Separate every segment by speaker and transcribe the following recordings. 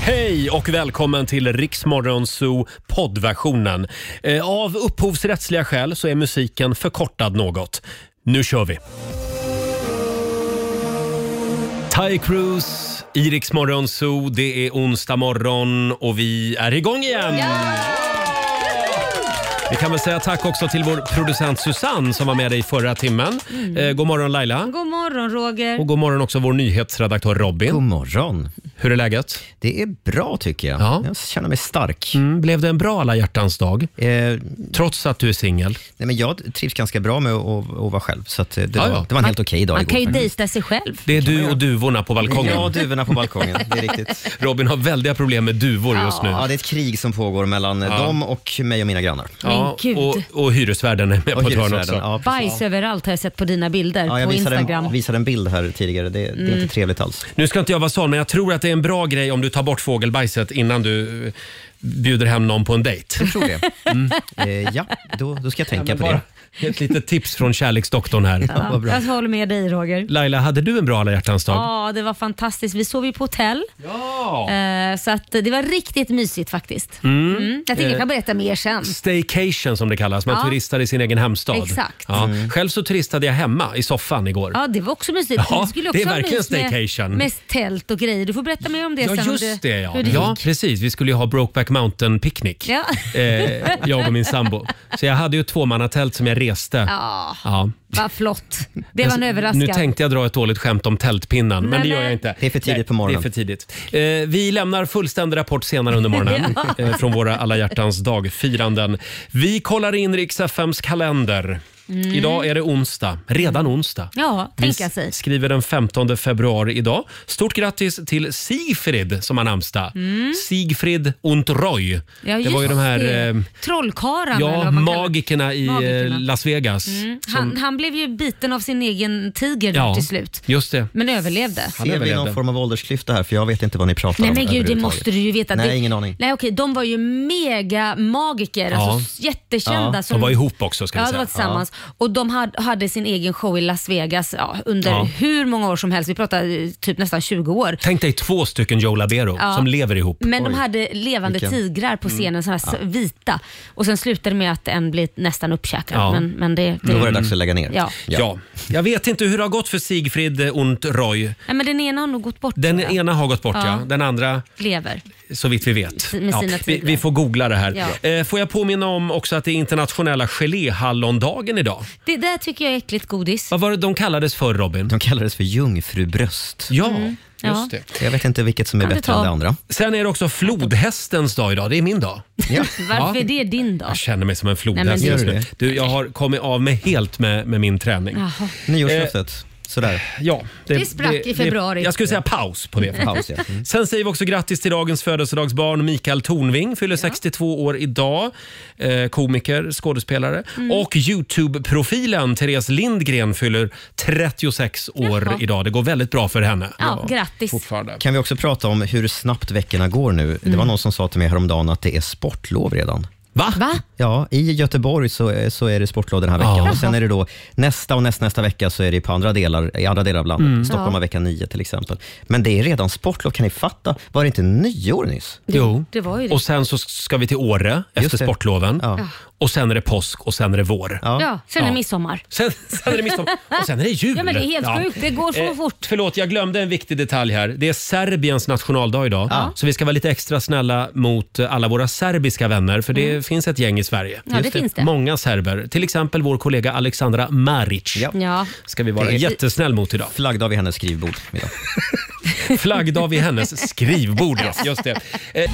Speaker 1: Hej och välkommen till Riksmorgon Zoo poddversionen. Eh, Av upphovsrättsliga skäl så är musiken förkortad något. Nu kör vi! Ty Cruz i Riksmorgon Zoo. Det är onsdag morgon och vi är igång igen! Vi kan väl säga tack också till vår producent Susanne som var med dig förra timmen. Eh, god morgon Laila!
Speaker 2: God morgon Roger.
Speaker 1: Och god morgon också vår nyhetsredaktör Robin.
Speaker 3: God morgon.
Speaker 1: Hur är läget?
Speaker 3: Det är bra tycker jag.
Speaker 1: Ja.
Speaker 3: Jag känner mig stark.
Speaker 1: Mm, blev det en bra alla hjärtans dag?
Speaker 3: Eh,
Speaker 1: Trots att du är singel?
Speaker 3: nej men jag trivs ganska bra med att, att, att vara själv, så att eh, det,
Speaker 1: Ja,
Speaker 3: var,
Speaker 1: ja.
Speaker 3: det var en helt okej dag
Speaker 2: Man
Speaker 3: igår.
Speaker 2: kan ju
Speaker 3: faktiskt.
Speaker 2: dejta sig själv.
Speaker 1: Det är du och duvorna på balkongen.
Speaker 3: Ja, duvorna på balkongen. Det är riktigt.
Speaker 1: Robin har väldiga problem med duvor just nu.
Speaker 3: Ja, det är ett krig som pågår mellan eh, dem och mig och mina grannar.
Speaker 1: Ja,
Speaker 2: Men gud.
Speaker 1: och, och hyresvärden är med
Speaker 3: Och
Speaker 1: på ett hörn
Speaker 3: hyresvärden.
Speaker 1: också.
Speaker 3: Ja, precis.
Speaker 2: Bajs överallt har jag sett på dina bilder
Speaker 3: Ja, jag
Speaker 2: på
Speaker 3: visade
Speaker 2: Instagram. Mm.
Speaker 3: en, visade en bild här tidigare. Det, det är inte trevligt alls.
Speaker 1: Nu ska inte jag vara sån, men jag tror att det är en bra grej om du tar bort fågelbajset innan du eh, bjuder hem någon på en dejt.
Speaker 3: Jag tror det.
Speaker 1: Mm,
Speaker 3: Eh, ja, då, då ska jag tänka på det.
Speaker 1: Ett litet tips från kärleksdoktorn här.
Speaker 2: Ja,
Speaker 3: vad bra.
Speaker 2: Jag håller med dig Roger.
Speaker 1: Laila, hade du en bra alla hjärtans dag?
Speaker 2: Ja, det var fantastiskt. Vi sov ju på hotell,
Speaker 1: Ja!
Speaker 2: eh, så att det var riktigt mysigt faktiskt. Mm. Jag tänker jag kan berätta mer sen.
Speaker 1: Eh, Staycation som det kallas, man
Speaker 2: Ja.
Speaker 1: turistar i sin egen hemstad.
Speaker 2: Exakt.
Speaker 1: Ja.
Speaker 3: Mm.
Speaker 1: Själv så turistade jag hemma i soffan igår.
Speaker 2: Ja, det var också mysigt.
Speaker 1: Ja,
Speaker 2: Vi skulle också
Speaker 1: det är
Speaker 2: ha
Speaker 1: verkligen
Speaker 2: mys med-
Speaker 1: staycation.
Speaker 2: Med tält och grejer. Du får berätta mer om det sen.
Speaker 1: Ja,
Speaker 2: hur
Speaker 1: just det ja.
Speaker 2: hur det
Speaker 1: ja
Speaker 2: gick.
Speaker 1: precis. Vi skulle ju ha Brokeback Mountain-picknick.
Speaker 2: Ja.
Speaker 1: Eh, jag och min sambo. Så jag hade ju ett tvåmannatält som jag reste.
Speaker 2: Ja,
Speaker 1: Ja.
Speaker 2: vad flott. Det var en
Speaker 1: Alltså, Nu
Speaker 2: överraskning.
Speaker 1: tänkte jag dra ett dåligt skämt om tältpinnen, men
Speaker 2: Nej,
Speaker 1: det gör jag
Speaker 2: men-
Speaker 1: inte.
Speaker 3: Det är för tidigt
Speaker 1: Nej,
Speaker 3: på morgonen.
Speaker 1: Det är för tidigt. Eh, vi lämnar fullständig rapport senare under morgonen eh, från våra alla hjärtans dag-firanden. Vi kollar in riks FMs kalender. Idag är det onsdag. Redan onsdag.
Speaker 2: Mm. Ja,
Speaker 1: Vi
Speaker 2: tänka sig.
Speaker 1: skriver den 15 februari idag. Stort grattis till Sigfrid som har namnsdag. Sigfrid und Roy.
Speaker 2: Mm. Ja,
Speaker 1: det var ju
Speaker 2: just
Speaker 1: de här
Speaker 2: det.
Speaker 1: eh,
Speaker 2: Trollkarlarna eller
Speaker 1: ja,
Speaker 2: vad man kallar-
Speaker 1: magikerna i eh,
Speaker 2: Magikerna. Mm.
Speaker 1: Las Vegas.
Speaker 2: Han, han blev ju biten av sin egen tiger
Speaker 1: Ja,
Speaker 2: till slut,
Speaker 1: just det.
Speaker 2: men överlevde.
Speaker 1: Han
Speaker 3: Ser vi
Speaker 1: överlevde.
Speaker 3: någon form av åldersklyfta här? För jag vet inte vad ni pratar
Speaker 2: Nej
Speaker 3: om
Speaker 2: men gud, det
Speaker 3: överhuvudtaget.
Speaker 2: måste du ju veta.
Speaker 3: Nej,
Speaker 2: det,
Speaker 3: ingen aning.
Speaker 2: Nej okej, de var ju mega magiker, alltså jättekända.
Speaker 3: Ja,
Speaker 1: De var ihop också ska vi
Speaker 2: Ja, de
Speaker 1: säga.
Speaker 2: var tillsammans. Och de hade, hade sin egen show i Las Vegas ja, under
Speaker 1: Ja.
Speaker 2: hur många år som helst. Vi pratar eh, typ nästan 20 år.
Speaker 1: Tänk dig två stycken Joe Labero
Speaker 2: Ja.
Speaker 1: som lever ihop.
Speaker 2: Men de
Speaker 3: Oj.
Speaker 2: hade levande
Speaker 3: Vilken- Mm.
Speaker 2: tigrar på scenen, såna här s- vita. Och sen slutade det med att en blev nästan uppkäkad.
Speaker 1: Ja.
Speaker 2: Men, men det, det,
Speaker 3: Då var det dags att lägga ner.
Speaker 2: Ja.
Speaker 1: Ja. Jag vet inte hur det har gått för Sigfrid eh, und Roy.
Speaker 2: Nej, men den ena har nog gått bort.
Speaker 1: Den
Speaker 2: tror jag.
Speaker 1: ena har gått bort ja.
Speaker 2: Ja.
Speaker 1: den andra
Speaker 2: Lever.
Speaker 1: så vitt vi vet.
Speaker 2: Med sina
Speaker 1: vi,
Speaker 2: tigrar.
Speaker 1: vi får googla det här.
Speaker 2: Ja.
Speaker 1: Eh, får jag påminna om också att det är internationella geléhallondagen idag.
Speaker 2: Det där tycker jag är äckligt godis.
Speaker 1: Vad var det de kallades för Robin?
Speaker 3: De kallades för jungfrubröst.
Speaker 1: Ja,
Speaker 2: ja.
Speaker 1: just det.
Speaker 3: Jag vet inte vilket som är
Speaker 2: Kan du
Speaker 3: bättre
Speaker 2: ta?
Speaker 3: än det andra.
Speaker 1: Sen är det också flodhästens dag idag. Det är min dag.
Speaker 2: Varför är det din dag?
Speaker 1: Jag känner mig som en
Speaker 2: Nej, men
Speaker 1: flodhäst
Speaker 2: det-
Speaker 1: just nu.
Speaker 3: Gör
Speaker 1: Du, jag har kommit av mig helt med, med min träning. Eh,
Speaker 2: Jaha.
Speaker 3: Nyårslöftet. Sådär.
Speaker 1: Ja,
Speaker 2: Det sprack i februari.
Speaker 1: jag skulle säga paus på det.
Speaker 3: Paus, ja. Mm.
Speaker 1: Sen säger vi också grattis till dagens födelsedagsbarn Mikael Tornving, fyller 62 år idag. Eh, komiker, skådespelare.
Speaker 2: Mm.
Speaker 1: Och Youtube-profilen Therese Lindgren fyller 36 år
Speaker 2: Jaha.
Speaker 1: idag. Det går väldigt bra för henne.
Speaker 2: Ja, grattis.
Speaker 1: Fortfarande.
Speaker 3: Kan vi också prata om hur snabbt veckorna går nu? Det var
Speaker 2: Mm.
Speaker 3: någon som sa till mig häromdagen att det är sportlov redan.
Speaker 1: Va?
Speaker 2: Va?
Speaker 3: Ja, i Göteborg så, är- så är det sportlov den här veckan.
Speaker 1: Ja.
Speaker 3: Och sen är det då nästa och näst, nästa vecka så är det på andra delar, i andra delar av
Speaker 1: Mm.
Speaker 3: landet. Stockholm har vecka nio till exempel. Men det är redan sportlov, kan ni fatta? Var det inte nyår nyss?
Speaker 1: Jo.
Speaker 2: det var ju det.
Speaker 1: Och sen så ska vi till Åre efter
Speaker 3: Just det.
Speaker 1: sportloven.
Speaker 3: Ja.
Speaker 1: Och sen är det påsk och sen är det vår.
Speaker 2: Ja, sen är
Speaker 1: Ja.
Speaker 2: det midsommar.
Speaker 1: Sen, sen är det midsommar och sen är det jul.
Speaker 2: Ja, men det är helt sjukt. Det går så fort.
Speaker 1: Eh, Förlåt, jag glömde en viktig detalj här. Det är Serbiens nationaldag idag. Så vi ska vara lite extra snälla mot eh, alla våra serbiska vänner. För det finns ett gäng i Sverige.
Speaker 2: Mm. Ja, det Just det. finns det.
Speaker 1: Många serber. Till exempel vår kollega Alexandra Maric.
Speaker 3: Ja.
Speaker 2: Ja.
Speaker 1: Ska vi vara
Speaker 3: Det är-
Speaker 1: jättesnäll mot idag.
Speaker 3: Flaggdag vid hennes skrivbord idag.
Speaker 1: Flaggdag vid hennes skrivbord. ja. Just det. Eh,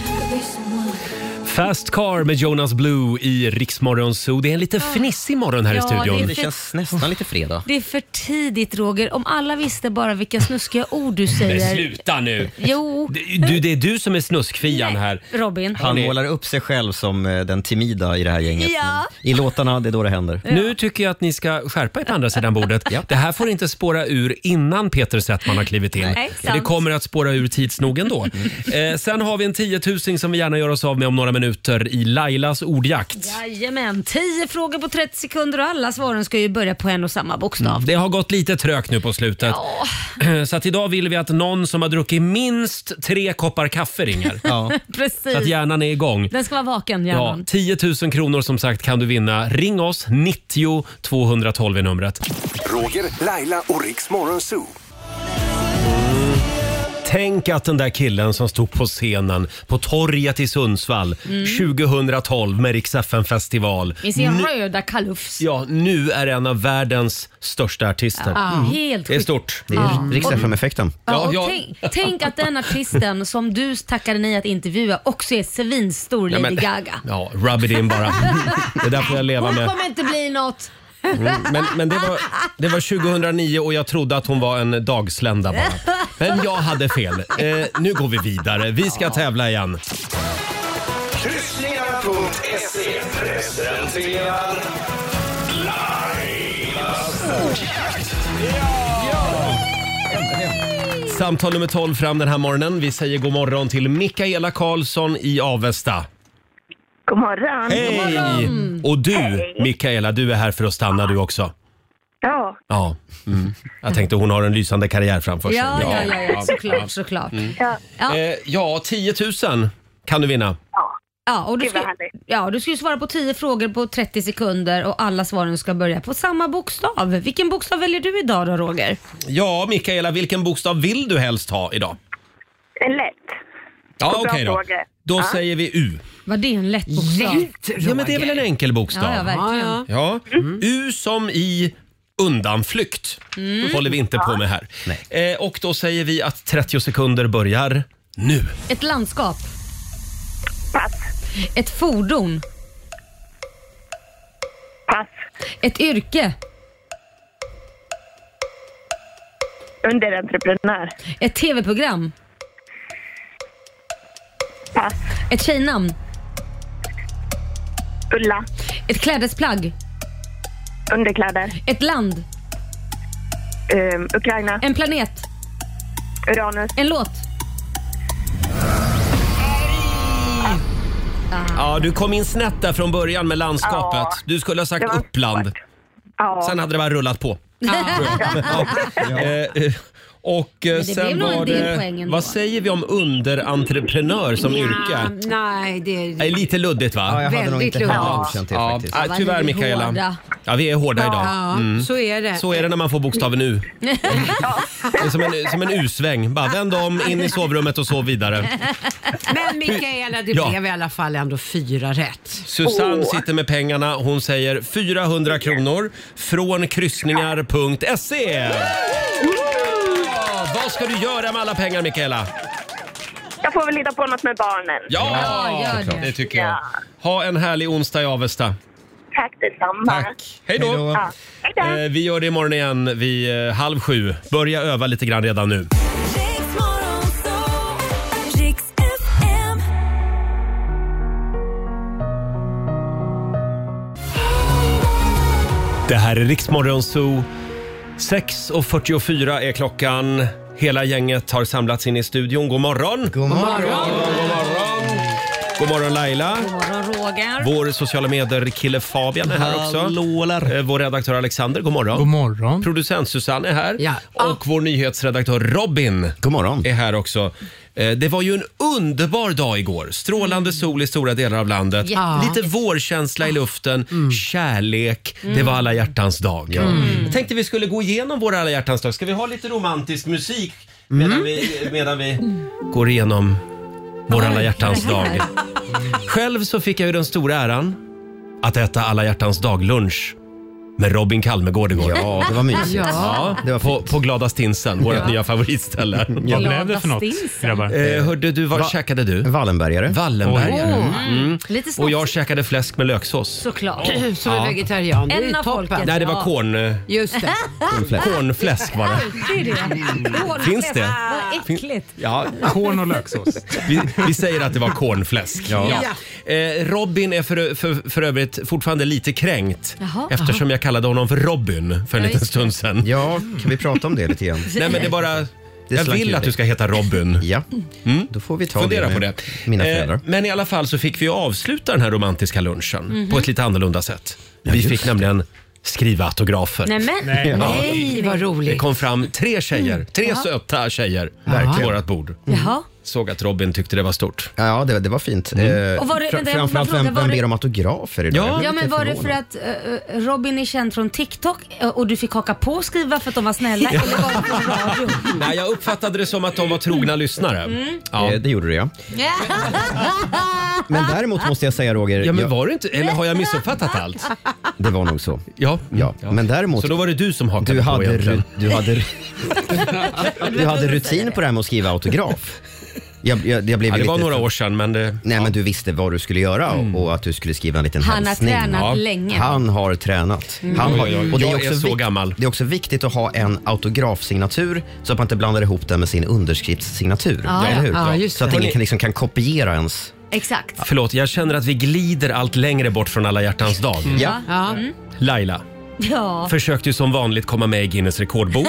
Speaker 1: Fast Car med Jonas Blue i Riksmorgon Zoo. Det är en lite fnissig morgon här i
Speaker 2: Ja, det är
Speaker 1: studion.
Speaker 3: Det känns nästan lite fredag.
Speaker 2: Det är för tidigt Roger. Om alla visste bara vilka snuskiga ord du
Speaker 1: Men
Speaker 2: säger.
Speaker 1: sluta nu!
Speaker 2: Jo,
Speaker 1: Du, det är du som är snuskfian här.
Speaker 2: Robin.
Speaker 3: Han
Speaker 1: Hörrni.
Speaker 3: målar upp sig själv som eh, den timida i det här gänget.
Speaker 2: Ja.
Speaker 3: Men I låtarna, det är då det händer.
Speaker 1: Nu tycker jag att ni ska skärpa er på andra sidan bordet.
Speaker 3: Ja.
Speaker 1: Det här får inte spåra ur innan Peter Settman har klivit in.
Speaker 2: Nej,
Speaker 1: det
Speaker 2: sant.
Speaker 3: Mm.
Speaker 1: kommer att spåra ur tids nog ändå. Eh, sen har vi en tiotusing som vi gärna gör oss av med om några minuter i Lailas ordjakt.
Speaker 2: Jajamän, 10 frågor på 30 sekunder och alla svaren ska ju börja på en och samma bokstav.
Speaker 1: Det har gått lite trögt nu på slutet. Eh,
Speaker 2: Ja.
Speaker 1: Så att idag vill vi att någon som har druckit minst tre koppar kaffe ringer.
Speaker 3: Ja.
Speaker 2: Precis.
Speaker 1: Så att hjärnan är igång.
Speaker 2: Den ska vara vaken,
Speaker 1: Ja,
Speaker 2: hjärnan.
Speaker 1: 10 000 kronor som sagt kan du vinna. Ring oss, 90 212 är numret.
Speaker 4: Roger, Laila och Riks Morgonzoo.
Speaker 1: Tänk att den där killen som stod på scenen på torget i Sundsvall 2012 med Rix festival
Speaker 2: I sin röda kalufs.
Speaker 1: Ja, nu är en av världens största artister. Mm.
Speaker 2: Ja, Helt
Speaker 1: Det är
Speaker 2: sjukt.
Speaker 1: stort.
Speaker 3: Det är Rix FM-effekten.
Speaker 1: Ja,
Speaker 2: Ja, och
Speaker 1: ja.
Speaker 2: Tänk, tänk att den artisten som du tackade nej att intervjua också är svinstor Lady
Speaker 1: men-
Speaker 2: Gaga.
Speaker 1: Ja, rub it in bara. Det där får jag leva
Speaker 2: Hon
Speaker 1: med.
Speaker 2: kommer inte bli något.
Speaker 1: Mm, Men, men det, var, det var 2009 och jag trodde att hon var en dagslända bara. Men jag hade fel. Eh, nu går vi vidare. Vi ska tävla igen.
Speaker 4: Kryssningar.se presenterar
Speaker 1: Samtal nummer 12 fram den här morgonen. Vi säger god morgon till Mikaela Karlsson i Avesta.
Speaker 5: God morgon.
Speaker 1: Hej! Och du, Mikaela, du är här för att stanna du också.
Speaker 5: Ja,
Speaker 1: Ja. Mm. Jag tänkte hon har en lysande karriär framför sig.
Speaker 2: Ja, ja, ja, ja. såklart. såklart.
Speaker 5: ja,
Speaker 2: Ja.
Speaker 1: Eh, ja, 10 000 kan du vinna.
Speaker 2: Ja, och du,
Speaker 5: Gud, vad
Speaker 2: ska,
Speaker 5: härligt.
Speaker 2: ja, du ska ju svara på 10 frågor på 30 sekunder och alla svaren ska börja på samma bokstav. Vilken bokstav väljer du idag då Roger?
Speaker 1: Ja, Mikaela, vilken bokstav vill du helst ha idag?
Speaker 5: en lätt.
Speaker 1: Ja,
Speaker 5: Bra
Speaker 1: okej då.
Speaker 5: fråga.
Speaker 1: Då
Speaker 5: Ja.
Speaker 1: säger vi U.
Speaker 2: Var det en lätt bokstav?
Speaker 1: Ja, men det är väl en enkel
Speaker 2: Ja, ja,
Speaker 1: bokstav?
Speaker 2: verkligen.
Speaker 1: Ja.
Speaker 3: Mm.
Speaker 1: Mm. U som i undanflykt
Speaker 2: Mm.
Speaker 1: håller vi inte på med här. Eh, och då säger vi att 30 sekunder börjar nu.
Speaker 2: Ett landskap,
Speaker 5: Pass,
Speaker 2: ett fordon,
Speaker 5: pass,
Speaker 2: ett yrke,
Speaker 5: underentreprenör,
Speaker 2: ett tv-program,
Speaker 5: pass,
Speaker 2: ett tjejnamn,
Speaker 5: Ulla,
Speaker 2: ett klädesplagg,
Speaker 5: underkläder,
Speaker 2: ett land,
Speaker 5: um, Ukraina,
Speaker 2: en planet,
Speaker 5: Uranus,
Speaker 2: en låt.
Speaker 1: Ja, du kom in snett där från början med landskapet.
Speaker 5: Ja.
Speaker 1: Du skulle ha sagt
Speaker 5: Det var
Speaker 1: Uppland.
Speaker 5: svårt. ja,
Speaker 1: Sen hade det bara rullat på. Eh, eh, Och eh,
Speaker 2: det blev
Speaker 1: sen
Speaker 2: nog en
Speaker 1: var
Speaker 2: del
Speaker 1: det...
Speaker 2: poäng ändå.
Speaker 1: Vad säger vi om underentreprenör som yrke?
Speaker 6: Nej, det är...
Speaker 1: Det är lite luddigt va?
Speaker 3: Ja, jag hade nog
Speaker 6: Väldigt
Speaker 3: inte heller
Speaker 6: lugnt.
Speaker 3: godkänt det
Speaker 1: Ja,
Speaker 3: faktiskt.
Speaker 1: nej,
Speaker 2: vad
Speaker 1: tyvärr
Speaker 2: ni är
Speaker 1: Mikaela.
Speaker 2: hårda.
Speaker 1: Ja, vi är hårda idag. Mm.
Speaker 6: Ja, så är det.
Speaker 1: Så är det när man får bokstaven U. Det är som en, som en U-sväng. Bara vänd om, in i sovrummet och sov vidare.
Speaker 6: Men Mikaela, det
Speaker 1: Ja.
Speaker 6: blev i alla fall ändå fyra rätt.
Speaker 1: Susanne
Speaker 5: Åh.
Speaker 1: sitter med pengarna. Hon säger 400 kronor från kryssningar.se. E. Ja, vad ska du göra med alla pengar Mikaela?
Speaker 5: jag får väl hitta på något med barnen.
Speaker 1: Ja,
Speaker 2: Ja, gör det.
Speaker 1: det tycker jag. Ha en härlig onsdag i Avesta.
Speaker 5: Tack detsamma.
Speaker 1: Tack. Hej då.
Speaker 5: Ja. Hej då.
Speaker 1: Eh, Vi gör det imorgon igen vid eh, halv sju. Börja öva lite grann redan nu.
Speaker 7: Riks Morgonzoo, Riks FM.
Speaker 1: Det här är Riksmorgon Zoo. 6.44 är klockan. Hela gänget har samlats in i studion. God morgon!
Speaker 3: God morgon.
Speaker 1: God morgon Laila!
Speaker 2: Morgon Roger.
Speaker 1: Vår sociala medier-kille Fabian är här också. Eh, Vår redaktör Alexander, god morgon.
Speaker 8: God morgon.
Speaker 1: Producent Susanne är här.
Speaker 6: Ja.
Speaker 1: Och vår nyhetsredaktör Robin
Speaker 3: God morgon.
Speaker 1: är här också. Eh, Det var ju en underbar dag igår.
Speaker 3: Mm.
Speaker 1: Strålande sol i stora delar av landet.
Speaker 6: Ja.
Speaker 1: Lite vårkänsla i luften,
Speaker 3: Mm.
Speaker 1: kärlek. Det var alla hjärtans dag. Jag tänkte vi skulle gå igenom vår alla hjärtans dag. Ska vi ha lite romantisk musik
Speaker 3: Mm.
Speaker 1: medan, vi, medan vi går igenom vår alla hjärtans dag? Själv så fick jag ju den stora äran att äta alla hjärtans dag-lunch med Robin Kalmegård igår.
Speaker 3: Ja, det var mysigt.
Speaker 1: Ja,
Speaker 3: Det var
Speaker 1: på,
Speaker 3: fint.
Speaker 1: på Glada Stinsen, vårt
Speaker 3: Ja.
Speaker 1: nya favoritställe.
Speaker 8: Vad
Speaker 2: Glada
Speaker 8: blev det för något
Speaker 2: stinsen.
Speaker 8: grabbar?
Speaker 1: Eh, hörde du, vad käkade du?
Speaker 3: Wallenbergare.
Speaker 1: Wallenbergare.
Speaker 2: Mm.
Speaker 1: Mm.
Speaker 2: Lite snabbt
Speaker 1: Och jag käkade fläsk med löksås.
Speaker 2: såklart.
Speaker 6: Som en vegetarian. Det är
Speaker 2: En
Speaker 6: ju
Speaker 2: av folket.
Speaker 6: toppen.
Speaker 1: Nej, det var
Speaker 2: Ja.
Speaker 1: korn, eh,
Speaker 6: Just det.
Speaker 3: Cornflakes.
Speaker 1: kornfläsk var det.
Speaker 2: Det är det.
Speaker 1: Finns det?
Speaker 2: Vad äckligt.
Speaker 1: Ja,
Speaker 8: Korn och löksås.
Speaker 1: vi, vi säger att det var kornfläsk.
Speaker 6: Ja.
Speaker 1: Eh, Robin är för, för, för övrigt fortfarande lite kränkt
Speaker 2: Jaha.
Speaker 1: eftersom jag kallade honom för Robin för en
Speaker 2: Ja,
Speaker 1: liten
Speaker 2: just
Speaker 1: stund sedan.
Speaker 3: Ja, kan vi prata om det lite grann?
Speaker 1: Nej, men det bara...
Speaker 3: Det
Speaker 1: Jag
Speaker 3: slank
Speaker 1: vill
Speaker 3: ur
Speaker 1: att
Speaker 3: dig.
Speaker 1: du ska heta Robin. Mm.
Speaker 3: Ja, då får vi ta
Speaker 1: Fundera
Speaker 3: det
Speaker 1: på det.
Speaker 3: med mina
Speaker 1: Eh,
Speaker 3: föräldrar.
Speaker 1: Men i alla fall så fick vi avsluta den här romantiska lunchen
Speaker 2: Mhm.
Speaker 1: på ett lite annorlunda sätt. vi fick nämligen skriva autografer.
Speaker 2: Nej men. Nej. Mm.
Speaker 6: Nej, vad
Speaker 1: Det
Speaker 6: roligt.
Speaker 1: kom fram tre tjejer, tre söta tjejer på
Speaker 6: Verkligen.
Speaker 1: vårt bord.
Speaker 3: Mm.
Speaker 2: Jaha.
Speaker 1: Såg att Robin tyckte det var stort. Mm.
Speaker 3: Ja, det, det var fint. Eh,
Speaker 2: Och var det- vänta,
Speaker 3: fra-
Speaker 2: jag
Speaker 3: framförallt
Speaker 2: bara frågar,
Speaker 3: vem,
Speaker 2: var
Speaker 3: vem
Speaker 2: det-
Speaker 3: ber om autografer idag?
Speaker 1: Ja.
Speaker 3: Jag blev
Speaker 2: Ja men
Speaker 3: lite
Speaker 2: var det för
Speaker 3: förvånad.
Speaker 2: att eh, Robin är känd från TikTok eh, och du fick haka på och skriva för att de var snälla? Eller var det från radio?
Speaker 1: Nej, jag uppfattade det som att de var trogna lyssnare.
Speaker 2: Mm.
Speaker 1: Ja.
Speaker 3: Eh, Det gjorde du ja. Men däremot måste jag säga Roger,
Speaker 1: ja, men
Speaker 3: jag-
Speaker 1: var det inte, eller har jag missuppfattat allt?
Speaker 3: det var nog så.
Speaker 1: Ja.
Speaker 3: Ja, men däremot-
Speaker 1: Så då var det du som hakade
Speaker 3: Du hade,
Speaker 1: på egentligen.
Speaker 3: ru- du, hade, du hade rutin på det här med att skriva autograf. Jag, jag, jag blev
Speaker 1: Ja, det
Speaker 3: lite
Speaker 1: var några år sedan, men det, Mm.
Speaker 3: Nej men du visste vad du skulle göra och, och att du skulle skriva en liten
Speaker 2: Han har
Speaker 3: hälsning.
Speaker 2: tränat
Speaker 1: Ja. Mm.
Speaker 2: länge.
Speaker 3: Han har tränat. Han
Speaker 1: Oj, oj, oj.
Speaker 3: har,
Speaker 1: Jag är så
Speaker 3: vik-
Speaker 1: gammal.
Speaker 3: Det är också viktigt att ha en autografsignatur så att man inte blandar ihop den med sin underskriftssignatur.
Speaker 2: Ja,
Speaker 3: eller hur?
Speaker 6: ja, just
Speaker 3: så att
Speaker 6: det.
Speaker 3: ingen kan, liksom, kan kopiera ens.
Speaker 2: Exakt.
Speaker 1: förlåt, jag känner att vi glider allt längre bort från alla hjärtans dag.
Speaker 3: Mm.
Speaker 2: Mm.
Speaker 3: Ja.
Speaker 6: Ja.
Speaker 1: Laila,
Speaker 2: Ja.
Speaker 1: försökte ju som vanligt komma med i Guinness rekordbok.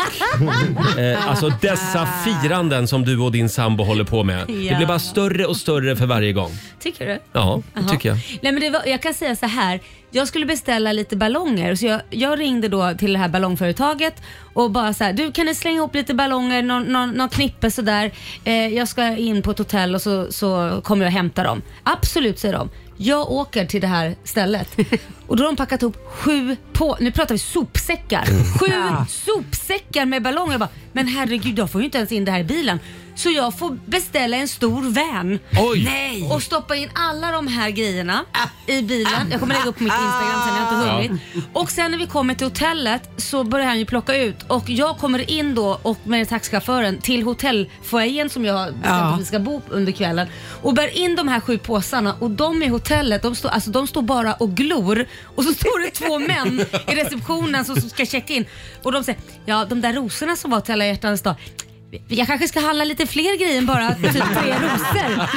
Speaker 1: eh, alltså dessa firanden som du och din sambo håller på med. Det
Speaker 2: Ja.
Speaker 1: blir bara större och större för varje gång.
Speaker 2: Tycker du?
Speaker 1: Ja, det
Speaker 2: Jaha.
Speaker 1: tycker jag.
Speaker 2: Nej, men det var, jag kan säga så här. Jag skulle beställa lite ballonger så jag, jag ringde då till det här ballongföretaget och bara så här, du kan ni slänga ihop lite ballonger, någon, någon, någon knippe sådär. Eh, jag ska in på ett hotell och så, så kommer jag hämta dem. Absolut säger de. Jag åker till det här stället och då har de packat ihop sju på, nu pratar vi sopsäckar,
Speaker 1: Mm.
Speaker 2: sju sopsäckar med ballonger. Jag bara, men herregud jag får ju inte ens in det här i bilen. Så jag får beställa en stor van.
Speaker 1: Oj.
Speaker 6: Nej.
Speaker 2: Och stoppa in alla de här grejerna i bilen. Jag kommer lägga upp på mitt Instagram sen, jag har inte hunnit. Och sen när vi kommer till hotellet så börjar han ju plocka ut och jag kommer in då och med taxichauffören till hotellfoajén som jag har bestämt
Speaker 6: Ja.
Speaker 2: att vi ska bo under kvällen och bär in de här sju påsarna och de i hotellet de står, alltså, de står bara och glor och så står det två män i receptionen som ska checka in och de säger ja de där rosorna som var till alla hjärtans dag jag kanske ska handla lite fler grejer än bara typ tre rosor.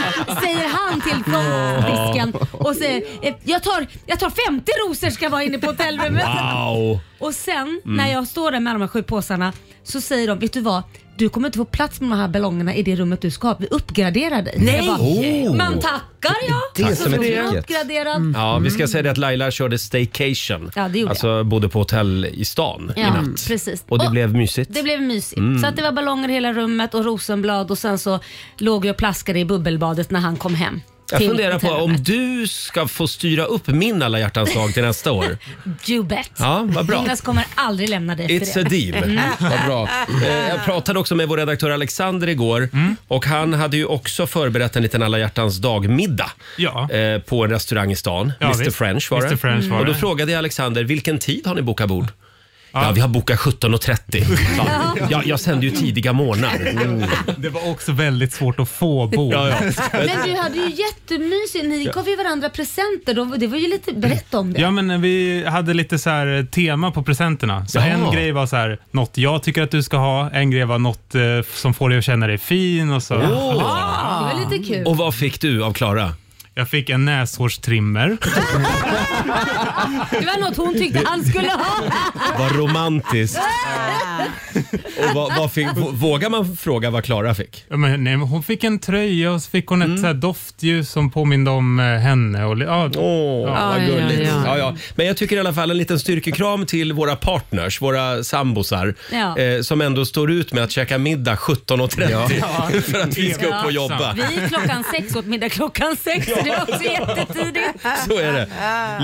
Speaker 2: Säger han till disken och säger "Eh, jag tar, jag tar 50 rosor ska vara inne på hotellrummet.
Speaker 1: Wow! Mm.
Speaker 2: Och sen när jag står där med alla de här sju påsarna så säger de, vet du vad? Du kommer inte få plats med de här ballongerna i det rummet du ska ha. Vi uppgraderar dig. Nej! Jag bara,
Speaker 1: Oh.
Speaker 2: Man tackar ja.
Speaker 3: Det är
Speaker 2: Så
Speaker 3: som ett
Speaker 2: blir jag
Speaker 3: ticket.
Speaker 2: uppgraderad.
Speaker 1: Mm. Ja, vi ska säga det att Laila körde staycation.
Speaker 2: Mm. Ja, det gjorde
Speaker 1: alltså bodde på hotell i stan i
Speaker 2: Ja,
Speaker 1: natt.
Speaker 2: precis.
Speaker 1: Och det
Speaker 2: Och-
Speaker 1: blev Mm. mysigt.
Speaker 2: Det blev mysigt. Så att det var ballonger i hela rummet och rosenblad och sen så låg jag och plaskade i bubbelbadet när han kom hem.
Speaker 1: Jag
Speaker 2: till
Speaker 1: funderar på
Speaker 2: hotellrummet.
Speaker 1: om du ska få styra upp min alla hjärtans dag till nästa år.
Speaker 2: You bet.
Speaker 1: Ja, vad bra.
Speaker 2: Jonas kommer aldrig lämna dig efter
Speaker 1: It's a
Speaker 2: det. Mm.
Speaker 1: deal.
Speaker 8: Mm.
Speaker 1: Vad bra. Eh, Jag pratade också med vår redaktör Alexander igår
Speaker 8: Mm.
Speaker 1: och han hade ju också förberett en liten alla hjärtans dag-middag
Speaker 8: Ja.
Speaker 1: eh, på en restaurang i stan.
Speaker 8: Ja,
Speaker 1: Mr
Speaker 8: visst.
Speaker 1: French var det.
Speaker 8: Mr. French var
Speaker 1: och då
Speaker 8: det.
Speaker 1: frågade jag Alexander, vilken tid har ni bokat bord? Ja, vi har bokat 17.30. Ja. Jag, jag sände ju tidiga morgnar. Mm.
Speaker 8: Det var också väldigt svårt att få bord.
Speaker 2: Men du hade ju jättemysigt. Ni gav ju varandra presenter. De- Det var ju lite, berätta om det.
Speaker 8: Ja, men eh, vi hade lite så här eh, tema på presenterna. Så
Speaker 1: Jaha.
Speaker 8: en grej var så här, något jag tycker att du ska ha, en grej var något eh, som får dig att känna dig fin och så.
Speaker 1: Åh!
Speaker 2: Ah, Det var lite kul.
Speaker 1: Och vad fick du av Klara?
Speaker 8: Jag fick en näshårstrimmer.
Speaker 2: Det var något hon tyckte han skulle ha.
Speaker 1: Vad romantiskt. Och vad, vad fick, vågar man fråga vad Klara fick?
Speaker 8: Ja, men, nej, men hon fick Mm. en tröja och så fick hon ett så här doftljus som påminde om eh, henne. Och, li- ja,
Speaker 1: Åh, vad
Speaker 6: Ja, ja,
Speaker 1: gulligt. Ja,
Speaker 6: ja.
Speaker 1: ja. Men jag tycker i alla fall en liten styrkekram till våra partners, våra sambosar,
Speaker 2: Ja.
Speaker 1: eh, som ändå står ut med att käka middag 17.30 för att vi ska upp och jobba.
Speaker 2: Vi är klockan sex åt middag klockan sex. Det var också jättetidigt.
Speaker 1: Så är det.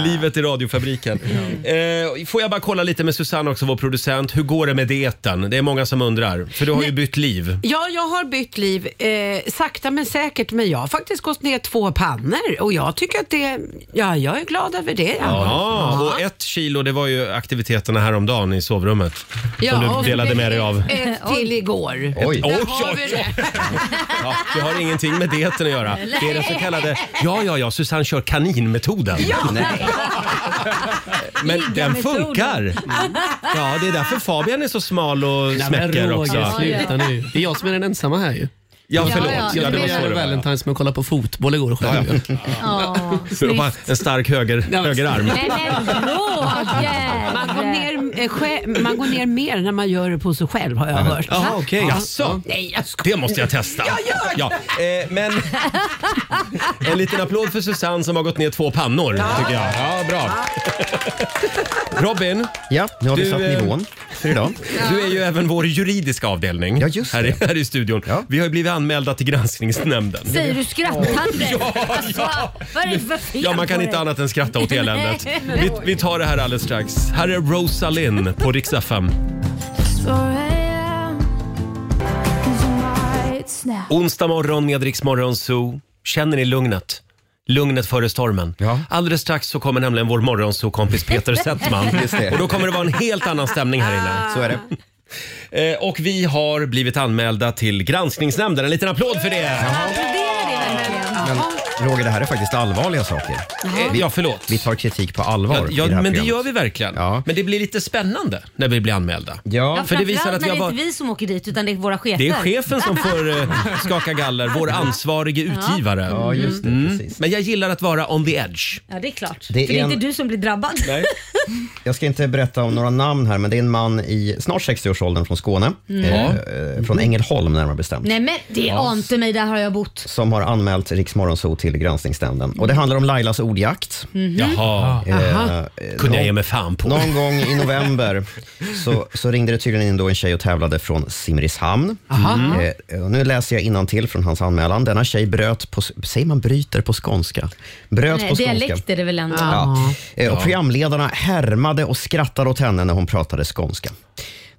Speaker 1: Livet i radiofabriken. Eh, får jag bara kolla lite med Susanne också, vår producent. Hur går det med dieten? Det är många som undrar, för du har ju bytt liv.
Speaker 6: Ja, jag har bytt liv eh, sakta men säkert, men jag har faktiskt gått ner två pannor och jag tycker att det, ja, jag är glad över det.
Speaker 1: Ja, och ett kilo det var ju aktiviteterna häromdagen i sovrummet som
Speaker 6: och
Speaker 1: du delade med dig av.
Speaker 6: Ett till igår.
Speaker 3: Oj.
Speaker 1: Oj,
Speaker 6: Där
Speaker 1: oj,
Speaker 6: har vi det.
Speaker 1: Ja, det har ingenting med dieten att göra. Det är den så kallade, ja, ja, ja, Susanne kör kaninmetoden.
Speaker 3: Nej.
Speaker 1: Men den
Speaker 2: metoden.
Speaker 1: funkar. Ja, det är därför Fabian är så smal och smäcker också.
Speaker 9: sluta nu. Det är jag som är den ensamma här ju.
Speaker 1: Ja,
Speaker 2: Ja,
Speaker 1: förlåt.
Speaker 2: ja,
Speaker 1: Ja, det var
Speaker 2: det är
Speaker 1: så det var.
Speaker 9: Valentine's med att kolla på fotboll igår själv.
Speaker 2: Ja,
Speaker 1: Det var bara
Speaker 2: snyggt.
Speaker 1: En stark höger, högerarm.
Speaker 2: Nej men Åh,
Speaker 6: Man
Speaker 2: jävlar.
Speaker 6: går, ner, eh, skä- man går ner mer när man gör det på sig själv har jag hört.
Speaker 9: Jaha, okej.
Speaker 1: Jaså?
Speaker 6: Nej, jag skojar.
Speaker 1: Det måste jag testa. Jag gör ja, eh, men En liten applåd för Susanne som har gått ner två pannor. Tycker jag. Ja, bra. Robin,
Speaker 3: Ja, nu har vi
Speaker 1: Du,
Speaker 3: satt
Speaker 1: eh,
Speaker 3: nivån för idag.
Speaker 1: du är ju även vår juridiska avdelning
Speaker 3: Ja, just det.
Speaker 1: här, i, här i studion.
Speaker 3: Ja.
Speaker 1: Vi har ju blivit anmälda till Granskningsnämnden.
Speaker 2: Säger du skrattande? Alltså,
Speaker 1: Ja, ja.
Speaker 2: Vad är det för fel
Speaker 1: Ja, man kan
Speaker 2: på
Speaker 1: inte
Speaker 2: dig?
Speaker 1: annat än skratta åt eländet. Vi, vi tar det här alldeles strax. Här är Rosalind på Rix FM. Onsdag morgon med Rix Morgon Zoo. Känner ni lugnet? Lugnet före stormen.
Speaker 3: Ja.
Speaker 1: Alldeles strax så kommer nämligen vår morgonzoo-kompis Peter Settman.
Speaker 3: Just det.
Speaker 1: Och då kommer det vara en helt annan stämning här inne.
Speaker 3: Så är det.
Speaker 1: Eh, och vi har blivit anmälda till Granskningsnämnden. En liten applåd för det!
Speaker 2: Applådera det verkligen.
Speaker 3: Men Roger, det här är faktiskt allvarliga saker.
Speaker 1: Eh, Ja, förlåt.
Speaker 3: Vi tar kritik på allvar i
Speaker 1: Ja,
Speaker 3: det här
Speaker 1: men det
Speaker 3: programmet.
Speaker 1: gör vi verkligen.
Speaker 3: Ja.
Speaker 1: Men det blir lite spännande när vi blir anmälda.
Speaker 3: Ja,
Speaker 2: Ja,
Speaker 1: För det visar
Speaker 2: framförallt
Speaker 1: att
Speaker 2: när
Speaker 1: vi har
Speaker 2: det är
Speaker 1: varit-
Speaker 2: inte vi som åker dit utan det är våra chefer.
Speaker 1: Det är chefen som får eh, skaka galler, vår ansvarige utgivare. Mm.
Speaker 3: ja just det. Precis.
Speaker 1: Men jag gillar att vara on the edge.
Speaker 2: Ja, det är klart.
Speaker 3: Det
Speaker 2: För det är
Speaker 3: är en-
Speaker 2: inte du som blir drabbad.
Speaker 3: Jag ska inte berätta om några namn här, men det är en man i snart 60-årsåldern från Skåne.
Speaker 1: Mm.
Speaker 3: Eh, eh, från Ängelholm närmare bestämt.
Speaker 2: Nej men det ante mig, där har jag bott.
Speaker 3: som har anmält Riksmorgonzoo till Granskningsnämnden. Och det handlar om Lailas ordjakt.
Speaker 2: Mhm.
Speaker 1: Mm. Jaha,
Speaker 3: Eh,
Speaker 1: kunde jag ge mig fan på.
Speaker 3: Någon gång i november så, så ringde det tydligen in då en tjej och tävlade från Simrishamn.
Speaker 1: Mm.
Speaker 3: Eh, och nu läser jag till från hans anmälan. Denna tjej bröt på... Säger man bryter på skånska? Bröt
Speaker 2: Nej,
Speaker 3: på skånska.
Speaker 2: dialekt är det väl ändå.
Speaker 3: Ja. Eh, Och programledarna härmade och skrattade åt henne när hon pratade skånska.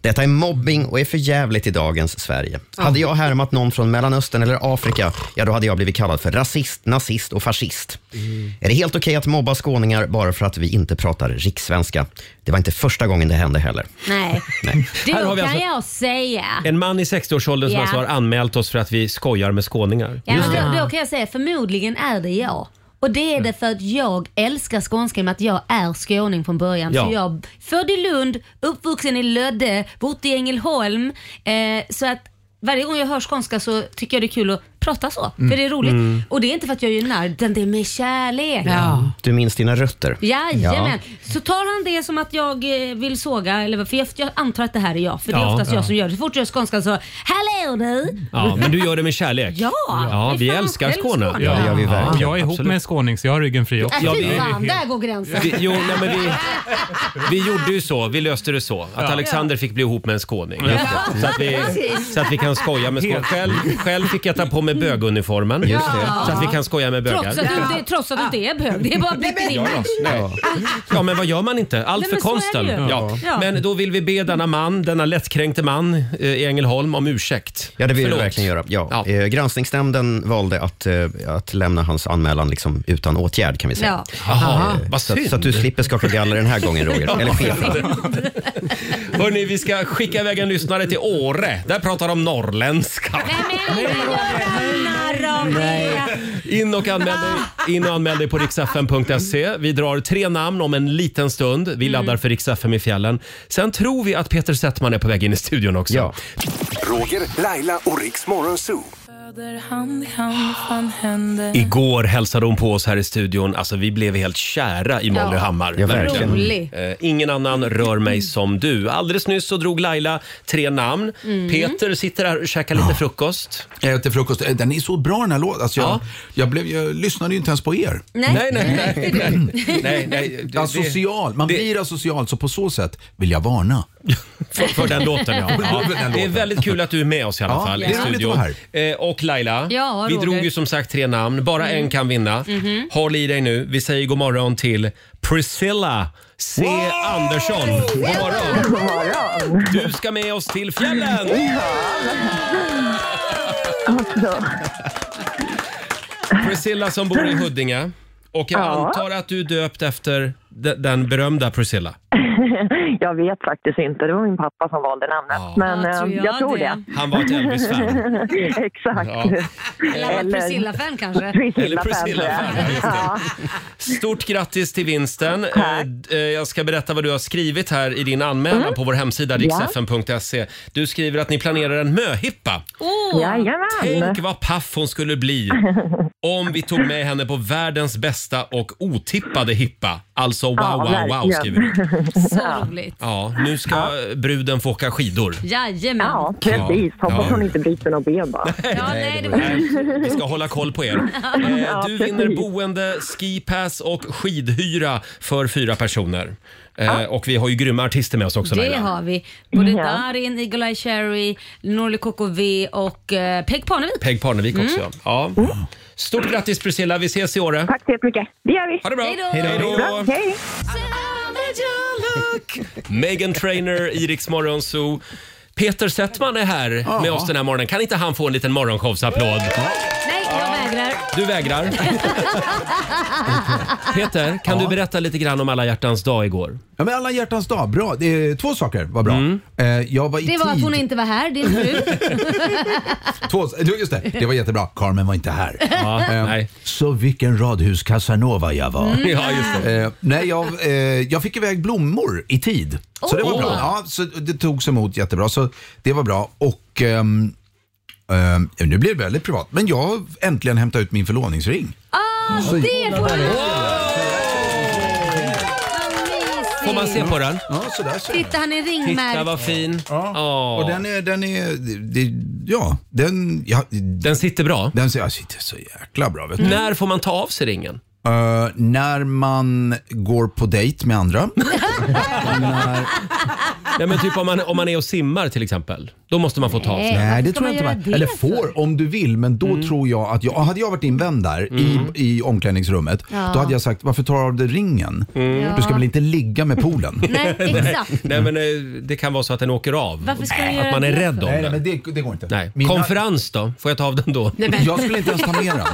Speaker 3: Detta är mobbing och är för jävligt i dagens Sverige. Hade jag härmat någon från Mellanöstern eller Afrika, ja då hade jag blivit kallad för rasist, nazist och fascist.
Speaker 2: Mm.
Speaker 3: Är det helt okej att mobba skåningar bara för att vi inte pratar rikssvenska? Det var inte första gången det hände heller.
Speaker 2: Nej. Det
Speaker 1: Här har
Speaker 2: kan
Speaker 1: vi alltså-
Speaker 2: jag säga.
Speaker 1: En man i 60-årsåldern som
Speaker 2: Ja.
Speaker 1: alltså har anmält oss för att vi skojar med skåningar.
Speaker 2: Ja, men då, då kan jag säga förmodligen är det jag. Och det är
Speaker 1: Mm.
Speaker 2: det för att jag älskar skånska i och med att jag är skåning från början.
Speaker 1: Ja.
Speaker 2: Så jag född i Lund, uppvuxen i Lödde, bott i Ängelholm. Eh, så att varje gång jag hör skånska så tycker jag det är kul att prata så.
Speaker 1: Mm.
Speaker 2: För det är roligt. Och det är inte för att jag är narr, utan det är med kärlek.
Speaker 6: Ja.
Speaker 3: Du minns dina rötter?
Speaker 2: Jajamän. Så tar han det som att jag eh, vill såga, eller, för jag, jag antar att det här är jag. För det är
Speaker 1: Ja,
Speaker 2: oftast
Speaker 1: ja.
Speaker 2: jag som gör det. Så fort jag är skånska så, hallå Äh, du!
Speaker 1: Ja, men du gör det med kärlek.
Speaker 2: Ja,
Speaker 1: ja
Speaker 2: det är
Speaker 1: vi
Speaker 2: fan
Speaker 1: älskar
Speaker 2: själv
Speaker 1: Skåne.
Speaker 2: Skåne.
Speaker 1: Ja.
Speaker 3: Det gör vi
Speaker 8: Och
Speaker 3: verkligen.
Speaker 8: jag är ihop
Speaker 1: absolut.
Speaker 8: med en skåning så jag har ryggen fri också.
Speaker 1: Ja,
Speaker 2: Äh,
Speaker 1: vi-
Speaker 2: fy fan, där går gränsen.
Speaker 1: Vi, jo, nej, men vi, vi gjorde ju så, vi löste det så. Att Alexander fick bli ihop med en skåning. Så, att vi, så att vi kan skoja med skåningar. Själv, själv fick jag ta på mig böguniformen.
Speaker 3: Just det.
Speaker 1: Så att vi kan skoja med bögar.
Speaker 2: Trots att, du inte, trots att du inte är bög. Det är bara blivit din match.
Speaker 1: Ja, men vad gör man inte? Allt
Speaker 2: Nej,
Speaker 1: för
Speaker 2: men så är
Speaker 1: konsten.
Speaker 2: det ju.
Speaker 1: Ja.
Speaker 2: Ja.
Speaker 1: Men då vill vi be denna man, denna lättkränkte man eh, i Ängelholm om ursäkt.
Speaker 3: Ja, det vill
Speaker 1: Förlåt.
Speaker 3: du verkligen göra. Ja.
Speaker 1: Ja.
Speaker 3: Eh, granskningsnämnden valde att, eh, att lämna hans anmälan liksom utan åtgärd kan vi säga. Eh,
Speaker 2: Ja.
Speaker 1: Jaha, vad
Speaker 3: så, att,
Speaker 1: synd.
Speaker 3: så att du slipper skaka galler den här gången Roger. Eller chefen.
Speaker 1: Hörrni, vi ska skicka iväg en lyssnare till Åre. Där pratar de norrländska.
Speaker 2: Nej, men inte göra narr av det.
Speaker 1: In och anmäl dig, in och anmäl dig på riksfm.se. Vi drar tre namn om en liten stund. Vi
Speaker 2: Mm.
Speaker 1: laddar för Riks-FM i fjällen. Sen tror vi att Peter Settman är på väg in i studion också.
Speaker 3: Ja.
Speaker 4: Roger, Laila och Riks Morgonzoo.
Speaker 2: Eh.
Speaker 1: Igår hälsade hon på oss här i studion. Alltså, vi blev helt kära i Molly
Speaker 2: Ja.
Speaker 1: Hammar.
Speaker 3: Ja, verkligen.
Speaker 2: Rolig.
Speaker 1: Eh, ingen annan rör mig som du. Alldeles nyss så drog Laila tre namn.
Speaker 2: Mm.
Speaker 1: Peter sitter här och käkar lite frukost.
Speaker 10: Jag åt till frukost. Eh, Den är så bra den här låten. Alltså jag,
Speaker 1: Ja.
Speaker 10: jag, blev, jag lyssnade ju inte ens på er.
Speaker 1: Nej, nej, nej. nej, nej, Det-
Speaker 10: Asocial. Man
Speaker 1: det-
Speaker 10: blir asocial, så på så sätt vill jag varna.
Speaker 1: För, för den låten, ja. ja.
Speaker 10: den
Speaker 1: Det är
Speaker 10: låten.
Speaker 1: väldigt kul att du är med oss i alla
Speaker 10: Ja,
Speaker 1: fall
Speaker 10: det
Speaker 1: i
Speaker 10: är roligt att
Speaker 1: studion.
Speaker 10: vara
Speaker 1: Eh, och Laila,
Speaker 2: Ja,
Speaker 1: vi
Speaker 2: Roger. Mm. Mhm.
Speaker 1: drog ju som sagt tre namn. Bara en kan vinna. Håll i dig nu. Vi säger god morgon till Priscilla C. Andersson. God morgon.
Speaker 5: God morgon.
Speaker 1: Du ska med oss till fjällen!
Speaker 5: Alltså,
Speaker 1: Priscilla som bor i Huddinge. Och jag
Speaker 5: Ja.
Speaker 1: antar att du är döpt efter de- den berömda Priscilla.
Speaker 5: jag vet faktiskt inte. Det var min pappa som valde namnet.
Speaker 1: Ja.
Speaker 5: Men
Speaker 2: Ja,
Speaker 5: eh,
Speaker 2: tror jag
Speaker 5: jag, tror det.
Speaker 1: Han var ett Elvis-fan.
Speaker 5: Exakt.
Speaker 1: Ja.
Speaker 2: Eller en
Speaker 5: Eller-
Speaker 2: Priscilla-fan kanske.
Speaker 1: Eller
Speaker 5: Priscilla
Speaker 1: Priscilla, ja, just
Speaker 5: kanske.
Speaker 1: det.
Speaker 5: Ja.
Speaker 1: Stort grattis till vinsten. Eh, d- eh, Jag ska berätta vad du har skrivit här i din anmälan
Speaker 5: Mm.
Speaker 1: på vår hemsida riksfn.se. Du skriver att ni planerar en möhippa.
Speaker 2: Åh,
Speaker 5: Jajamän.
Speaker 1: Tänk vad paff hon skulle bli om vi tog med henne på världens bästa och otippade hippa. Alltså wow,
Speaker 2: Ja,
Speaker 1: wow, wow
Speaker 2: verkligen.
Speaker 1: skriver du.
Speaker 2: Så roligt.
Speaker 1: Ja, nu ska bruden få åka skidor.
Speaker 2: Jajamän. Ja,
Speaker 5: Precis, hoppas
Speaker 1: Ja.
Speaker 5: hon inte bryter något ben bara.
Speaker 2: nej, det var...
Speaker 1: Nej, vi ska hålla koll på er. Eh, du vinner boende, skipass och skidhyra för fyra personer. Eh, och vi har ju grymma artister med oss också
Speaker 2: Det
Speaker 1: Laila.
Speaker 2: har vi. Både Darin, Eagle-Eye Cherry, Norli KKV och eh, Peg Parnevik.
Speaker 1: Peg Parnevik
Speaker 2: Mm.
Speaker 1: också. Ja. Stort grattis Priscilla, vi ses i Åre.
Speaker 5: Tack så jättemycket. Det gör vi.
Speaker 1: Ha det bra!
Speaker 2: Hej då.
Speaker 5: Bra, hej.
Speaker 1: Megan Trainer, Iriks morgonzoo. Peter Settman är här med oss den här morgonen. Kan inte han få en liten morgonshowsapplåd?
Speaker 2: Nej, jag vägrar.
Speaker 1: Du vägrar. Peter, kan du berätta lite grann om alla hjärtans dag igår?
Speaker 10: Ja, men alla hjärtans dag, bra. Det är, två saker var bra.
Speaker 1: Mm.
Speaker 10: Eh, jag var i
Speaker 2: Det var att
Speaker 10: tid.
Speaker 2: hon inte var här, din fru.
Speaker 10: Två, du, just det, det var jättebra. Carmen var inte här. Eh,
Speaker 1: nej. Mm.
Speaker 10: Så vilken radhus Casanova jag var.
Speaker 1: Ja, just det.
Speaker 10: Eh, nej, jag, eh, jag fick iväg blommor i tid. Så det var
Speaker 1: Åh!
Speaker 10: bra. Ja, så det togs emot jättebra. Så det var bra. Och ehm, ehm, nu blir det väldigt privat. Men jag har äntligen hämtat ut min förlovningsring.
Speaker 2: Ah, det får du!
Speaker 1: Får man se på den?
Speaker 10: Ja, sådär ser
Speaker 2: Titta, han är
Speaker 1: Titta
Speaker 2: ringmärkt.
Speaker 1: vad fin.
Speaker 10: Ja. Och
Speaker 1: Ja.
Speaker 10: den är, den är, det, ja, den, ja,
Speaker 1: Den sitter bra.
Speaker 10: den ser, alltså, inte så jäkla bra vet du.
Speaker 1: Typ. När får man ta av sig ringen?
Speaker 10: Eh, när man går på dejt med andra.
Speaker 1: Nej, men typ om man, om man är och simmar till exempel. Då måste man få ta av sig.
Speaker 2: Nej,
Speaker 10: Nej, det
Speaker 2: ska
Speaker 10: tror
Speaker 2: man
Speaker 10: jag inte.
Speaker 2: göra
Speaker 10: man-
Speaker 2: det
Speaker 10: Eller
Speaker 2: för? Mm.
Speaker 10: får om du vill, men då tror jag att jag, hade jag varit invänd där i, i omklädningsrummet, då hade jag sagt varför tar du av dig ringen? Du ska väl inte ligga med poolen?
Speaker 2: Mm. Nej, exakt.
Speaker 1: Nej, men eh, det kan vara så att den åker av.
Speaker 2: Varför ska du
Speaker 1: att
Speaker 2: göra
Speaker 1: man är
Speaker 2: det
Speaker 1: rädd
Speaker 2: för?
Speaker 1: om
Speaker 10: Nej, nej,
Speaker 1: den.
Speaker 10: men det, det går inte.
Speaker 1: Nej.
Speaker 10: Mina-
Speaker 1: Konferens då? Får jag ta av den då?
Speaker 10: Jag skulle inte ens ta med den.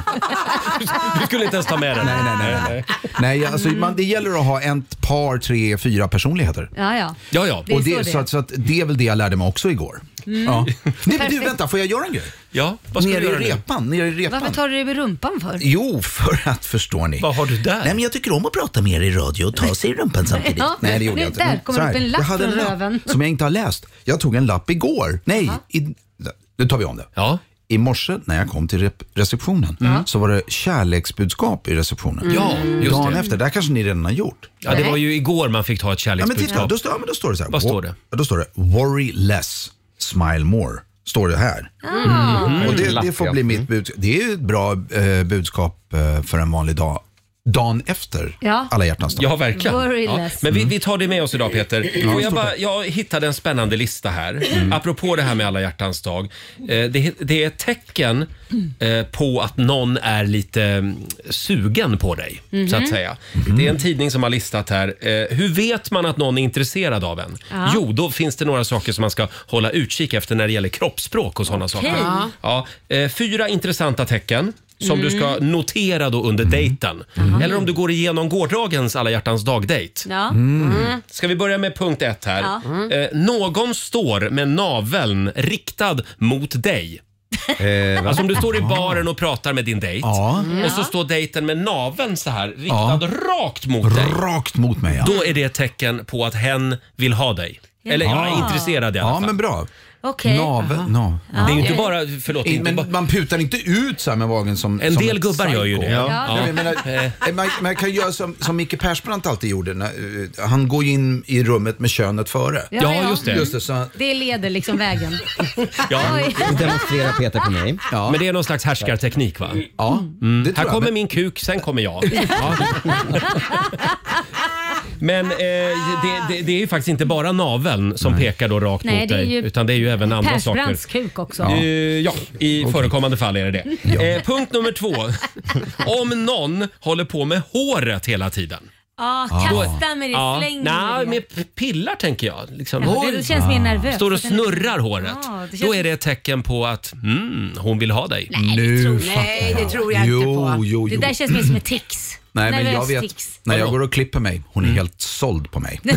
Speaker 1: Du skulle inte ens ta med den?
Speaker 10: Nej, nej, nej. nej. nej alltså, man, det gäller att ha ett par, tre, fyra personligheter.
Speaker 2: Ja, ja.
Speaker 1: Ja, ja.
Speaker 2: Det är
Speaker 10: och det,
Speaker 2: så det
Speaker 10: så,
Speaker 2: är. Mm.
Speaker 10: att, så att det är väl det jag lärde mig också igår. Ja. Nej, men du, vänta, får jag göra en grej?
Speaker 1: ja. Vad ska
Speaker 10: Nere
Speaker 1: du göra
Speaker 10: i
Speaker 1: nu?
Speaker 10: repan. Nere i repan.
Speaker 2: Varför tar du dig i rumpan för?
Speaker 10: Jo, för att förstår ni.
Speaker 1: Vad har du där?
Speaker 10: Nej, men jag tycker om att prata med er i radio och ta sig i rumpan samtidigt.
Speaker 2: Ja,
Speaker 10: Nej, det gjorde
Speaker 2: nu
Speaker 10: jag inte.
Speaker 2: där
Speaker 10: Men
Speaker 2: kommer
Speaker 10: så
Speaker 2: upp en lapp
Speaker 10: jag hade en
Speaker 2: från
Speaker 10: lapp
Speaker 2: röven.
Speaker 10: Som jag inte har läst. Jag tog en lapp igår. Nej, i, nu tar vi om det.
Speaker 1: Ja.
Speaker 10: I morse när jag kom till rep- receptionen så var det kärleksbudskap i receptionen.
Speaker 1: Ja, just
Speaker 10: Dagen
Speaker 1: det.
Speaker 10: efter, det här kanske ni redan har gjort.
Speaker 1: Ja, det var ju igår man fick ta ett
Speaker 10: Ja, men titta,
Speaker 1: kärleksbudskap.
Speaker 10: då, står, ja, men då står det så här.
Speaker 1: Vad står det?
Speaker 10: Ja, Då står det “Worry less, smile more”. Står det här.
Speaker 2: Ah.
Speaker 10: Mm. Och det, det får bli mitt budskap. Det är ju ett bra eh, budskap eh, för en vanlig dag. Dagen efter
Speaker 2: Ja.
Speaker 10: alla hjärtans dag.
Speaker 1: Ja, verkligen.
Speaker 2: Worry
Speaker 1: Ja.
Speaker 2: less.
Speaker 1: Men vi, vi tar det med oss idag Peter. Och jag, bara, jag hittade en spännande lista här. Apropå det här med alla hjärtans dag. Eh, Det, det är ett tecken eh, på att någon är lite mm, sugen på dig. Så att säga. Det är en tidning som har listat här. eh, Hur vet man att någon är intresserad av en? Jo, då finns det några saker som man ska hålla utkik efter när det gäller kroppsspråk och sådana saker. Ja, eh, fyra intressanta tecken som du ska notera då under dejten. Eller om du går igenom gårdagens alla hjärtans dag-dejt.
Speaker 2: Ja.
Speaker 11: Mm.
Speaker 1: Mm.
Speaker 10: Mm.
Speaker 2: Mm.
Speaker 1: Ska vi börja med punkt ett här? Eh, någon står med naveln riktad mot dig.
Speaker 3: Eh, va?
Speaker 1: Alltså om du står i baren och pratar med din dejt
Speaker 10: Ja.
Speaker 1: och så står dejten med naveln så här riktad rakt mot dig.
Speaker 10: Rakt mot mig ja.
Speaker 1: Då är det ett tecken på att hen vill ha dig. Eller ja. är intresserad i alla
Speaker 10: Ja
Speaker 1: fall.
Speaker 10: men bra.
Speaker 2: Okej.
Speaker 10: Navel, nav.
Speaker 1: Det är ju inte bara, förlåt, det är inte bara,
Speaker 10: Men man putar inte ut så här med magen som
Speaker 1: en
Speaker 10: som
Speaker 1: del
Speaker 10: ett
Speaker 1: gubbar gör ju
Speaker 10: psycho.
Speaker 1: det.
Speaker 10: Ja, men Jag menar, eh, man, man kan göra som, som Micke Persbrandt alltid gjorde. När, eh, han går ju in i rummet med könet före.
Speaker 1: Ja, just det.
Speaker 10: Just det, så,
Speaker 2: Det leder liksom vägen.
Speaker 1: Ja.
Speaker 2: Oj.
Speaker 3: Nu demonstrerar Peter på mig.
Speaker 10: ja,
Speaker 1: Men det är någon slags härskarteknik va?
Speaker 10: ja, det tror
Speaker 1: Här
Speaker 10: jag.
Speaker 1: kommer
Speaker 10: Men-
Speaker 1: min kuk, sen kommer jag. Ja. Men eh, det, det, det är ju faktiskt inte bara naveln som pekar då rakt
Speaker 2: Nej,
Speaker 1: mot
Speaker 2: det är
Speaker 1: dig,
Speaker 2: ju
Speaker 1: utan det är ju även andra saker.
Speaker 2: Persbrandts kuk också.
Speaker 1: Eh, ja, i förekommande fall är det det. Eh, punkt nummer två. Om någon håller på med håret hela tiden.
Speaker 10: Ah.
Speaker 2: Ja, kasta med det. Släng
Speaker 1: Nej,
Speaker 2: med det.
Speaker 1: med p- pillar tänker jag. Liksom.
Speaker 2: Ja, Det känns mer nervöst.
Speaker 1: Står och snurrar håret.
Speaker 2: Ja, det känns-
Speaker 1: Då är det ett tecken på att mm, hon vill ha dig.
Speaker 10: Nu
Speaker 6: Nej, det tror jag
Speaker 10: jo,
Speaker 6: inte på.
Speaker 10: Jo,
Speaker 2: Det
Speaker 10: jo.
Speaker 2: där känns mer som ett tics.
Speaker 10: Nej, men jag
Speaker 2: Nervös
Speaker 10: vet.
Speaker 2: tics.
Speaker 10: När jag
Speaker 1: Vadå?
Speaker 10: går och klipper mig, hon är
Speaker 1: Mm.
Speaker 10: helt såld på mig.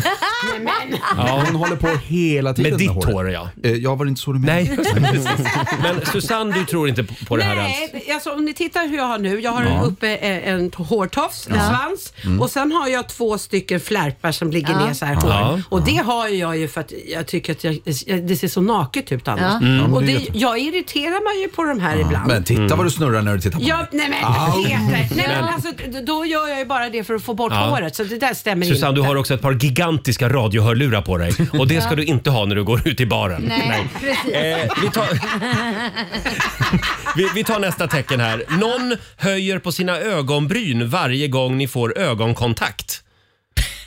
Speaker 10: Hon håller på hela tiden
Speaker 1: Med
Speaker 10: med,
Speaker 1: ditt
Speaker 10: håret.
Speaker 1: hår ja.
Speaker 10: Eh, Jag var inte så du menade.
Speaker 1: Nej, men Susanne du tror inte på- på det här alls?
Speaker 6: Nej, alltså, om ni tittar hur jag har nu. Jag har en uppe eh, en, en hårtofs, en svans och sen har jag två stycken flärpar som ligger ner så här hår.
Speaker 1: Ja.
Speaker 6: Och det har jag ju för att jag tycker att jag, jag- det ser så naket ut annars.
Speaker 10: men
Speaker 2: Mm.
Speaker 6: Och
Speaker 10: det är
Speaker 6: det,
Speaker 10: jätte-
Speaker 6: jag irriterar mig ju på de här ibland.
Speaker 10: Men titta vad du snurrar när du tittar på
Speaker 6: Ja,
Speaker 10: mig.
Speaker 6: nej men Peter! Nej men alltså, då, då gör jag ju bara det för att få bort
Speaker 1: Ja.
Speaker 6: håret. Så det där stämmer
Speaker 1: Susanne,
Speaker 6: inte.
Speaker 1: du har också ett par gigantiska radiohörlurar på dig och det ska du inte ha när du går ut i baren.
Speaker 7: Nej, precis.
Speaker 1: Eh, vi, tar, vi, vi tar nästa tecken här. Någon höjer på sina ögonbryn varje gång ni får ögonkontakt.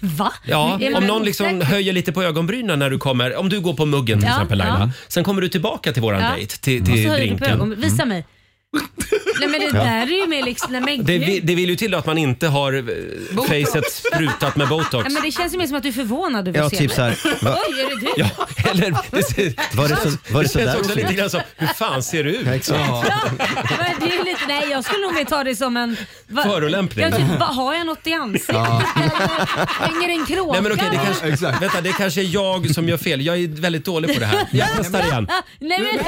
Speaker 2: Va?
Speaker 1: Ja,
Speaker 2: Är man
Speaker 1: om någon liksom
Speaker 2: osäker?
Speaker 1: höjer lite på ögonbrynen när du kommer. Om du går på muggen till
Speaker 2: Ja,
Speaker 1: exempel Laila.
Speaker 2: ja.
Speaker 1: Sen kommer du tillbaka till våran
Speaker 2: Ja.
Speaker 1: dejt, till,
Speaker 2: Och så
Speaker 1: till
Speaker 2: höjer du på
Speaker 1: drinken. Mm.
Speaker 2: ögonen. Visa mig. Nej men det där är ju mer liksom... Nej, men
Speaker 1: Det,
Speaker 2: gud.
Speaker 1: vi- det vill ju till att man inte har eh, facet sprutat med botox.
Speaker 2: Nej, men det känns ju mer som att du är förvånad över
Speaker 1: Ja,
Speaker 2: att se
Speaker 1: typ
Speaker 2: mig.
Speaker 1: så här, va-
Speaker 2: Oj, är det du?
Speaker 1: Ja, eller det, ser,
Speaker 3: Var det så- var det så
Speaker 1: känns
Speaker 3: där
Speaker 1: också
Speaker 3: du
Speaker 1: lite
Speaker 3: ser
Speaker 1: grann som, hur fan ser du ut?
Speaker 2: Ja, men det är ju lite, nej, jag skulle nog mer ta det som en... va-
Speaker 1: Förolämpning.
Speaker 2: Jag typ, va, har jag något i ansiktet?
Speaker 1: Ja.
Speaker 2: Hänger en kråka?
Speaker 1: Nej men okej, det kanske, vänta, det kanske är jag som gör fel. Jag är väldigt dålig på det här. Jag testar igen.
Speaker 2: Nej men...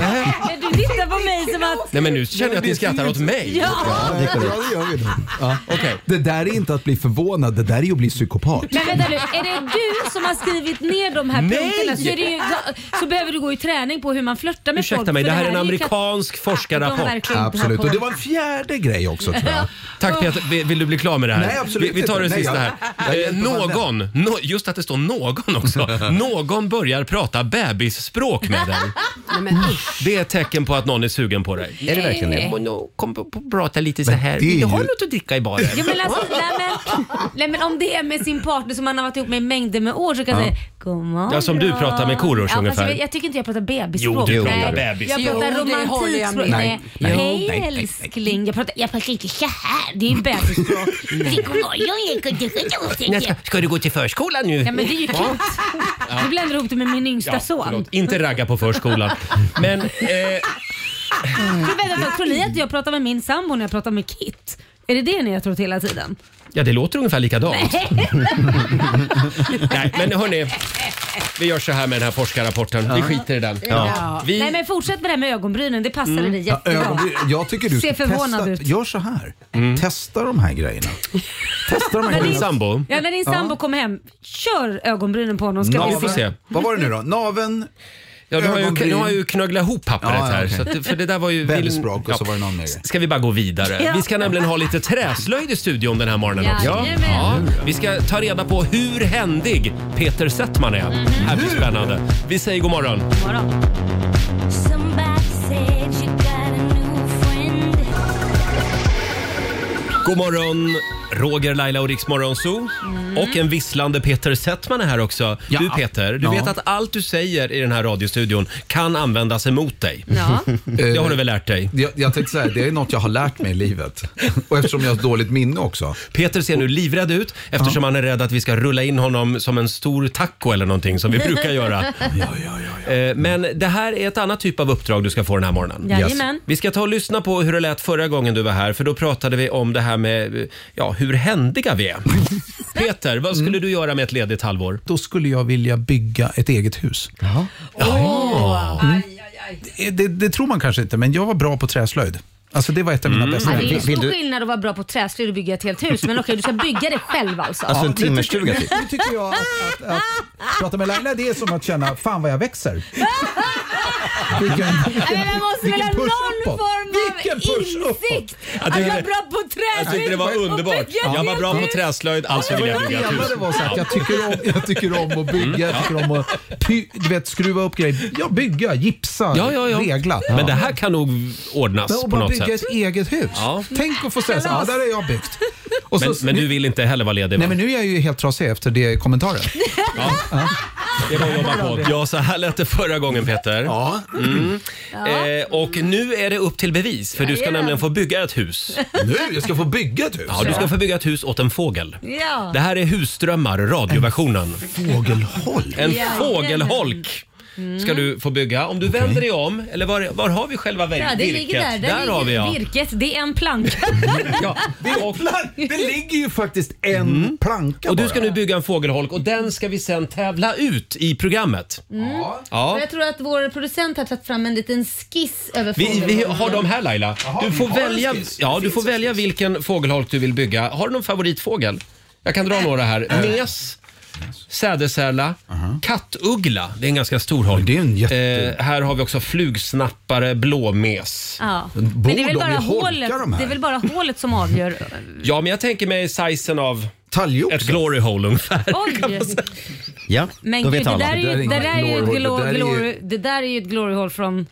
Speaker 2: Nej, du tittar på mig som att...
Speaker 1: Nej men nu känner jag att ni skrattar åt mig.
Speaker 2: Ja.
Speaker 11: Ja, det är korrekt. Ja. Det där är inte att bli förvånad, det där är ju att bli psykopat.
Speaker 2: Men vänta nu, är det du som har skrivit ner de här
Speaker 11: Nej!
Speaker 2: punkterna så, är det ju, så behöver du gå i träning på hur man flörtar med folk.
Speaker 1: Ursäkta mig,
Speaker 2: för
Speaker 1: det här är en
Speaker 2: ju
Speaker 1: amerikansk
Speaker 2: de verkligen
Speaker 1: forskarrapport.
Speaker 2: inte Absolut, har och det var en
Speaker 1: fjärde grej
Speaker 2: också, tror jag.
Speaker 1: Tack Peter, Vi- vill du bli klar med det här?
Speaker 10: Nej, absolut
Speaker 1: vi, vi tar det
Speaker 10: inte. Nej,
Speaker 1: sista
Speaker 10: jag-
Speaker 1: här.
Speaker 10: jag
Speaker 1: Eh,
Speaker 10: hjälper
Speaker 1: någon, nå- just att det står någon också, någon börjar prata bebisspråk med dig.
Speaker 6: Nej, men usch.
Speaker 1: Det är ett tecken på att någon är sugen på dig.
Speaker 6: Är det verkligen det?
Speaker 1: Och nu Kom och prata lite så
Speaker 11: Men
Speaker 1: här.
Speaker 11: det är
Speaker 1: Vill du ha
Speaker 11: ju-
Speaker 1: något att dricka i baren?
Speaker 2: Ja, men alltså, nej, men, nej men om det är med sin partner som man har varit ihop med i mängder med år så kan jag
Speaker 1: Ja.
Speaker 2: säga God morgon.
Speaker 1: Ja, som du pratar med Korosh
Speaker 2: ja, fast
Speaker 1: ungefär.
Speaker 2: Jag, jag tycker inte jag pratar bebisspråk.
Speaker 1: Jo, du
Speaker 2: Nej.
Speaker 1: pratar bebis.
Speaker 2: Jag
Speaker 1: Jo,
Speaker 2: pratar
Speaker 6: det håller
Speaker 2: romantik.
Speaker 6: jag med.
Speaker 2: språk.
Speaker 6: Nej,
Speaker 2: Nej.
Speaker 6: nej,
Speaker 2: Hej
Speaker 6: nej, nej,
Speaker 2: älskling. Jag pratar, jag pratar inte så här. Det är ju bebisspråk. Det är god morgon, jag kan inte sköta
Speaker 1: Mm. Nej,
Speaker 2: om
Speaker 1: ska,
Speaker 2: det.
Speaker 1: ska du gå till förskolan nu?
Speaker 2: Ja men det är ju
Speaker 1: Ja.
Speaker 2: klart. Du blandar ihop det med min yngsta
Speaker 1: Ja,
Speaker 2: son.
Speaker 1: förlåt. Inte ragga på förskolan. Men eh,
Speaker 2: Men vänta, vänta, tror ni att jag pratar med min sambo när jag pratar med Kit? Är det det ni har trott hela tiden?
Speaker 1: ja, det låter ungefär likadant. Nej, men hörni. Vi gör så här med den här forskarrapporten. Vi skiter i den. Vi,
Speaker 2: Nej men fortsätt med det här med ögonbrynen, det passade
Speaker 1: Mm.
Speaker 2: dig
Speaker 10: Mm. Ja,
Speaker 2: jättebra.
Speaker 10: ögonbryn. jag tycker du
Speaker 2: Ser
Speaker 10: ska
Speaker 2: förvånad
Speaker 10: testa.
Speaker 2: ut.
Speaker 10: Gör så här.
Speaker 1: Mm.
Speaker 10: Testa de här grejerna. Testa de här
Speaker 2: När
Speaker 10: grejerna.
Speaker 2: din
Speaker 1: sambo?
Speaker 2: Ja, när din sambo kommer hem, kör ögonbrynen på honom. Ska
Speaker 10: Naveln.
Speaker 2: vi se.
Speaker 10: Vad var det nu då? Naven
Speaker 1: ja, du, har ju,
Speaker 10: ögonbryn.
Speaker 1: du har ju knögglat ihop pappret
Speaker 10: Ja, ja,
Speaker 1: här.
Speaker 10: okej.
Speaker 1: Så att, för det där var ju...
Speaker 10: Bebisspråk och så var det någon mer.
Speaker 1: Ska vi bara gå vidare?
Speaker 10: Ja.
Speaker 1: Vi ska nämligen ha lite träslöjd i studion den här morgonen också.
Speaker 7: Jajamän.
Speaker 1: Vi ska ta reda på hur händig Peter Settman är. Här blir spännande. Vi säger god morgon. God morgon, Roger, Laila och Riksmorgon Zoo. Och en visslande Peter Settman är här också. Du Peter, du
Speaker 10: Mm. Ja.
Speaker 1: vet att allt du säger i den här radiostudion kan användas emot dig. Eh,
Speaker 2: Ja.
Speaker 10: Eh,
Speaker 1: Det har du väl lärt dig?
Speaker 10: Jag, jag tänkte så här, det är något jag har lärt mig i livet. Och eftersom jag har dåligt minne också.
Speaker 1: Peter ser nu livrädd ut eftersom han är rädd att vi ska rulla in honom som en stor taco eller någonting som vi brukar göra. Eh, Men det här är ett annat typ av uppdrag du ska få den här morgonen.
Speaker 2: Jajamän.
Speaker 1: Vi ska ta och lyssna på hur det lät förra gången du var här för då pratade vi om det här med eh, ja, hur händiga vi är. Peter, vad skulle du göra med ett ledigt halvår?
Speaker 11: Mm. Då skulle jag vilja bygga ett eget hus. Jaha.
Speaker 10: Mm.
Speaker 11: Det, det, det tror man kanske inte, men jag var bra på träslöjd. Alltså det var ett av mina
Speaker 2: Ja,
Speaker 11: bästa
Speaker 2: det är ju
Speaker 11: ämnen.
Speaker 2: stor skillnad att vara bra på träslöjd och bygga ett helt hus. Men okej, du ska bygga det själv alltså.
Speaker 11: Ja, nu tycker- nu- Nu tycker jag att, att, att, prata med Laila, det är som att känna, fan vad jag växer. Vilken,
Speaker 2: Nej, men man måste väl ha
Speaker 11: Vilken push
Speaker 2: någon
Speaker 11: uppåt.
Speaker 2: form av
Speaker 11: Vilken push
Speaker 2: insikt
Speaker 1: Jag
Speaker 2: att
Speaker 1: tycker
Speaker 2: vara
Speaker 1: det-
Speaker 2: bra på
Speaker 1: Jag tyckte
Speaker 2: träslöjd.
Speaker 1: det var
Speaker 2: och
Speaker 1: underbart.
Speaker 2: bygga
Speaker 1: Jag
Speaker 2: ett
Speaker 1: var bra på
Speaker 2: hus.
Speaker 1: träslöjd, alltså vill jag bygga ett hus.
Speaker 11: Det Mm. var så att
Speaker 1: Ja.
Speaker 11: jag, tycker om, jag tycker om att bygga, jag tycker om att py, du vet, skruva upp grejer. Ja, bygga, gipsa,
Speaker 1: Ja, ja, ja.
Speaker 11: regla.
Speaker 1: Men det här kan nog ordnas
Speaker 11: och
Speaker 1: på
Speaker 11: bara
Speaker 1: något
Speaker 11: bygga
Speaker 1: sätt.
Speaker 11: ett eget hus.
Speaker 1: Ja.
Speaker 11: Tänk att få säga så här, ja, där har jag byggt. Och
Speaker 1: Men,
Speaker 11: så,
Speaker 1: men du vill inte heller vara ledig?
Speaker 11: Nej
Speaker 1: va?
Speaker 11: men nu är jag ju helt trasig efter det kommentaren.
Speaker 1: Det var att jobba på. Ja, så här lät det förra gången Peter. Ja. Mm. Eh, och nu är det upp till bevis för du ska
Speaker 2: Jajamän.
Speaker 1: nämligen få bygga ett hus.
Speaker 10: Nu? Jag ska få bygga ett hus?
Speaker 1: Ja, du ska få bygga ett hus åt en fågel.
Speaker 2: Ja.
Speaker 1: Det här är Husdrömmar, radioversionen.
Speaker 10: Fågelholk?
Speaker 1: En
Speaker 2: Ja.
Speaker 1: fågelholk
Speaker 2: Mm.
Speaker 1: ska du få bygga. Om du vänder dig om, eller var, var har vi själva virket?
Speaker 2: Ja, det ligger där. Där, ligger
Speaker 1: har vi ja.
Speaker 2: virket. Det är en planka.
Speaker 1: ja. Och, Mm.
Speaker 11: Det ligger ju faktiskt en planka
Speaker 1: och du
Speaker 11: bara.
Speaker 1: ska nu bygga en fågelholk och den ska vi sen tävla ut i programmet.
Speaker 2: Mm.
Speaker 1: Ja.
Speaker 2: Och Jag tror att vår producent har tagit fram en liten skiss över
Speaker 1: Vi, vi
Speaker 2: fågelholkarna.
Speaker 1: har dem här Laila. du får välja, ja, du får
Speaker 2: Äh.
Speaker 1: välja vilken fågelholk du vill bygga. Har du någon favoritfågel? Jag kan dra några här. Mes, sädesärla, kattuggla. Det är en ganska stor holm. Det är en jätte... eh, här har vi också flugsnappare, blåmes.
Speaker 2: Ja.
Speaker 1: Bor
Speaker 2: Men det är, väl
Speaker 1: de i
Speaker 2: bara
Speaker 1: holkar,
Speaker 2: hålet,
Speaker 1: de här?
Speaker 2: det är väl bara hålet som avgör.
Speaker 1: Ja, men jag tänker mig sizen av ett glory hole ungefär.
Speaker 2: Oj!
Speaker 1: Ja,
Speaker 2: Men gud, det där är ju- det där är ju ett glo- glory- det där är ju ett glory hole från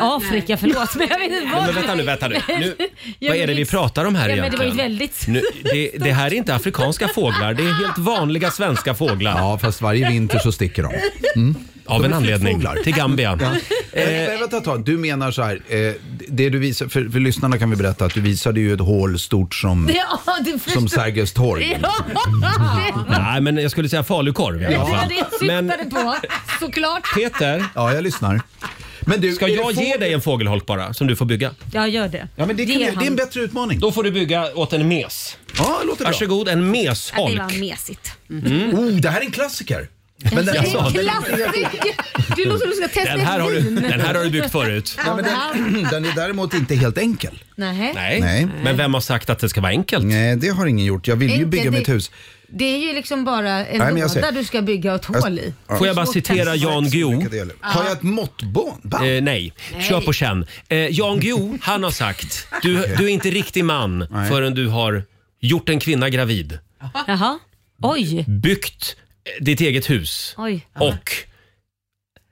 Speaker 2: Afrika. Förlåt, men jag vet inte vad
Speaker 1: Men vänta nu, vänta nu. nu
Speaker 2: Ja,
Speaker 1: vad
Speaker 2: men
Speaker 1: är det vi
Speaker 2: liksom-
Speaker 1: pratar om här
Speaker 2: ja, men det var
Speaker 1: egentligen?
Speaker 2: ju väldigt...
Speaker 1: Nu, det, det här är inte afrikanska fåglar, det är helt vanliga svenska fåglar. Ja,
Speaker 10: fast varje vinter så sticker de.
Speaker 1: Av
Speaker 10: De
Speaker 1: en
Speaker 10: är
Speaker 1: anledning.
Speaker 10: flyttfåglar.
Speaker 1: Till Gambia.
Speaker 10: Eh, men vänta ett tag. Du menar så här, eh, det du visar, för, för lyssnarna kan vi berätta att du visade ju ett hål stort som,
Speaker 2: Ja, det förstår-
Speaker 10: som Sergels torg.
Speaker 2: Ja, det-
Speaker 1: Nej, men jag skulle säga falukorv i
Speaker 2: det
Speaker 1: alla
Speaker 2: var
Speaker 1: fall.
Speaker 2: det jag
Speaker 1: Men
Speaker 2: syftade på, såklart.
Speaker 1: Peter.
Speaker 10: Ja, jag lyssnar. Men du,
Speaker 1: ska jag ge dig en fågelholk bara som du får bygga?
Speaker 2: Jag gör det.
Speaker 10: Ja, men det,
Speaker 2: Ge han-
Speaker 10: bättre utmaning.
Speaker 1: Då får du bygga åt en mes.
Speaker 10: Ja, låter bra.
Speaker 1: Varsågod, en
Speaker 2: Ja,
Speaker 1: mesholk.
Speaker 2: det var mesigt.
Speaker 1: Mm.
Speaker 10: Oh, det här är en klassiker.
Speaker 2: Men det är
Speaker 1: Jaså,
Speaker 2: en
Speaker 1: den-
Speaker 2: klassiker! Du låter som du ska testa
Speaker 1: Den här
Speaker 2: ett
Speaker 1: har du-
Speaker 2: vin.
Speaker 1: den här har du byggt förut.
Speaker 2: Ja,
Speaker 10: Nej,
Speaker 2: men
Speaker 10: men den, den är däremot inte helt enkel.
Speaker 2: Nej.
Speaker 1: Nej. Men vem har sagt att det ska vara enkelt?
Speaker 10: Nej, det har ingen gjort. Jag vill ju
Speaker 2: Enkelt,
Speaker 10: bygga
Speaker 2: det-
Speaker 10: mitt hus.
Speaker 2: Det är ju liksom bara en
Speaker 10: Nej, men
Speaker 2: låda
Speaker 10: jag ser-
Speaker 2: du ska bygga ett hål i.
Speaker 1: Får jag bara
Speaker 2: Så
Speaker 1: citera
Speaker 2: kanske-
Speaker 1: Jan Guillou?
Speaker 10: Har jag ett måttband? Eh,
Speaker 1: nej. kör på känn. Eh, Jan Guillou, han har sagt du, du är inte riktig man förrän du har gjort en kvinna gravid,
Speaker 2: Jaha. Oj.
Speaker 1: byggt eh, ditt eget hus
Speaker 2: Oj.
Speaker 1: och...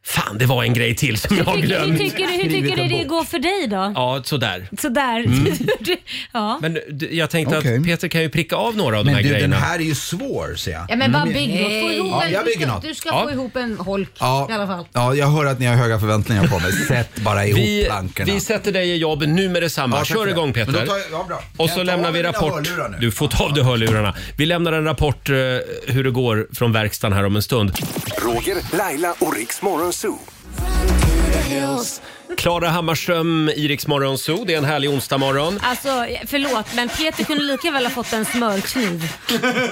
Speaker 1: Fan, det var en grej till som jag har
Speaker 2: Hur tycker, hur
Speaker 1: glömt.
Speaker 2: tycker, du, hur tycker du det går för dig då?
Speaker 1: Ja, sådär.
Speaker 2: Sådär.
Speaker 1: Mm.
Speaker 2: ja.
Speaker 1: Men eh, d- jag tänkte
Speaker 10: Okej.
Speaker 1: att Peter kan ju pricka av några av
Speaker 10: Men
Speaker 1: de här
Speaker 10: du, den
Speaker 1: grejerna.
Speaker 10: här är ju svår ser jag.
Speaker 2: ja men
Speaker 1: Mm.
Speaker 2: bara bygg något. Få ihop
Speaker 10: Ja,
Speaker 2: en,
Speaker 10: jag
Speaker 2: du
Speaker 10: bygger
Speaker 2: ska,
Speaker 10: något.
Speaker 2: du ska
Speaker 10: Ja.
Speaker 2: få ihop en holk i alla fall.
Speaker 10: ja, jag hör att ni har höga förväntningar på mig. Sätt bara ihop
Speaker 1: Vi,
Speaker 10: plankorna.
Speaker 1: vi sätter dig i jobb nu med detsamma.
Speaker 10: Ja, tack för
Speaker 1: Kör
Speaker 10: det.
Speaker 1: igång Peter.
Speaker 10: Men då tar jag- ja, bra.
Speaker 1: Och
Speaker 10: Jag
Speaker 1: så
Speaker 10: tar
Speaker 1: lämnar
Speaker 10: av
Speaker 1: vi
Speaker 10: mina
Speaker 1: rapport.
Speaker 10: hörlurar nu.
Speaker 1: Du får ta av dig hörlurarna. Vi lämnar en rapport eh, hur det går från verkstaden här om en stund.
Speaker 4: Roger, Laila och Riks Morgonzoo.
Speaker 1: Klara Hammarström, Iriks morgonzoo. Det är en härlig onsdagmorgon.
Speaker 2: Alltså förlåt men Peter kunde lika väl ha fått en smörkniv.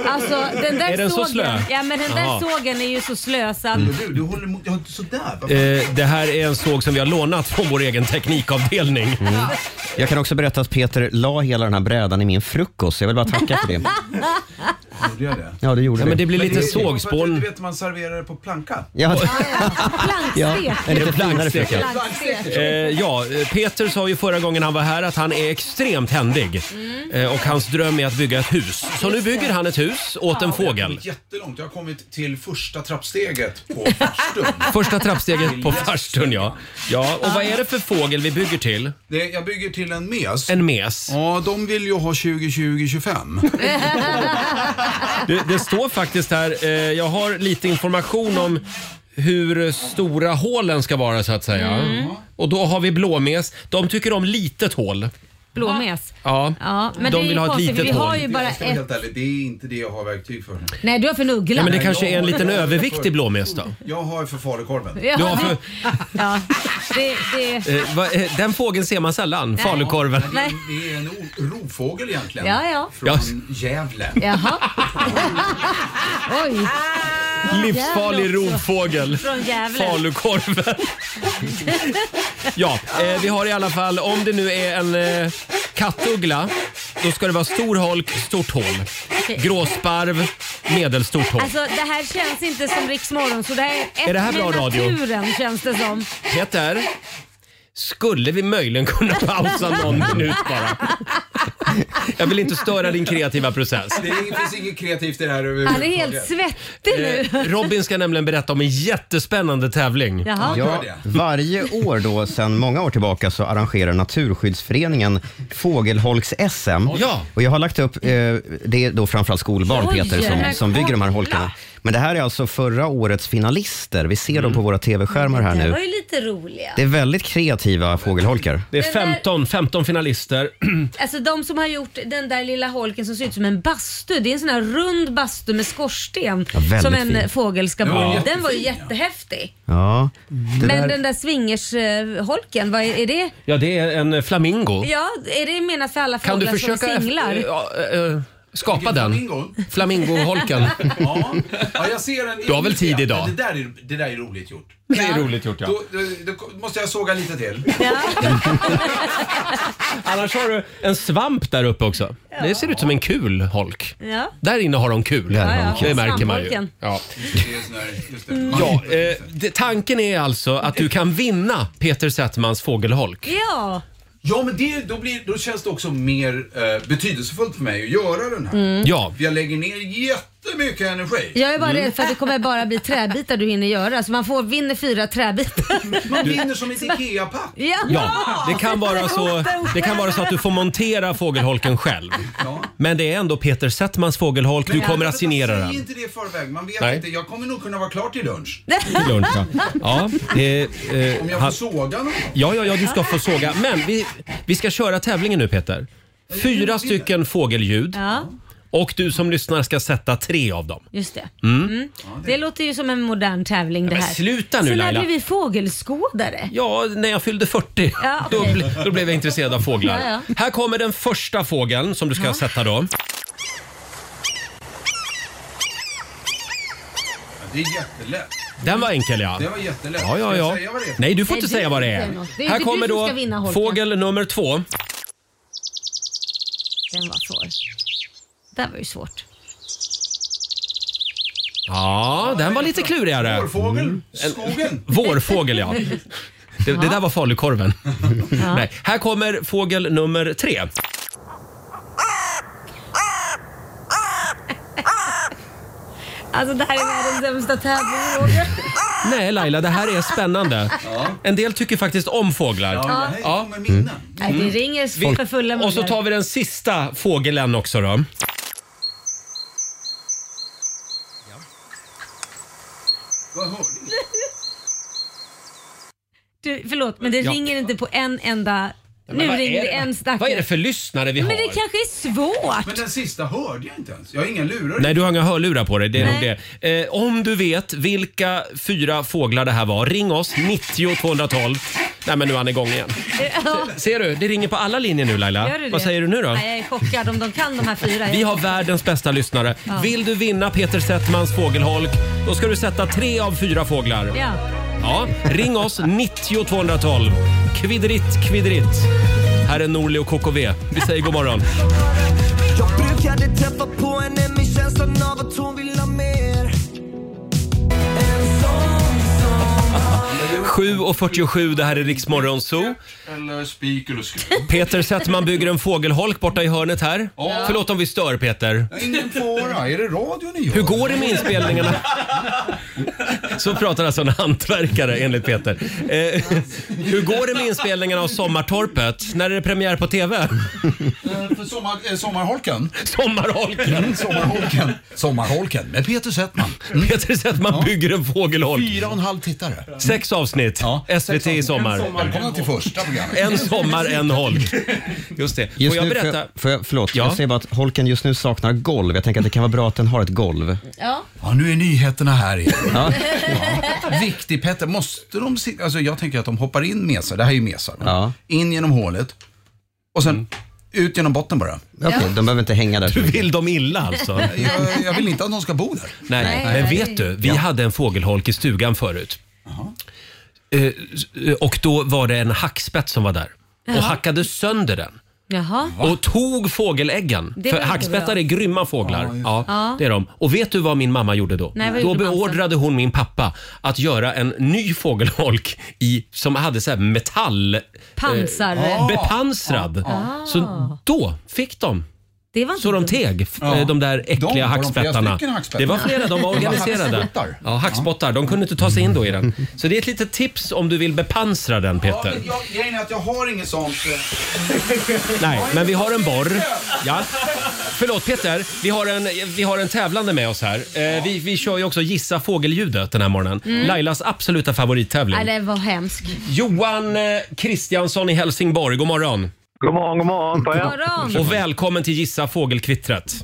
Speaker 2: Alltså den där
Speaker 1: Är den så
Speaker 2: sågen.
Speaker 1: slö?
Speaker 2: Ja men den
Speaker 1: Jaha. Mm.
Speaker 2: där sågen är ju så slö så att...
Speaker 10: Du, du håller mot, jag, sådär.
Speaker 1: Eh, det här är en såg som vi har lånat från vår egen teknikavdelning.
Speaker 3: Mm. Jag kan också berätta att Peter la hela den här brädan i min frukost. Jag vill bara tacka för det. Ja, du gjorde
Speaker 1: Ja,
Speaker 3: det.
Speaker 1: men det blir lite
Speaker 3: såg.
Speaker 1: sågspån.
Speaker 11: Du vet, man serverar det på planka.
Speaker 3: Ja,
Speaker 2: Plankstek.
Speaker 1: Ja, en lite finare
Speaker 3: Plankstek.
Speaker 1: fröken. Eh, ja, eh, Peter sa ju förra gången han var här att han är extremt händig. Eh, och hans dröm är att bygga ett hus. Så nu bygger han ett hus åt en fågel.
Speaker 10: jättelångt. Jag har kommit till första trappsteget på farstun.
Speaker 1: Första trappsteget på farstun ja. ja. Och vad är det för fågel vi bygger till?
Speaker 10: Det, jag bygger till en mes.
Speaker 1: En mes.
Speaker 10: Ja, de vill ju ha 2020-25.
Speaker 1: Det, det står faktiskt här, eh, jag har lite information om hur stora hålen ska vara så att säga.
Speaker 2: Mm.
Speaker 1: Och då har vi blåmes. De tycker om litet hål.
Speaker 2: Blåmes.
Speaker 1: Ja,
Speaker 2: Ja, men
Speaker 1: de
Speaker 2: det är
Speaker 1: vill
Speaker 2: ju
Speaker 1: ha ett
Speaker 2: konstigt,
Speaker 1: litet
Speaker 2: för vi har
Speaker 1: hål.
Speaker 2: ju bara
Speaker 10: Jag ska vara
Speaker 2: ett.
Speaker 10: helt ärlig, det är inte det jag har verktyg för.
Speaker 2: Nej du har för en uggla.
Speaker 1: Ja, men det kanske är en liten överviktig blåmes då.
Speaker 10: Jag har för falukorven.
Speaker 2: Ja,
Speaker 1: Du har för,
Speaker 2: ja. Det, det...
Speaker 1: eh, va, eh, den fågeln ser man sällan,
Speaker 2: Nej.
Speaker 1: falukorven.
Speaker 2: Nej.
Speaker 10: Det är en o- rovfågel egentligen.
Speaker 2: Ja, ja.
Speaker 10: Från
Speaker 1: Ja.
Speaker 10: Gävle.
Speaker 2: Jaha. Oj.
Speaker 1: Livsfarlig
Speaker 2: Jävlar också.
Speaker 1: rovfågel.
Speaker 2: Från Gävle.
Speaker 1: Falukorven. Ja, eh, vi har i alla fall, om det nu är en eh, kattuggla, då ska det vara stor holk, stort hål.
Speaker 2: Okej.
Speaker 1: Gråsparv, medelstort hål.
Speaker 2: Alltså det här känns inte som Rix Morgon, så det här är ett
Speaker 1: Är det här bra
Speaker 2: med
Speaker 1: radio?
Speaker 2: naturen känns det som.
Speaker 1: Peter, skulle vi möjligen kunna pausa någon minut bara? Jag vill inte störa din kreativa process.
Speaker 10: Det är- finns inget kreativt i det här
Speaker 2: Han är
Speaker 10: överhuvudtaget.
Speaker 2: helt svettig nu.
Speaker 1: Eh, Robin ska nämligen berätta om en jättespännande tävling.
Speaker 2: Jaha.
Speaker 3: Ja, varje år då sedan många år tillbaka så arrangerar Naturskyddsföreningen Fågelholks-SM.
Speaker 1: Ja.
Speaker 3: Och jag har lagt upp, eh, det är då framförallt skolbarn
Speaker 12: Oj,
Speaker 3: Peter som,
Speaker 12: men
Speaker 3: som bygger de här
Speaker 12: kolla.
Speaker 3: holkarna. Men det här är alltså förra årets finalister. Vi ser
Speaker 1: Mm.
Speaker 3: dem på våra tv-skärmar här
Speaker 2: Det
Speaker 3: nu.
Speaker 2: var ju lite roliga.
Speaker 3: Det är väldigt kreativa fågelholkar.
Speaker 1: Det är
Speaker 2: Den där-
Speaker 1: 15, 15 finalister.
Speaker 2: Alltså de som har gjort den där lilla holken som ser ut som en bastu. Det är en sån här rund bastu med skorsten
Speaker 3: väldigt
Speaker 2: som en
Speaker 3: fin.
Speaker 2: fågel ska bo i.
Speaker 3: Ja.
Speaker 2: Den var ju jättehäftig.
Speaker 3: Ja. Det
Speaker 2: Men
Speaker 3: där-
Speaker 2: den där swingersholken, vad är, är det?
Speaker 1: Ja, det är en eh, flamingo.
Speaker 2: Ja, är det menat för alla
Speaker 1: Kan du
Speaker 2: fåglar som
Speaker 1: försöka
Speaker 2: singlar?
Speaker 1: eh, ja, eh, eh, Skapa den.
Speaker 12: Flamingo?
Speaker 1: Flamingoholken.
Speaker 12: ja. ja, jag ser en
Speaker 1: Du har väl
Speaker 12: bild, ja.
Speaker 1: tid idag?
Speaker 12: Det där är, det där är roligt gjort.
Speaker 1: Det är roligt gjort ja.
Speaker 12: Då, då, då måste jag såga lite till.
Speaker 1: Annars har du en svamp där uppe också. Det ser ut som en kul holk.
Speaker 2: Ja.
Speaker 1: Där inne har de kul.
Speaker 2: Där har de Ja, ja. kul.
Speaker 1: Det märker man ju.
Speaker 2: Svampholken.
Speaker 1: Ja.
Speaker 12: Just
Speaker 1: Ja, eh, det, tanken är alltså att du kan vinna Peter Settmans fågelholk.
Speaker 2: Ja.
Speaker 12: Ja, men det, då, blir, då känns det också mer eh, betydelsefullt för mig att göra den här.
Speaker 2: Mm.
Speaker 1: Ja.
Speaker 12: För jag lägger ner jättemycket energi.
Speaker 2: Jag är bara
Speaker 1: Mm.
Speaker 2: rädd för att det kommer bara bli träbitar du hinner göra. Så man får vinner fyra träbitar.
Speaker 12: Man vinner som ett IKEA-pack.
Speaker 2: Ja.
Speaker 1: Ja, det kan, vara så, det kan vara så att du får montera fågelholken själv. Men det är ändå Peter Settmans fågelholk. Du
Speaker 12: Men
Speaker 1: kommer
Speaker 12: jag-
Speaker 1: att signera
Speaker 12: Säg
Speaker 1: den.
Speaker 12: inte det i förväg. Man vet
Speaker 1: Nej.
Speaker 12: inte. Jag kommer nog kunna vara klar till lunch.
Speaker 1: Till lunch, ja. Ja, det, eh,
Speaker 12: Om jag får
Speaker 1: han-
Speaker 12: såga någon.
Speaker 1: ja, ja, ja, du ska få såga. Men vi, vi ska köra tävlingen nu Peter. Fyra stycken fågelljud
Speaker 2: Ja,
Speaker 1: och du som lyssnar ska sätta tre av dem.
Speaker 2: just det.
Speaker 1: Mm.
Speaker 2: Mm. Det låter ju som en modern tävling det
Speaker 1: men
Speaker 2: här.
Speaker 1: sluta nu,
Speaker 2: Så när
Speaker 1: Laila.
Speaker 2: blev vi fågelskådare?
Speaker 1: Ja, när jag fyllde 40
Speaker 2: Ja,
Speaker 1: då,
Speaker 2: okej.
Speaker 1: ble, då blev jag intresserad av fåglar.
Speaker 2: Ja,
Speaker 1: Här kommer den första fågeln som du ska sätta då.
Speaker 12: Det är jättelätt.
Speaker 1: Den var enkel ja.
Speaker 12: Det var jättelätt.
Speaker 1: Ja, ja,
Speaker 12: Ska jag
Speaker 1: ja.
Speaker 12: säga vad det är?
Speaker 1: Nej, du får
Speaker 12: Nej,
Speaker 1: inte
Speaker 12: du
Speaker 1: säga vad det
Speaker 12: säger
Speaker 1: är.
Speaker 12: något. Det är
Speaker 1: Här
Speaker 12: inte du
Speaker 1: kommer
Speaker 12: som
Speaker 1: då
Speaker 12: ska vinna, Holkan.
Speaker 1: fågel nummer två.
Speaker 2: Den var svår. Det här var ju svårt.
Speaker 1: Ja, den var lite klurigare. Mm.
Speaker 12: Vårfågel. Skogen.
Speaker 1: Vårfågel, ja. Det, det där var falukorven. Nej, här kommer fågel nummer tre.
Speaker 2: Alltså det här är världens sämsta tävling Roger.
Speaker 1: Nej, Laila, det här är spännande.
Speaker 2: Ja.
Speaker 1: En del tycker faktiskt om fåglar.
Speaker 2: Ja, det här är
Speaker 1: Mm.
Speaker 2: Nej, det ringer för fulla
Speaker 1: Och så tar vi den sista fågeln också då.
Speaker 12: Vad hörde ni?
Speaker 2: Du, förlåt, men det
Speaker 1: Ja.
Speaker 2: ringer inte på en enda...
Speaker 1: Men
Speaker 2: nu
Speaker 1: vad är
Speaker 2: ringer det
Speaker 1: det-
Speaker 2: en stackare.
Speaker 1: Vad är det för lyssnare vi har?
Speaker 2: Men det kanske är svårt.
Speaker 12: Men den sista hörde jag inte ens. Jag har inga lurar.
Speaker 1: Nej, du har inga hörlurar på dig. Det är
Speaker 12: Nej.
Speaker 1: nog det. Eh, om du vet vilka fyra fåglar det här var, ring oss 90 212. Nej, men nu är han igång igen.
Speaker 2: Ja.
Speaker 1: Ser du? Det ringer på alla linjer nu Laila.
Speaker 2: Gör det
Speaker 1: Vad
Speaker 2: det?
Speaker 1: säger du nu då?
Speaker 2: Nej, jag är chockad om de kan de här fyra.
Speaker 1: Vi har världens bästa lyssnare.
Speaker 2: Ja.
Speaker 1: Vill du vinna Peter Settmans fågelholk, då ska du sätta tre av fyra fåglar.
Speaker 2: Ja.
Speaker 1: Ja, ring oss 90 212. Kvidrit, kvidrit. Här är Norli och KKV. Vi säger god morgon.
Speaker 13: Jag brukade träffa på henne med känslan av att hon vill ha mer
Speaker 1: 7.47, det här är Rix Morgon Zoo.
Speaker 12: Eller spik eller skruv.
Speaker 1: Peter Settman bygger en fågelholk borta i hörnet här.
Speaker 12: Ja.
Speaker 1: Förlåt om vi stör Peter.
Speaker 12: Ingen fara. Är det radion ni gör?
Speaker 1: Hur går det med inspelningarna? Så pratar alltså en hantverkare enligt Peter. Eh, hur går det med inspelningarna av Sommartorpet? När är det premiär på TV?
Speaker 12: Eh, För sommar, eh, sommarholken?
Speaker 10: Mm,
Speaker 1: Sommarholken.
Speaker 12: sommarholken.
Speaker 10: Sommarholken med Peter Settman.
Speaker 1: Mm. Peter Settman bygger en fågelholk.
Speaker 10: Fyra och en halv tittare.
Speaker 1: Sex avsnitt. SVT i sommar.
Speaker 10: Välkomna till första programmet.
Speaker 1: En sommar, en holk. Just det. Får
Speaker 3: Just
Speaker 1: jag
Speaker 3: nu,
Speaker 1: berätta?
Speaker 3: Får jag, får jag, förlåt,
Speaker 1: Ja.
Speaker 3: jag säger bara att holken just nu saknar golv. Jag tänker att det kan vara bra att den har ett golv.
Speaker 2: Ja.
Speaker 10: Ja, nu är nyheterna här igen.
Speaker 3: Ja.
Speaker 10: Viktig Petter, måste de sitta... Alltså jag tänker att de hoppar in mesar, det här är ju mesar. va? In genom hålet och sen
Speaker 1: Mm.
Speaker 10: ut genom botten bara.
Speaker 3: Okej, de behöver inte hänga där. Du
Speaker 1: vill dem illa alltså?
Speaker 10: jag, jag vill inte att de ska bo där.
Speaker 1: Nej,
Speaker 10: Nej.
Speaker 1: men vet du, vi hade en fågelholk i stugan förut. Eh, s- Och då var det en hackspett som var där
Speaker 2: Jaha.
Speaker 1: och hackade sönder den.
Speaker 2: Jaha.
Speaker 1: Och tog fågeläggen.
Speaker 2: Det var
Speaker 1: För
Speaker 2: inte
Speaker 1: hackspettar
Speaker 2: bra.
Speaker 1: är grymma fåglar. Ja,
Speaker 2: Ja.
Speaker 1: Det är de. Och vet du vad min mamma gjorde då?
Speaker 2: Nej, vad
Speaker 1: då
Speaker 2: gjorde mamsen?
Speaker 1: beordrade hon min pappa att göra en ny fågelholk i, som hade så här metall...
Speaker 2: Pansar.
Speaker 1: Eh, bepansrad.
Speaker 2: Ah.
Speaker 1: Så då fick de.
Speaker 2: Det var inte
Speaker 1: Så de
Speaker 2: dumt.
Speaker 1: teg, f-
Speaker 2: Ja.
Speaker 1: eh, de där
Speaker 10: De- var de
Speaker 1: äckliga
Speaker 10: flera
Speaker 1: hackspettarna.
Speaker 10: stycken hackspettar?
Speaker 1: Det var flera, de var
Speaker 10: De var
Speaker 1: organiserade.
Speaker 10: hackspottar.
Speaker 1: Ja, hackspottar. De kunde inte ta sig in då i den. Så det är ett litet tips om du vill bepansra den
Speaker 12: Ja,
Speaker 1: Peter.
Speaker 12: men jag, grejen är att jag har inget sånt. eh.
Speaker 1: Nej, men vi har en borr. Ja. Förlåt Peter, vi har en, vi har en tävlande med oss här. Eh, vi, vi kör ju också Gissa fågelljudet den här morgonen.
Speaker 2: Mm.
Speaker 1: Lailas absoluta favorittävling.
Speaker 2: Nej, det var hemskt.
Speaker 1: Johan eh, Kristiansson i Helsingborg, god morgon.
Speaker 14: God morgon, god morgon på
Speaker 2: God morgon.
Speaker 14: er.
Speaker 1: Och välkommen till Gissa fågelkvittret.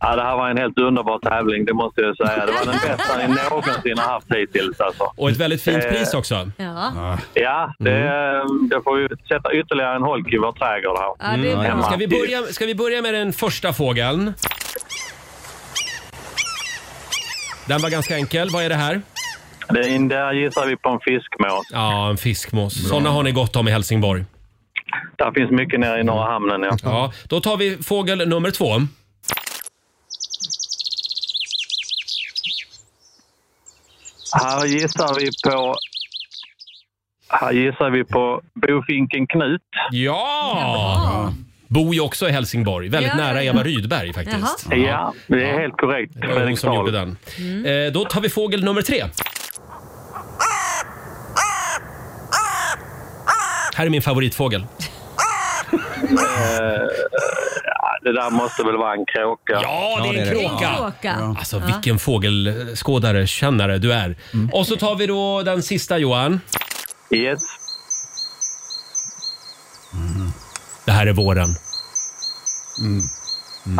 Speaker 14: Ja, det här var en helt underbar tävling, det måste jag säga. Det var den bästa ni någonsin har haft hittills. Alltså.
Speaker 1: Och ett väldigt fint
Speaker 14: Eh,
Speaker 1: pris också.
Speaker 2: Ja.
Speaker 14: Ja, det, jag får ju sätta ytterligare en holk i vår trädgård här.
Speaker 1: Mm. Ska, vi börja, ska vi börja med den första fågeln? Den var ganska enkel. Vad är det här?
Speaker 14: Den där gissar vi på en fiskmås.
Speaker 1: Ja, en fiskmås. Såna har ni gott om i Helsingborg.
Speaker 14: Där finns mycket nere i norra hamnen. Ja.
Speaker 1: Ja, då tar vi fågel nummer två.
Speaker 14: Här gissar vi på... Här gissar vi på bofinken Knut.
Speaker 1: Ja! Bor ju också i Helsingborg, väldigt
Speaker 14: Ja.
Speaker 1: nära Eva Rydberg faktiskt.
Speaker 14: Jaha. Ja, det är helt korrekt.
Speaker 1: Det var hon som gjorde den. Eh, Då tar vi fågel nummer tre. Här är min favoritfågel.
Speaker 14: Eh, ja, det där måste väl vara en kråka.
Speaker 1: Ja, det är en kråka!
Speaker 2: Kråka.
Speaker 1: Alltså vilken fågelskådare, kännare du är. Och så tar vi då den sista Johan.
Speaker 14: Yes.
Speaker 1: Det här är våren.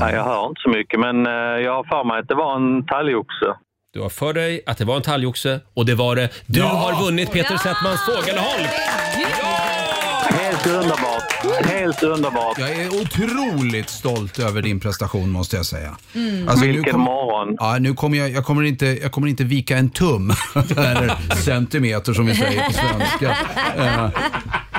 Speaker 14: Ja, jag hör inte så mycket, men eh, jag har för mig att det var en talgoxe.
Speaker 1: Du har för dig att det var en talgoxe och det var det. Du
Speaker 14: Ja!
Speaker 1: har vunnit Peter Settmans fågelholk!
Speaker 14: Helt underbart! Helt underbart!
Speaker 10: Jag är otroligt stolt över din prestation måste jag säga. Alltså,
Speaker 14: Mm.
Speaker 1: Alltså,
Speaker 10: nu
Speaker 14: Vilken
Speaker 10: kommer-
Speaker 14: morgon.
Speaker 10: Ja, nu kommer jag, jag, kommer inte, jag kommer inte vika en tum, eller centimeter som vi säger på svenska, eh,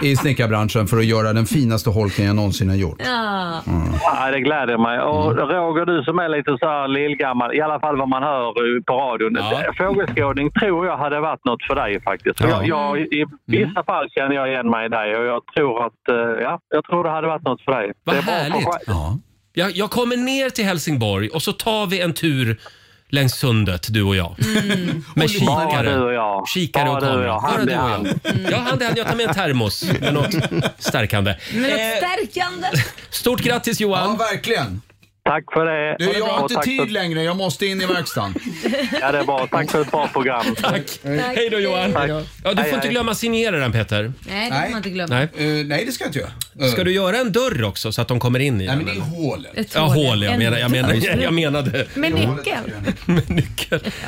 Speaker 10: i snickarbranschen för att göra den finaste holken jag någonsin har gjort. Mm.
Speaker 2: Ja.
Speaker 14: Ja, det gläder mig. Och
Speaker 1: Mm.
Speaker 14: Roger, du som är lite så här lillgammal, i alla fall vad man hör eh, på radion. Fågelskådning tror jag hade varit något för dig faktiskt. För
Speaker 10: Ja.
Speaker 14: Jag, jag, I
Speaker 1: Mm.
Speaker 14: vissa fall känner jag igen mig i dig och jag tror att eh, ja, jag tror det hade varit något för dig.
Speaker 1: Vad
Speaker 14: det är bra för
Speaker 1: härligt.
Speaker 14: själ-
Speaker 1: Jag, jag kommer ner till Helsingborg och så tar vi en tur längs sundet, du och jag.
Speaker 2: Mm.
Speaker 1: Med
Speaker 14: Bara
Speaker 1: kikare.
Speaker 14: du och jag.
Speaker 1: Kikare
Speaker 14: Bara
Speaker 1: och
Speaker 14: du och
Speaker 1: kamera.
Speaker 14: jag. Hand
Speaker 1: Bara
Speaker 14: i
Speaker 1: du och jag. Mm.
Speaker 14: hand.
Speaker 1: Ja, hand i hand. Jag tar med en termos med något stärkande.
Speaker 2: Men något stärkande.
Speaker 1: Stort grattis Johan!
Speaker 10: Ja, verkligen.
Speaker 14: Tack för det.
Speaker 10: Du, jag har inte tid längre. Jag måste in i verkstaden.
Speaker 14: Ja, det är bra. Tack för ett bra program.
Speaker 1: Tack. Hej då Johan!
Speaker 14: Tack.
Speaker 1: Ja, du
Speaker 14: Hej,
Speaker 1: får inte
Speaker 14: hej.
Speaker 1: glömma signera den Peter.
Speaker 2: Nej, det får man inte glömma.
Speaker 1: Nej.
Speaker 10: Eh, nej, det ska jag inte göra. Eh.
Speaker 1: Ska du göra en dörr också så att de kommer in i den?
Speaker 10: Nej, men det är hålet.
Speaker 2: Ett
Speaker 1: Ja,
Speaker 2: hål.
Speaker 1: hål. Jag,
Speaker 2: En
Speaker 1: menar, jag, menar,
Speaker 2: dörr.
Speaker 1: jag menade...
Speaker 2: Med nyckel.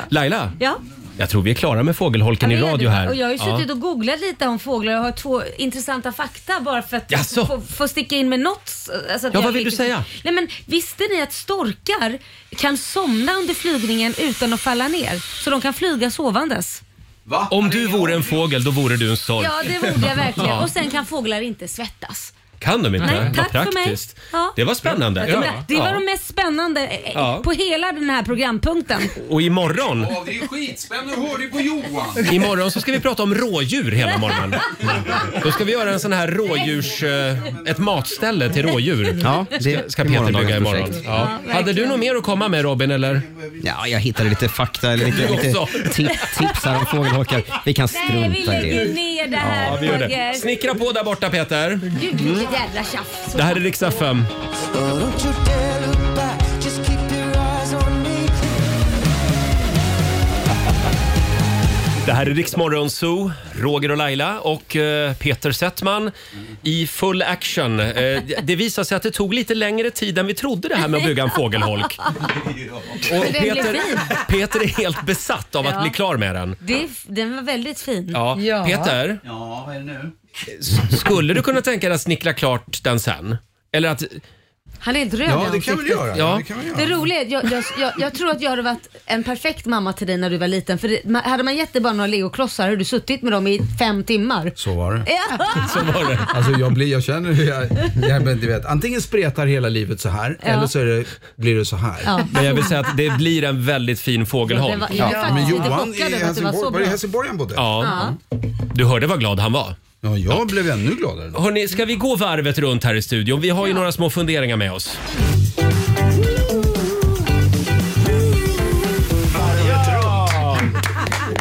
Speaker 1: Laila,
Speaker 2: Ja.
Speaker 1: jag tror vi är klara med fågelholken i
Speaker 2: Ja, men
Speaker 1: radio här.
Speaker 2: Och jag har ju
Speaker 1: Ja.
Speaker 2: suttit och googlat lite om fåglar och har två intressanta fakta bara för att
Speaker 1: Jaså?
Speaker 2: få, få sticka in med något. Alltså att
Speaker 1: Ja,
Speaker 2: jag
Speaker 1: vad vill
Speaker 2: fick-
Speaker 1: du säga?
Speaker 2: Nej, men visste ni att storkar kan somna under flygningen utan att falla ner? Så de kan flyga sovandes.
Speaker 1: Om du vore en fågel, då vore du en stork.
Speaker 2: Ja, det vore jag verkligen.
Speaker 1: Ja.
Speaker 2: Och sen kan fåglar inte svettas.
Speaker 1: Kan de inte?
Speaker 2: Nej,
Speaker 1: Vad
Speaker 2: tack för mig.
Speaker 1: praktiskt.
Speaker 2: Ja.
Speaker 1: Det var spännande.
Speaker 2: Det, det var
Speaker 1: Ja.
Speaker 2: de mest spännande eh,
Speaker 1: Ja.
Speaker 2: på hela den här programpunkten.
Speaker 1: Och imorgon,
Speaker 10: Ja, det är skitspännande. Hörde du på Johan?
Speaker 1: imorgon så ska vi prata om rådjur hela morgonen. Då ska vi göra en sån här rådjurs... eh, Ett matställe till rådjur.
Speaker 3: Ja, det-
Speaker 1: ska, ska Peter
Speaker 3: imorgon blir
Speaker 1: laga
Speaker 3: ett
Speaker 1: imorgon.
Speaker 3: projekt.
Speaker 1: Ja. Hade du något mer att komma med Robin eller?
Speaker 3: Ja, jag hittade lite fakta eller lite,
Speaker 1: Du
Speaker 3: lite
Speaker 1: också.
Speaker 3: ti- tips här om fågelholkar. Vi kan
Speaker 2: Nej, vi
Speaker 3: strunta i
Speaker 2: lägger
Speaker 3: det.
Speaker 2: ner det här
Speaker 1: Ja, vi gör det.
Speaker 2: Roger.
Speaker 1: Snickra på där borta Peter.
Speaker 2: Gud, vilket jävla tjafs.
Speaker 1: Det här är riksdag 5. Det här är Riksmorgon Zoo, Roger och Laila och eh, Peter Settman i full action. Eh, det- Det visar sig att det tog lite längre tid än vi trodde det här med att bygga en fågelholk.
Speaker 2: Men
Speaker 1: Och
Speaker 2: den blev
Speaker 1: Peter,
Speaker 2: fin.
Speaker 1: Peter är helt besatt av att
Speaker 2: Ja.
Speaker 1: bli klar med den.
Speaker 2: Det, den var väldigt fin.
Speaker 1: Ja. Peter?
Speaker 10: Ja, vad är det nu?
Speaker 1: S- Skulle du kunna tänka dig att snickra klart den sen? Eller att...
Speaker 2: Han är helt röd i
Speaker 10: Ja, det kan väl
Speaker 2: ansiktet.
Speaker 10: göra.
Speaker 1: Ja.
Speaker 10: Det kan väl göra.
Speaker 2: Det roliga är, att jag, jag, jag, jag tror att jag hade varit en perfekt mamma till dig när du var liten. För det, ma- hade man gett dig bara några legoklossar hade du suttit med dem i fem timmar.
Speaker 10: Så var det.
Speaker 2: Ja.
Speaker 1: Så var det.
Speaker 10: Alltså jag, blir, jag känner hur jag, jag men du vet, antingen spretar hela livet så här
Speaker 2: Ja.
Speaker 10: eller så är det, blir det så här.
Speaker 2: Ja.
Speaker 1: Men jag vill säga att det blir en väldigt fin fågelholk.
Speaker 2: Det var- jag är faktiskt
Speaker 10: Men
Speaker 2: lite
Speaker 10: Johan i
Speaker 2: chockad över att det var så
Speaker 10: Helsingborg, var det i
Speaker 2: bra.
Speaker 10: Helsingborg han bodde?
Speaker 1: Ja. Du hörde vad glad han var.
Speaker 10: Ja, jag blev ännu gladare. då.
Speaker 1: Hörrni, ska vi gå varvet runt här i studion? Vi har ju några små funderingar med oss. Ja!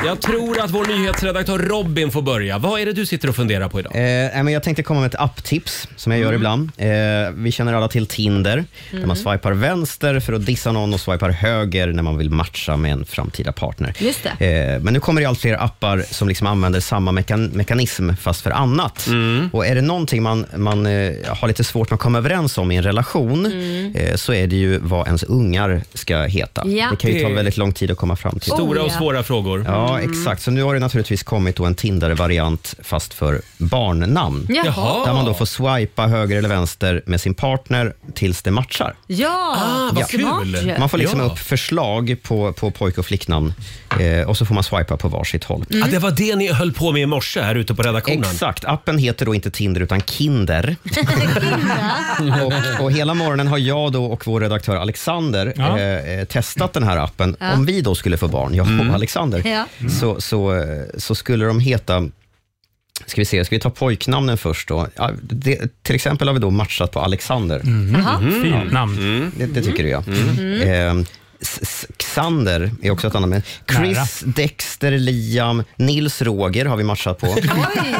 Speaker 1: Jag tror att vår nyhetsredaktör Robin får börja. Vad är det du sitter och funderar på idag? Mm.
Speaker 3: Eh, nej, men jag tänkte komma med ett apptips som jag gör ibland. Eh, vi känner alla till Tinder, där man swipar vänster för att dissa någon och swipar höger när man vill matcha med en framtida partner.
Speaker 2: Just det.
Speaker 3: Eh, men nu kommer det allt fler appar som liksom använder samma mekan- mekanism fast för annat.
Speaker 1: Mm.
Speaker 3: Och är det någonting man, man eh, har lite svårt med att komma överens om i en relation eh, så är det ju vad ens ungar ska heta.
Speaker 2: Mm. Ja.
Speaker 3: Det kan ju ta
Speaker 1: Det-
Speaker 3: väldigt lång tid att komma fram till.
Speaker 1: Stora
Speaker 2: Oh,
Speaker 1: och
Speaker 2: ja. Mm.
Speaker 1: svåra frågor.
Speaker 3: Ja, exakt. Så nu har det naturligtvis kommit då en Tinder-variant fast för barnnamn.
Speaker 2: Jaha.
Speaker 3: Där man då får swipa höger eller vänster med sin partner tills det matchar.
Speaker 2: Ja,
Speaker 13: Ah,
Speaker 1: Ah,
Speaker 2: smart ju.
Speaker 3: Man får liksom
Speaker 2: ja.
Speaker 3: upp förslag på, på pojk och flicknamn eh, och så får man swipa på varsitt håll.
Speaker 1: Ja, det var det ni höll på med i morse här ute på redaktionen.
Speaker 3: Exakt. Appen heter då inte Tinder utan Kinder. och, och hela morgonen har jag då och vår redaktör Alexander
Speaker 1: Ja.
Speaker 3: eh, eh, testat den här appen.
Speaker 2: Ja.
Speaker 3: Om vi då skulle få barn, jag och
Speaker 2: Mm.
Speaker 3: Alexander,
Speaker 2: Ja. Mm.
Speaker 3: så, så, eh, så skulle de heta Ska vi se, ska vi ta pojknamnen först då? Ja, det, till exempel har vi då matchat på Alexander.
Speaker 2: Jaha. Fint
Speaker 3: Ja. Mm. Det, det tycker jag.
Speaker 2: Mm.
Speaker 3: Eh, S- S- Xander är också ett annat namn. Chris, Dexter, Liam, Nils Roger har vi matchat på.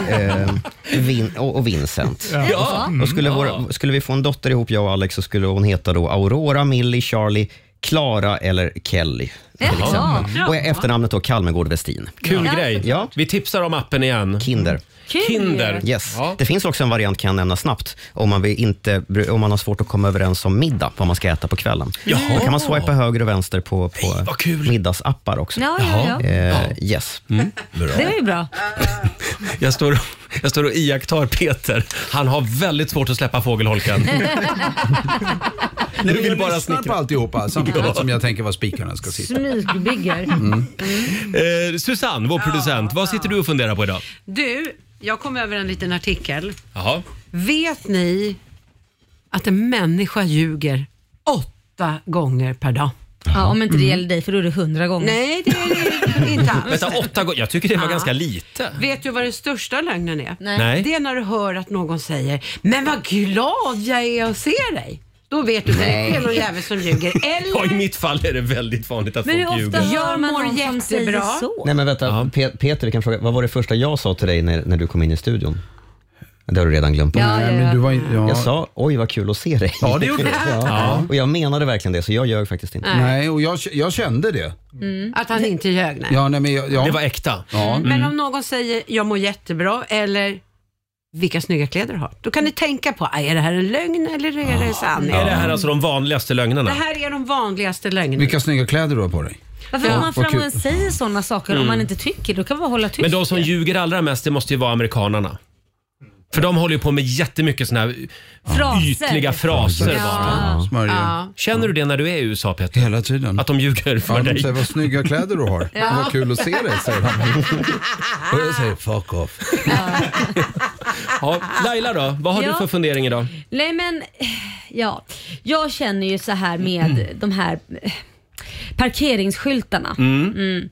Speaker 3: Eh, Vin och, och Vincent.
Speaker 7: Ja. Ja.
Speaker 3: Och skulle, vår, skulle vi få en dotter ihop, jag och Alex, så skulle hon heta då Aurora, Millie, Charlie, Klara eller Kelly. Till
Speaker 1: Jaha.
Speaker 3: exempel.
Speaker 1: Ja.
Speaker 3: Och efternamnet då Kalmegård Westin.
Speaker 1: Kul
Speaker 3: Ja.
Speaker 1: grej.
Speaker 3: Ja.
Speaker 1: Vi tipsar om appen igen.
Speaker 3: Kinder.
Speaker 1: Kul. Kinder.
Speaker 3: Yes. Det finns också en variant kan jag nämna snabbt om man, vill inte, om man har svårt att komma överens om middag, vad man ska äta på kvällen.
Speaker 1: Jaha.
Speaker 3: Då kan man swipa höger och vänster på, på middagsappar också.
Speaker 2: Ja, ja, ja.
Speaker 3: Eh, yes.
Speaker 1: Mm.
Speaker 2: Det var ju bra.
Speaker 1: Jag står, jag står och iakttar Peter. Han har väldigt svårt att släppa fågelholken.
Speaker 10: Nej, jag bara lyssnar på alltihopa samtidigt som jag tänker var spikarna ska sitta.
Speaker 2: Smygbygger.
Speaker 1: Mm. Eh, Susanne, vår producent, vad sitter du och funderar på idag?
Speaker 6: Du, jag kom över en liten artikel.
Speaker 1: Jaha.
Speaker 6: Vet ni att en människa ljuger åtta gånger per dag?
Speaker 2: Ja, om inte det gäller dig för då är det hundra gånger.
Speaker 6: Nej, det är det inte alls.
Speaker 1: Vänta, åtta gånger? Jag tycker det var
Speaker 6: Ja.
Speaker 1: ganska lite.
Speaker 6: Vet du vad den största lögnen är?
Speaker 1: Nej. Nej.
Speaker 6: Det är när du hör att någon säger “Men vad glad jag är att se dig”. Då vet du att det är någon jävel som ljuger. Eller
Speaker 1: Ja, I mitt fall är det väldigt vanligt att
Speaker 6: Men hur
Speaker 1: folk
Speaker 6: ofta
Speaker 1: ljuger.
Speaker 6: hör
Speaker 2: Hör man
Speaker 6: mår
Speaker 2: någon som säger
Speaker 6: jättebra.
Speaker 2: så?
Speaker 3: Nej, men vänta. Pe- Peter, vi kan fråga, vad var det första jag sa till dig när, när du kom in i studion? Det har du redan glömt.
Speaker 2: Ja, ja, Nej, men ja. du var in- ja.
Speaker 3: Jag sa oj vad kul att se dig.
Speaker 10: Ja, det gjorde du. Ja.
Speaker 3: Och jag menade verkligen det, så jag ljög faktiskt inte.
Speaker 6: Nej.
Speaker 10: Nej, och jag, jag kände det.
Speaker 6: Att han inte ljög. Nej.
Speaker 10: Ja, nej, men jag, ja. Det var
Speaker 1: äkta. Mm.
Speaker 10: Ja.
Speaker 6: Mm.
Speaker 10: mm.
Speaker 6: Men om någon säger “Jag mår jättebra” eller “Vilka snygga kläder du har”. Då kan ni tänka på, är det här en lögn eller är det sanning?
Speaker 1: Ah, Är det
Speaker 2: Mm.
Speaker 1: här alltså de vanligaste lögnerna?
Speaker 6: Det här är de vanligaste lögnerna.
Speaker 10: Vilka snygga kläder du har på dig.
Speaker 2: Varför
Speaker 1: Ja,
Speaker 2: går man
Speaker 1: vad
Speaker 2: fram och
Speaker 1: kul.
Speaker 2: säger sådana saker om
Speaker 1: Mm.
Speaker 2: man inte tycker? Då kan man hålla tyst.
Speaker 1: Men de som ljuger allra mest, det måste ju vara amerikanarna. För de håller ju på med jättemycket såna här
Speaker 2: Fraser.
Speaker 1: ytliga fraser
Speaker 2: Ja.
Speaker 1: bara.
Speaker 2: Ja. Smörjer. Ja.
Speaker 1: Känner du det när du är i USA Peter?
Speaker 10: Hela tiden.
Speaker 1: Att de ljuger för
Speaker 10: Ja, de
Speaker 1: dig?
Speaker 10: säger vad snygga kläder du har.
Speaker 1: Ja.
Speaker 10: Vad kul att se dig, säger de. Och jag säger fuck off.
Speaker 1: Ja, Laila då, vad har
Speaker 2: Ja.
Speaker 1: du för fundering idag?
Speaker 2: Nej men, eh, ja. Jag känner ju så här med
Speaker 1: Mm.
Speaker 2: de här eh, parkeringsskyltarna.
Speaker 7: Mm.
Speaker 2: Mm.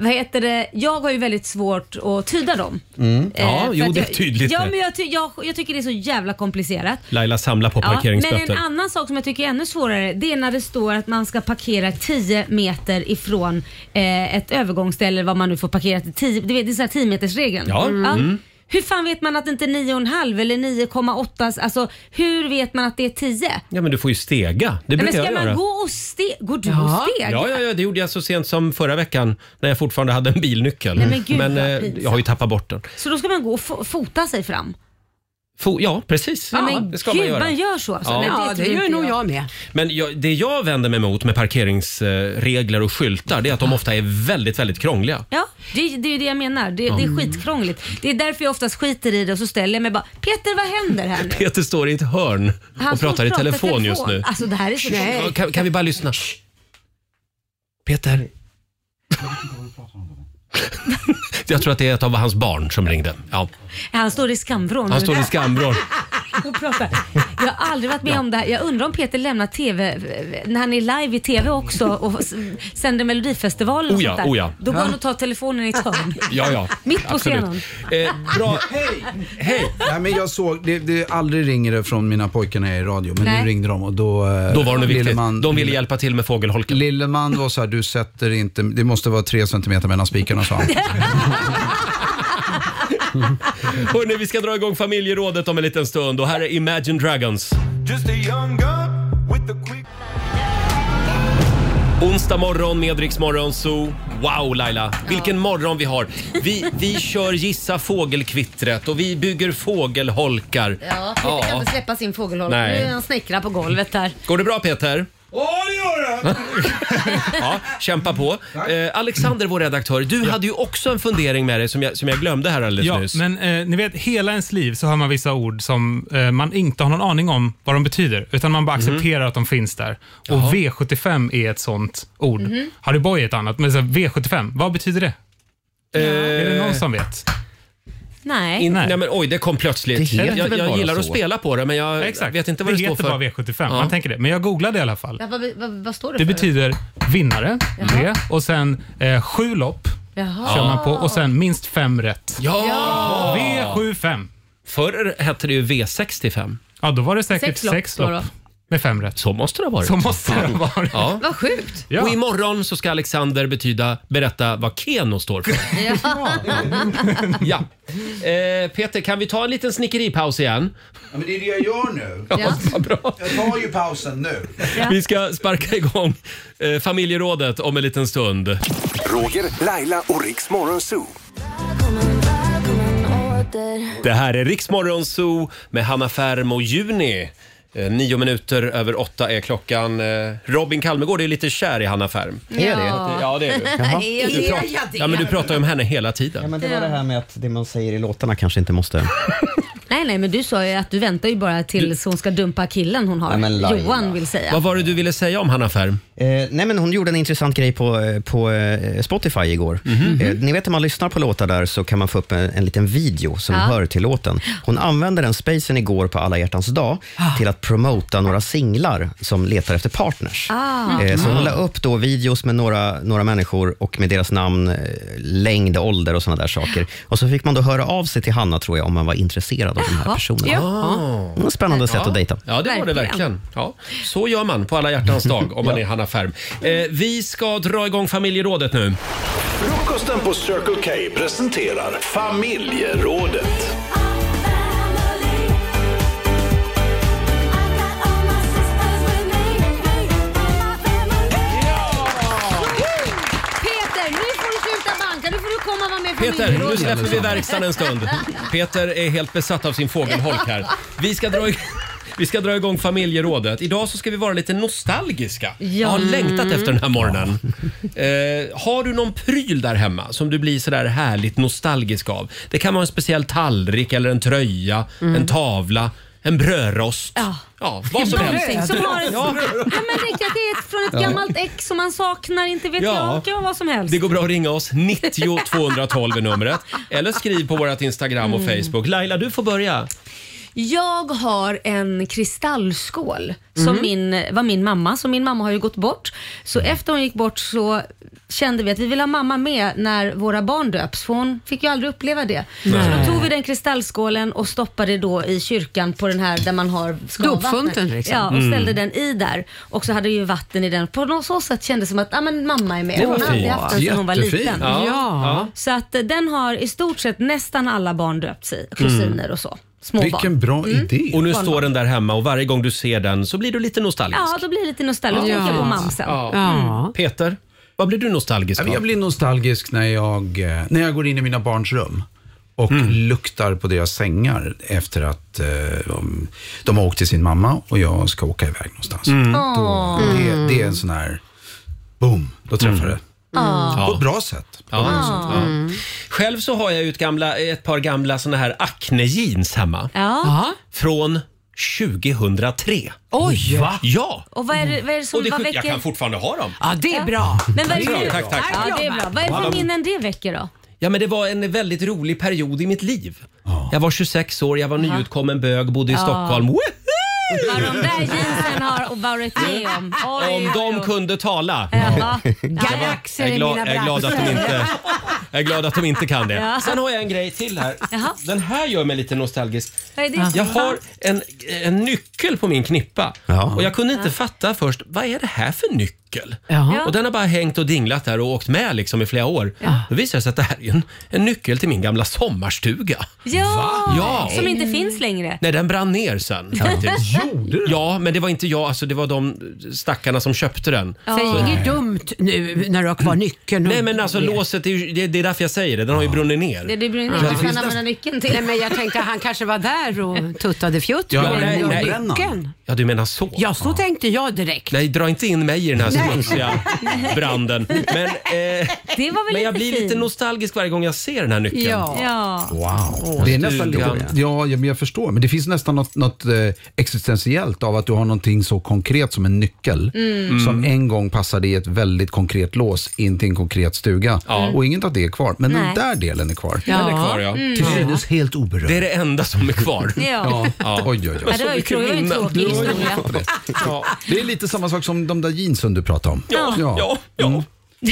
Speaker 2: Vad heter det? Jag har ju väldigt svårt att tyda dem.
Speaker 10: Mm.
Speaker 2: Eh,
Speaker 1: Ja,
Speaker 2: för
Speaker 1: jo
Speaker 2: att
Speaker 1: det är
Speaker 2: jag-
Speaker 1: tydligt.
Speaker 2: Ja,
Speaker 1: det.
Speaker 2: men jag, ty- jag, jag tycker det är så jävla komplicerat.
Speaker 1: Laila samlar på
Speaker 2: Ja, men
Speaker 1: parkeringsböter.
Speaker 2: en annan sak som jag tycker är ännu svårare det är när det står att man ska parkera 10 meter ifrån eh, ett övergångsställe vad man nu får parkera till 10, du vet det är så här 10 meters regeln.
Speaker 7: Ja. Mm.
Speaker 2: Hur fan vet man att det inte är 9,5 eller 9,8? Alltså hur vet man att det är 10?
Speaker 1: Ja men du får ju stega. Det
Speaker 2: Nej, men
Speaker 1: brukar
Speaker 2: ska
Speaker 1: jag
Speaker 2: man
Speaker 1: göra.
Speaker 2: gå och steg? Går du
Speaker 1: Ja.
Speaker 2: och steg?
Speaker 1: Ja, ja, ja, det gjorde jag så sent som förra veckan när jag fortfarande hade en bilnyckel.
Speaker 2: Nej, men gud, vad
Speaker 1: eh,
Speaker 2: pinsamt.
Speaker 1: jag har ju tappat bort den.
Speaker 2: Så då ska man gå och fo- fota sig fram?
Speaker 1: Fo- ja, precis.
Speaker 2: Ja,
Speaker 1: Ja,
Speaker 2: men
Speaker 1: det ska
Speaker 2: gud,
Speaker 1: man göra.
Speaker 2: gör så alltså.
Speaker 1: Ja.
Speaker 2: Nej,
Speaker 6: Ja,
Speaker 2: tror
Speaker 6: det gör
Speaker 2: inte
Speaker 6: nog jag med.
Speaker 1: Men jag, det jag vänder mig mot med parkeringsregler och skyltar det är att de ofta är väldigt, väldigt krångliga.
Speaker 2: Ja, det, det är ju det jag menar. Det, det är
Speaker 1: Mm.
Speaker 2: skitkrångligt. Det är därför jag oftast skiter i det och så ställer jag mig bara “Peter, vad händer här nu?”
Speaker 1: Peter står i ett hörn och
Speaker 2: står
Speaker 1: pratar i telefon, just nu.
Speaker 2: Alltså det här är så
Speaker 1: Ja, Kan, kan vi bara lyssna? Peter. Jag tror att det är ett av hans barn som ringde. Ja.
Speaker 2: Han står i skamvrån.
Speaker 1: Han står i skamvrån.
Speaker 2: Och pratar. Jag har aldrig varit med om det här. Jag undrar om Peter lämnar TV, när han är live i TV också och s- sänder Melodifestivalen och
Speaker 1: Oh ja,
Speaker 2: sånt där.
Speaker 1: oh ja.
Speaker 2: Då går han och tar telefonen i ett hörn.
Speaker 1: Ja, ja.
Speaker 2: Mitt på
Speaker 1: Absolut.
Speaker 2: scenen.
Speaker 1: bra.
Speaker 10: Hej!
Speaker 1: Hej!
Speaker 10: Nej, men jag såg, det, det aldrig ringer det från mina pojkar när jag är i radio, men
Speaker 2: Nej.
Speaker 10: nu ringde de och då... eh,
Speaker 1: Då var det nog viktigt.
Speaker 10: Lilleman-
Speaker 1: De ville hjälpa till med fågelholken.
Speaker 10: Lilleman var så här, du sätter inte, det måste vara tre centimeter mellan spikarna, sa han.
Speaker 1: Hörrni, vi ska dra igång familjerådet om en liten stund och här är Imagine Dragons.
Speaker 13: Just a young gun with a quick...
Speaker 1: Onsdag morgon med Rix Morgon Zoo. Wow Laila, vilken morgon vi har. Vi, vi kör Gissa fågelkvittret och vi bygger fågelholkar.
Speaker 2: Ja, Peter kan inte släppa sin fågelholk.
Speaker 1: Nej.
Speaker 2: Nu är han snickrar på golvet där.
Speaker 1: Går det bra Peter?
Speaker 2: Åh, det
Speaker 1: göra! ja, kämpa på. Eh, Alexander, vår redaktör, du hade ju också en fundering med dig som jag, som jag glömde här alldeles
Speaker 8: Ja,
Speaker 1: nyss.
Speaker 8: men eh, ni vet, hela ens liv så hör man vissa ord som eh, man inte har någon aning om vad de betyder, utan man bara accepterar att de finns där. Och
Speaker 1: Jaha.
Speaker 8: V75 är ett sånt ord.
Speaker 2: Mm-hmm.
Speaker 1: Mhm.
Speaker 8: Harry Boy är ett annat, men så, här, V75, vad betyder det? Eh, Är det någon som vet?
Speaker 2: Nej.
Speaker 1: In, nej. men oj, det kom plötsligt.
Speaker 8: Det heter
Speaker 1: jag jag,
Speaker 8: väl bara
Speaker 1: jag gillar att
Speaker 8: så.
Speaker 1: spela på det, men jag vet inte vad det,
Speaker 8: det
Speaker 1: står
Speaker 8: heter
Speaker 1: för.
Speaker 8: bara V75, man tänker det. Men jag googlade i alla fall.
Speaker 2: Ja, vad, vad, vad står det,
Speaker 8: Det
Speaker 2: för?
Speaker 8: betyder vinnare,
Speaker 2: Jaha.
Speaker 8: det, och sen eh, sju lopp
Speaker 2: Jaha.
Speaker 8: kör man på och sen minst fem rätt.
Speaker 1: Ja!
Speaker 8: V75.
Speaker 1: Förr hette det ju V65.
Speaker 8: Ja, då var det säkert
Speaker 2: Sex
Speaker 8: sex
Speaker 2: lopp
Speaker 8: lopp,
Speaker 2: då då.
Speaker 8: med fem rätt.
Speaker 1: Så måste det ha varit. Mm.
Speaker 8: Så måste det ha varit.
Speaker 1: Ja.
Speaker 2: Vad sjukt.
Speaker 1: Och imorgon så ska Alexander betyda, berätta vad Keno står för.
Speaker 2: Ja.
Speaker 1: ja. Eh, Peter, kan vi ta en liten snickeripaus igen?
Speaker 12: Ja, men det är det jag gör nu.
Speaker 1: Ja, vad bra.
Speaker 12: Jag tar ju pausen nu.
Speaker 1: Vi ska sparka igång eh, familjerådet om en liten stund.
Speaker 4: Roger, Laila och Riks Morgonzoo.
Speaker 1: Det här är Riksmorgon Zoo med Hanna Färm och Juni. Eh, Nio minuter över åtta är klockan. Eh, Robin Kalmegård är lite kär i Hanna Färm.
Speaker 3: Är det?
Speaker 1: Ja, det är du.
Speaker 3: Jaha.
Speaker 1: Du pratar- Ja, men du pratar ju om henne hela tiden.
Speaker 3: Men det var det här med att det man säger i låtarna kanske inte måste...
Speaker 2: Nej, nej, men du sa ju att du väntar ju bara tills hon ska dumpa killen hon har.
Speaker 3: Nej, men Laila.
Speaker 2: Johan vill säga.
Speaker 1: var det du ville säga om Hanna Färm?
Speaker 3: Eh, nej men hon gjorde en intressant grej på, eh, på eh, Spotify igår.
Speaker 1: Mhm.
Speaker 3: Eh, ni vet när man lyssnar på låtar där så kan man få upp en, en liten video som
Speaker 2: Ja.
Speaker 3: hör till låten. Hon använde den spacen igår på Alla hjärtans dag
Speaker 1: Ah.
Speaker 3: till att promota några singlar som letar efter partners.
Speaker 2: Ah.
Speaker 3: Eh, så hon la
Speaker 2: Mm.
Speaker 3: upp då videos med några, några människor och med deras namn, eh, längd, ålder och sådana där saker. Och så fick man då höra av sig till Hanna tror jag om man var intresserad av de här
Speaker 1: Jaha.
Speaker 3: personerna.
Speaker 1: Ja.
Speaker 3: Mm, Spännande sätt
Speaker 1: ja.
Speaker 3: att dejta.
Speaker 1: Ah. Ja, det var det verkligen. Ja. Så gör man på alla hjärtans dag om man är Hanna Färm. Eh, vi ska dra igång familjerådet nu.
Speaker 15: Frukosten på Circle K presenterar familjerådet.
Speaker 2: Peter, nu får du sluta banka. Nu får du komma och vara med i
Speaker 1: Peter, nu
Speaker 2: familjerådet.
Speaker 1: släpper vi verkstaden en stund. Peter är helt besatt av sin fågelholk här. Vi ska dra, ig- vi ska dra igång familjerådet. Idag så ska vi vara lite nostalgiska. Jag har
Speaker 2: Mm.
Speaker 1: längtat efter den här morgonen. Eh, har du någon pryl där hemma som du blir sådär härligt nostalgisk av? Det kan vara en speciell tallrik eller en tröja,
Speaker 2: Mm.
Speaker 1: en tavla, en brödrost.
Speaker 2: Ja.
Speaker 1: Ja, vad som
Speaker 2: Någonting
Speaker 1: helst.
Speaker 2: Som har ett, ja.
Speaker 1: Ja.
Speaker 2: men riktigt, det är ett, från ett
Speaker 1: Ja.
Speaker 2: gammalt ex som man saknar, inte vet
Speaker 1: Ja.
Speaker 2: jag. Det kan vara vad som helst.
Speaker 1: Det går bra att ringa oss. 90 212 är numret. Eller skriv på vårt Instagram och
Speaker 2: Mm.
Speaker 1: Facebook. Laila, du får börja.
Speaker 2: Jag har en kristallskål som
Speaker 6: Mhm.
Speaker 1: Mm.
Speaker 2: min, var min mamma, så min mamma har ju gått bort. Så
Speaker 6: Mm.
Speaker 2: efter hon gick bort så kände vi att vi vill ha mamma med när våra barn döps, för hon fick ju aldrig uppleva det. Så
Speaker 6: Nej.
Speaker 2: då tog vi den kristallskålen och stoppade då i kyrkan på den här där man har skavvattnet.
Speaker 6: Dopfunten, liksom.
Speaker 2: Ja, och
Speaker 6: Mm.
Speaker 2: ställde den i där. Och så hade ju vatten i den. På något så sätt kändes det som att ah, men mamma är med.
Speaker 6: Det var
Speaker 2: hon har alltid
Speaker 6: fint.
Speaker 2: haft den sedan hon var
Speaker 6: Jättefint.
Speaker 2: liten.
Speaker 6: Ja. Ja.
Speaker 2: Så att eh, den har i stort sett nästan alla barn döpt sig,
Speaker 6: Mm.
Speaker 2: kusiner och så. Små barn. Mm.
Speaker 1: Och nu
Speaker 2: Barnbarn.
Speaker 1: står den där hemma och varje gång du ser den så blir du lite nostalgisk.
Speaker 2: Ja, då blir det lite nostalgi.
Speaker 1: Ja.
Speaker 2: Ja. på mamsen.
Speaker 1: Ja.
Speaker 2: Mm.
Speaker 1: Peter, vad blir du nostalgisk
Speaker 12: Jag blir nostalgisk när jag, eh, när jag går in i mina barns rum och luktar på deras sängar efter att eh, de, de har åkt till sin mamma och jag ska åka iväg någonstans.
Speaker 7: Mm.
Speaker 12: Då,
Speaker 7: Åh.
Speaker 12: det, det är en sån här, boom, då träffar det.
Speaker 7: Ja.
Speaker 12: På ett bra sätt.
Speaker 1: Ja. Ja. Själv så har jag ju ett, gamla, ett par gamla såna här Acne-jeans hemma.
Speaker 2: Ja. Ja.
Speaker 1: Från 2003.
Speaker 2: Oj.
Speaker 1: Va? Ja!
Speaker 2: Och vad är det, vad är det som
Speaker 1: och det är
Speaker 2: vad
Speaker 1: sjuk-
Speaker 2: väcker...
Speaker 1: Jag kan fortfarande ha dem.
Speaker 6: Ja, det är bra.
Speaker 2: Men vad är
Speaker 1: Det är bra,
Speaker 2: det?
Speaker 1: tack, tack.
Speaker 2: Ja, det är bra. Vad är det
Speaker 1: Alla-
Speaker 2: för minnen det väcker då?
Speaker 1: Ja, men det var en väldigt rolig period i mitt liv. Jag var 26 år, jag var nyutkommen bög, bodde i
Speaker 2: Ja.
Speaker 1: Stockholm. Woo!
Speaker 2: Vad de där jeansen har varit med om. Oj,
Speaker 1: Om
Speaker 2: oj, Eh,
Speaker 1: de kunde tala.
Speaker 2: Ja.
Speaker 1: Jag är, glad, jag, är glad att de inte, jag är glad att de inte kan det.
Speaker 2: Ja.
Speaker 1: Sen har jag en grej till här.
Speaker 2: Jaha.
Speaker 1: Den här gör mig lite nostalgisk.
Speaker 2: Vad är det?
Speaker 1: Jag har en, en nyckel på min knippa och jag kunde inte
Speaker 2: Ja.
Speaker 1: fatta först, vad är det här för nyckel? cykel.
Speaker 6: Jaha.
Speaker 1: Och Den har bara hängt och dinglat där och åkt med liksom i flera år. Då visar det sig att det här är en, en nyckel till min gamla sommarstuga.
Speaker 2: Ja,
Speaker 1: Va? Ja.
Speaker 2: som inte finns längre.
Speaker 1: Nej, den brann ner sen.
Speaker 2: Ja.
Speaker 1: faktiskt. Ja, men det var inte jag. Alltså, det var de stackarna som köpte den.
Speaker 6: Säg
Speaker 1: Så-
Speaker 6: inget dumt nu när du har kvar nyckeln.
Speaker 1: Mm.
Speaker 6: Mm.
Speaker 1: Nej, men alltså
Speaker 6: Det-
Speaker 1: låset, är ju, det, det är därför jag säger det. Den har ju brunnit ner.
Speaker 2: Det, det blir
Speaker 1: Ja.
Speaker 2: inte
Speaker 1: Det
Speaker 2: vad
Speaker 1: finns
Speaker 2: han använder nyckeln till.
Speaker 6: Nej, men jag tänkte han kanske var där och tuttade fjutt
Speaker 1: Ja,
Speaker 6: med
Speaker 1: nej, nej.
Speaker 6: nyckeln.
Speaker 1: Ja, du menar så.
Speaker 6: Ja, så tänkte jag direkt.
Speaker 1: Nej, dra inte in mig i den här
Speaker 6: Nej.
Speaker 1: smutsiga branden. Men, eh,
Speaker 2: Det var väl
Speaker 1: men
Speaker 2: lite
Speaker 1: jag blir
Speaker 2: fint.
Speaker 1: lite nostalgisk varje gång jag ser den här nyckeln.
Speaker 2: Ja. ja.
Speaker 1: Wow.
Speaker 12: det är nästan
Speaker 1: Stugan.
Speaker 12: lite, ja, ja, men jag förstår. Men det finns nästan något, något eh, existentiellt av att du har någonting så konkret som en nyckel
Speaker 16: Mm.
Speaker 12: som en gång passade i ett väldigt konkret lås in till en konkret stuga. Och inget av det är kvar, men
Speaker 16: Nej.
Speaker 12: den där delen är kvar.
Speaker 1: Ja. Den är kvar, ja. Mm.
Speaker 12: Till synes helt oberörd.
Speaker 1: Det är det enda som är kvar.
Speaker 12: Ja. Oj, oj, oj.
Speaker 1: Ja, Alltså, det var ju- det var ju en tråkig historia.
Speaker 12: Ja. Det är lite samma sak som de där jeansen du pratade om.
Speaker 1: Ja, ja,
Speaker 12: Mm.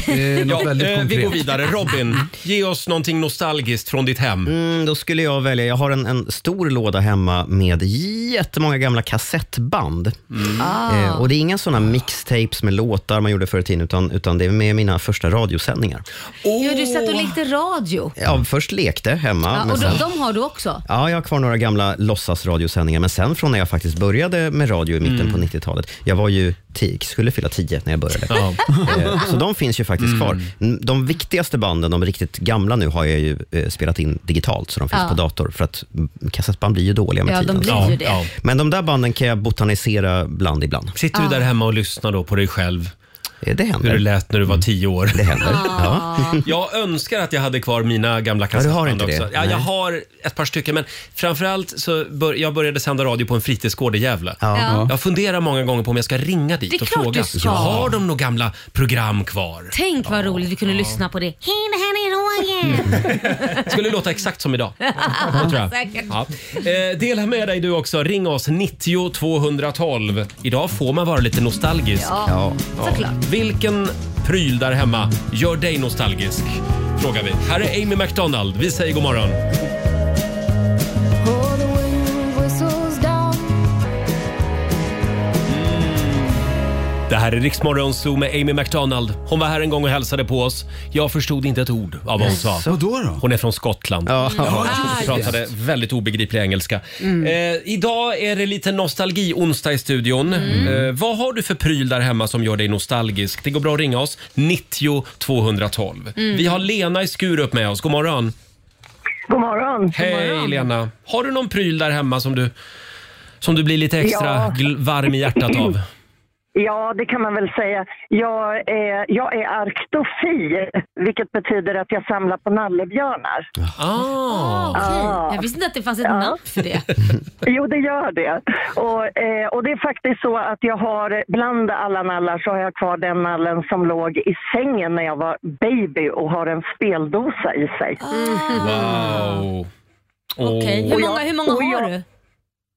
Speaker 12: Det är något
Speaker 1: Ja,
Speaker 12: väldigt
Speaker 1: eh,
Speaker 12: konkret.
Speaker 1: vi går vidare. Robin, ge oss någonting nostalgiskt från ditt hem.
Speaker 3: Mm, då skulle jag välja, jag har en, en stor låda hemma med jättemånga gamla kassettband.
Speaker 2: Mm.
Speaker 1: Mm.
Speaker 7: Ah.
Speaker 3: Eh, och det är inga såna mixtapes med låtar man gjorde förr i tiden, utan, utan det är med mina första radiosändningar.
Speaker 2: Jo, du satt och lekte radio.
Speaker 3: Ja, först lekte hemma.
Speaker 2: Mm. Ja,
Speaker 3: men
Speaker 2: och de,
Speaker 3: sen-
Speaker 2: de har du också?
Speaker 3: Ja, jag har kvar några gamla låtsasradiosändningar, men sen från när jag faktiskt började med radio i mitten
Speaker 2: Mm.
Speaker 3: på 90-talet. Jag var ju tio, skulle fylla tio när jag började.
Speaker 1: Ja.
Speaker 3: Eh, Så de finns ju faktiskt
Speaker 1: Mm.
Speaker 3: kvar. N- De viktigaste banden, de riktigt gamla nu, har jag ju eh, spelat in digitalt, så de finns
Speaker 2: Ja.
Speaker 3: på dator. För att mm, kassettband blir ju dåliga med
Speaker 2: Ja, de
Speaker 3: tiden.
Speaker 2: blir ju Ja, det. ja.
Speaker 3: Men de där banden kan jag botanisera bland ibland. Eh,
Speaker 1: Sitter du
Speaker 2: Ja.
Speaker 1: där hemma och lyssnar då på dig själv?
Speaker 3: Det händer. Mm.
Speaker 1: Hur det lät när du var tio år. Det
Speaker 3: händer.
Speaker 1: Ja. Jag önskar att jag hade kvar mina gamla
Speaker 3: Ja, du har
Speaker 1: kassettband
Speaker 3: inte det.
Speaker 1: också. Ja, jag
Speaker 3: Nej.
Speaker 1: har ett par stycken, men framförallt så bör, jag började sända radio på en fritidsgård i Gävle.
Speaker 2: Ja.
Speaker 1: Jag funderar många gånger på om jag ska ringa dit
Speaker 2: Det är
Speaker 1: och
Speaker 2: klart
Speaker 1: fråga.
Speaker 2: du ska.
Speaker 1: Har de några gamla program kvar?
Speaker 2: Tänk vad roligt vi kunde lyssna på det. Hej, det här är Roger.
Speaker 1: Skulle låta exakt som idag. Mm. Det tror jag.
Speaker 2: Säkert.
Speaker 1: Ja. Eh, dela med dig du också. Ring oss 90 212. Idag får man vara lite nostalgisk.
Speaker 2: Ja, Ja. såklart.
Speaker 1: Vilken pryl där hemma gör dig nostalgisk? Frågar vi. Här är Amy McDonald. Vi säger god morgon. Det här är Riksmorgon Zoo med Amy McDonald. Hon var här en gång och hälsade på oss. Jag förstod inte ett ord av vad hon sa.
Speaker 12: Jaså, då då?
Speaker 1: Hon är från Skottland. Ja.
Speaker 12: just det.
Speaker 1: Pratade väldigt obegriplig engelska. Eh, idag är det lite nostalgi-onsdag i studion. Eh, vad har du för pryl där hemma som gör dig nostalgisk? Det går bra att ringa oss. 90 212.
Speaker 7: Mm.
Speaker 1: Vi har Lena i Skurup med oss. God morgon.
Speaker 5: God morgon.
Speaker 1: Hej Lena. Har du någon pryl där hemma som du, som du blir lite extra
Speaker 5: Ja.
Speaker 1: gl- varm i hjärtat av?
Speaker 5: Ja, det kan man väl säga. Jag är, jag är arktofi, vilket betyder att jag samlar på nallebjörnar.
Speaker 1: Ah,
Speaker 5: Ja.
Speaker 2: okej. Jag visste inte att det fanns ett namn för det.
Speaker 5: Jo, det gör det. Och, eh, och det är faktiskt så att jag har, bland alla nallar, så har jag kvar den nallen som låg i sängen när jag var baby och har en speldosa i sig.
Speaker 2: Ah.
Speaker 1: Wow.
Speaker 2: Okej,
Speaker 1: Åh.
Speaker 2: Hur många, hur många
Speaker 5: Och jag-
Speaker 2: har du?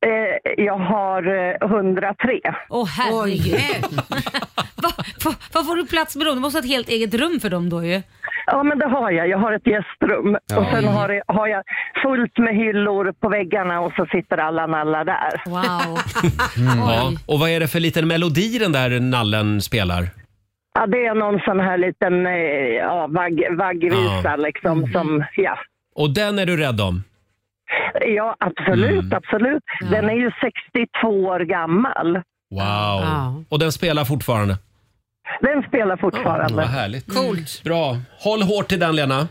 Speaker 5: Eh, jag har eh, 103.
Speaker 2: Åh herregud. Va- va- Vad får du plats med dem? Du måste ha ett helt eget rum för dem då ju.
Speaker 5: Ja, men det har jag. Jag har ett gästrum.
Speaker 2: Ja.
Speaker 5: Och sen har, det- har jag fullt med hyllor på väggarna och så sitter alla nallar där.
Speaker 2: Wow.
Speaker 1: Mm. Ja. Och vad är det för liten melodi den där nallen spelar?
Speaker 5: ja, det är någon sån här liten eh, ja, vagg, vaggvisa
Speaker 1: Ja.
Speaker 5: liksom
Speaker 2: Mm.
Speaker 5: som, ja.
Speaker 1: Och den är du rädd om?
Speaker 5: Ja, absolut,
Speaker 1: Mm.
Speaker 5: absolut. Den är ju 62 år gammal.
Speaker 1: Wow.
Speaker 5: Ja.
Speaker 1: Och den spelar fortfarande?
Speaker 5: Den spelar fortfarande.
Speaker 1: Vad härligt. Coolt. Bra. Håll hårt till den Lena.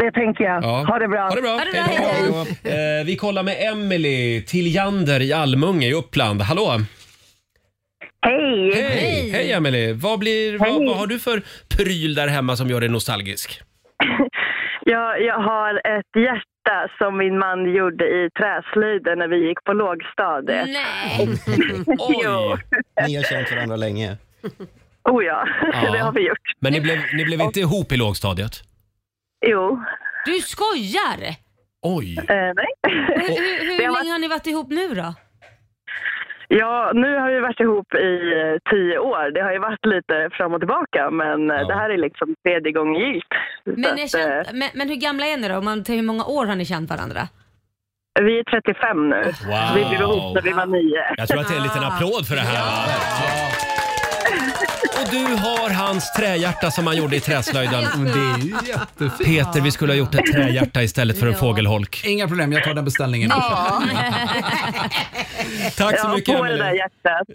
Speaker 5: Det tänker jag.
Speaker 1: Ja.
Speaker 5: Ha det bra.
Speaker 1: Ha det bra.
Speaker 5: Hej då.
Speaker 1: Eh, vi kollar med Emily Tiljander i Almunge i Uppland. Hallå!
Speaker 5: Hej!
Speaker 1: Hej, Hej Emily. Vad, blir, vad, vad har du för pryl där hemma som gör dig nostalgisk?
Speaker 17: Jag, jag har ett hjärta som min man gjorde i träslöjden när vi gick på lågstadiet.
Speaker 2: Nej!
Speaker 17: jo.
Speaker 3: Ni har känt varandra länge.
Speaker 17: Oh ja, det har vi gjort.
Speaker 1: Men ni blev, ni blev inte ihop i lågstadiet?
Speaker 17: Jo.
Speaker 2: Du skojar!
Speaker 1: Eh, Oj!
Speaker 17: nej.
Speaker 2: Hur, hur, hur länge har ni varit ihop nu då?
Speaker 17: Ja, nu har vi varit ihop i eh, tio år. Det har ju varit lite fram och tillbaka, men eh, det här är liksom tredje gången gillt. Så
Speaker 2: Men, ni har
Speaker 17: att, eh,
Speaker 1: eh,
Speaker 2: känt, men, men hur gamla är ni då? Om man tar hur många år har ni känt varandra?
Speaker 17: eh, vi är 35 nu.
Speaker 1: Wow.
Speaker 17: Vi blev ihop när vi var nio.
Speaker 1: Jag tror att det är en liten applåd för det här. Och du har hans trähjärta som han gjorde i träslöjden.
Speaker 10: Men det är ju jättefint.
Speaker 1: Peter, vi skulle ha gjort ett trähjärta istället för en
Speaker 10: Ja.
Speaker 1: fågelholk.
Speaker 10: Inga problem, jag tar den beställningen.
Speaker 17: Ja.
Speaker 1: Tack så
Speaker 17: ja,
Speaker 1: mycket,
Speaker 17: på det, där
Speaker 1: Emelie.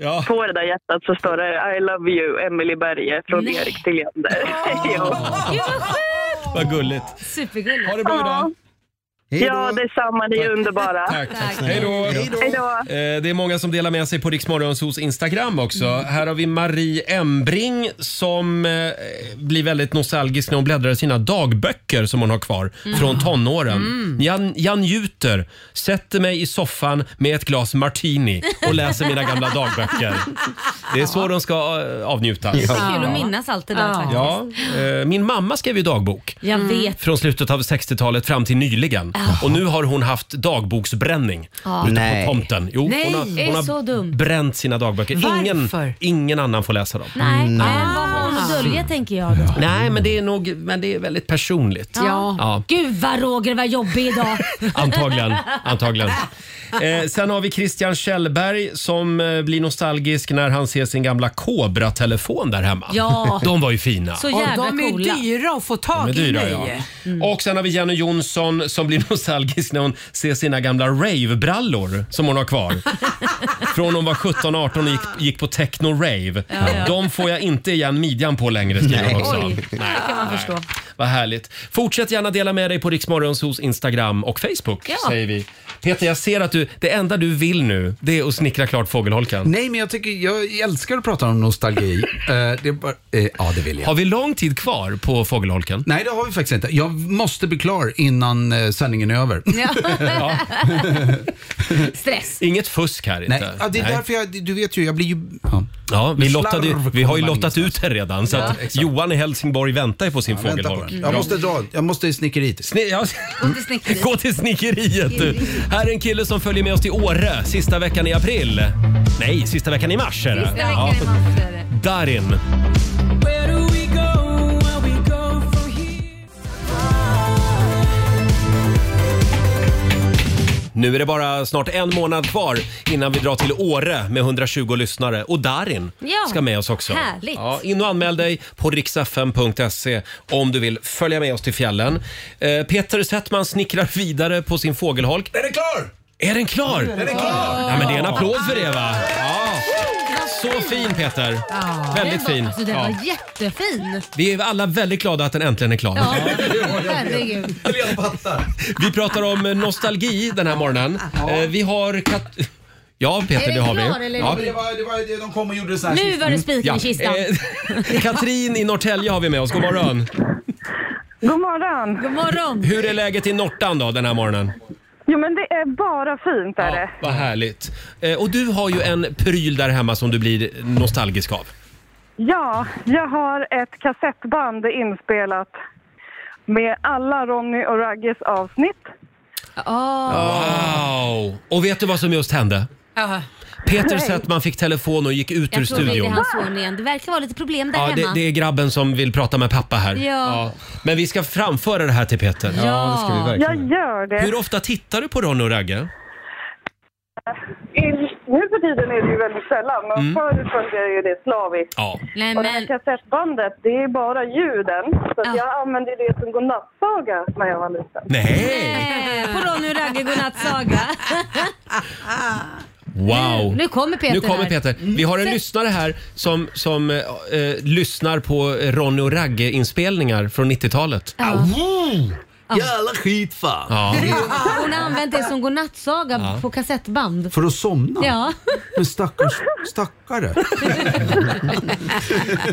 Speaker 17: hjärtat, på det där hjärtat så står det I love you, Emily Berge från
Speaker 2: Nej.
Speaker 17: Erik Tilliander.
Speaker 2: Gud vad sjukt!
Speaker 1: Vad gulligt.
Speaker 2: Supergulligt.
Speaker 1: Ha det bra idag.
Speaker 17: Ja, detsamma. Ni är underbara.
Speaker 1: Tack, tack. Hej då.
Speaker 17: Hej då.
Speaker 1: Eh, Det är många som delar med sig på Riksmorgonsos Instagram också.
Speaker 2: Mm.
Speaker 1: Här har vi Marie Embring som eh, blir väldigt nostalgisk när hon bläddrar i sina dagböcker som hon har kvar
Speaker 8: Mm.
Speaker 1: från tonåren.
Speaker 8: Mm.
Speaker 1: Jag, jag njuter, sätter mig i soffan med ett glas martini och läser mina gamla dagböcker. Det är så de ska eh, avnjutas.
Speaker 2: Det är kul att minnas allt det där faktiskt.
Speaker 1: Ja, Mm. eh, min mamma skrev ju dagbok.
Speaker 2: Jag vet.
Speaker 1: Från slutet av 60-talet fram till nyligen. Och nu har hon haft dagboksbränning
Speaker 2: Ja.
Speaker 1: ute
Speaker 2: Nej.
Speaker 1: på tomten. Jo,
Speaker 2: Nej,
Speaker 1: hon har,
Speaker 2: är
Speaker 1: hon har
Speaker 2: så dum.
Speaker 1: bränt sina dagböcker. Ingen, ingen annan får läsa dem.
Speaker 2: Mm, Nej, men vad har hon att dölja tänker jag då?
Speaker 1: Nej, men det är nog men det är väldigt personligt.
Speaker 2: Ja.
Speaker 1: Ja,
Speaker 2: Gud vad Roger var jobbig idag.
Speaker 1: antagligen. antagligen. Eh, sen har vi Christian Kjellberg som eh, blir nostalgisk när han ser sin gamla Cobra-telefon där hemma.
Speaker 6: Ja.
Speaker 1: De var ju fina.
Speaker 6: och de är
Speaker 2: coola.
Speaker 6: dyra att få tag
Speaker 1: De är dyra,
Speaker 6: i
Speaker 1: ja.
Speaker 6: nu.
Speaker 2: Mm.
Speaker 1: Och sen har vi Jenny Jonsson som blir nostalgisk när hon ser sina gamla rave-brallor som hon har kvar. Från hon var 17-18 och gick, gick på techno-rave.
Speaker 2: Ja, ja.
Speaker 1: De får jag inte igen midjan på längre skriver hon också.
Speaker 2: Oj, det kan man förstå.
Speaker 1: Vad härligt. Fortsätt gärna dela med dig på Riksmorgonsos Instagram och Facebook
Speaker 2: Ja.
Speaker 1: säger vi. Peter, jag ser att du, det enda du vill nu det är att snickra klart fågelholken.
Speaker 10: Nej, men jag, tycker, jag älskar att prata om nostalgi. Eh, det är bara, eh, ja, det vill jag.
Speaker 1: Har vi lång tid kvar på fågelholken?
Speaker 10: Nej, det har vi faktiskt inte. Jag måste bli klar innan eh, sändningen är över.
Speaker 2: Ja. Stress.
Speaker 1: Inget fusk här inte.
Speaker 10: Nej, ja, det är
Speaker 1: Nej.
Speaker 10: därför jag, du vet ju, jag blir ju... Ja,
Speaker 1: Ja, vi,
Speaker 10: Med
Speaker 1: lottade,
Speaker 10: slarv
Speaker 1: vi
Speaker 10: kommer
Speaker 1: har ju
Speaker 10: man
Speaker 1: lottat ut här redan så
Speaker 10: Ja,
Speaker 1: att
Speaker 10: exakt.
Speaker 1: Johan i Helsingborg väntar ju på sin
Speaker 10: vänta på
Speaker 1: fågelholk.
Speaker 10: den. jag måste dra, jag måste snickeriet.
Speaker 1: Sni- ja. Gå till snickeriet du. Här är en kille som följer med oss till Åre sista veckan i april. Nej, sista veckan i mars är det.
Speaker 7: Sista veckan
Speaker 1: Ja.
Speaker 7: i mars är det.
Speaker 1: Darin.
Speaker 7: Where do we go when we go from here?
Speaker 1: Nu är det bara snart en månad kvar innan vi drar till Åre med 120 lyssnare. Och Darin
Speaker 7: Ja.
Speaker 1: ska med oss också.
Speaker 7: Härligt.
Speaker 1: Ja, in och anmäl dig på riksfm.se om du vill följa med oss till fjällen. Eh, Peter Settman snickrar vidare på sin fågelholk.
Speaker 10: Är den klar?
Speaker 1: Är den klar?
Speaker 10: Är den klar?
Speaker 1: Ja, men det är en applåd för det va? Ja. Så fin Peter.
Speaker 2: Ja.
Speaker 1: Väldigt
Speaker 2: Den
Speaker 1: fin.
Speaker 2: var, alltså, den
Speaker 1: Ja.
Speaker 2: var jättefin.
Speaker 1: Vi är alla väldigt glada att den äntligen är klar.
Speaker 2: Ja, herregud.
Speaker 1: Vi pratar om nostalgi den här morgonen. Eh, Vi har kat... Ja,
Speaker 10: Är
Speaker 1: Peter,
Speaker 10: den
Speaker 1: det har vi.
Speaker 10: klar eller
Speaker 1: Ja.
Speaker 10: är det var, det var, det de kom och gjorde så här.
Speaker 2: Nu var det spiken
Speaker 1: Ja.
Speaker 2: i kistan.
Speaker 1: Eh, Katrin i Norrtälje har vi med oss. God morgon.
Speaker 5: God morgon.
Speaker 2: God morgon.
Speaker 1: Hur är läget i Nortan då den här morgonen?
Speaker 5: Jo men det är bara fint är det.
Speaker 1: Vad härligt. Eh, Och du har ju en pryl där hemma som du blir nostalgisk av.
Speaker 5: Ja, jag har ett kassettband inspelat med alla Ronny och Ragges avsnitt.
Speaker 2: Ah.
Speaker 1: Wow! Och vet du vad som just hände? Peter
Speaker 2: Nej.
Speaker 1: Settman fick telefon och gick ut ur
Speaker 2: Jag tror vi är
Speaker 1: studion.
Speaker 2: hans son igen. Det verkar vara lite problem där
Speaker 1: Ja, det,
Speaker 2: hemma.
Speaker 1: det är grabben som vill prata med pappa här.
Speaker 2: Ja.
Speaker 1: Men vi ska framföra det här till Peter.
Speaker 2: Ja, det ska vi verkligen.
Speaker 5: Jag gör det.
Speaker 1: Hur ofta tittar du på Ronny och Ragge?
Speaker 5: I- Nu för tiden är det ju väldigt sällan, men
Speaker 1: Mm.
Speaker 5: förr följde jag ju det slaviskt.
Speaker 1: Ja.
Speaker 5: Och det här kassettbandet, det är bara ljuden. Så att jag använde det som godnattsaga när jag var liten.
Speaker 2: Nej. På Ronny och Ragge godnattsaga.
Speaker 1: Wow!
Speaker 2: Nu kommer Peter
Speaker 1: Oh. Nu kommer
Speaker 2: här.
Speaker 1: Peter. Vi har en lyssnare här som, som eh, eh, lyssnar på Ronny och Ragge-inspelningar från 90-talet.
Speaker 2: Ja.
Speaker 10: Jävla skit fan!
Speaker 1: Ja.
Speaker 2: Hon har använt det som godnattsaga
Speaker 10: Ja.
Speaker 2: på kassettband.
Speaker 10: För att somna?
Speaker 2: Ja.
Speaker 10: Men stackars, stackare.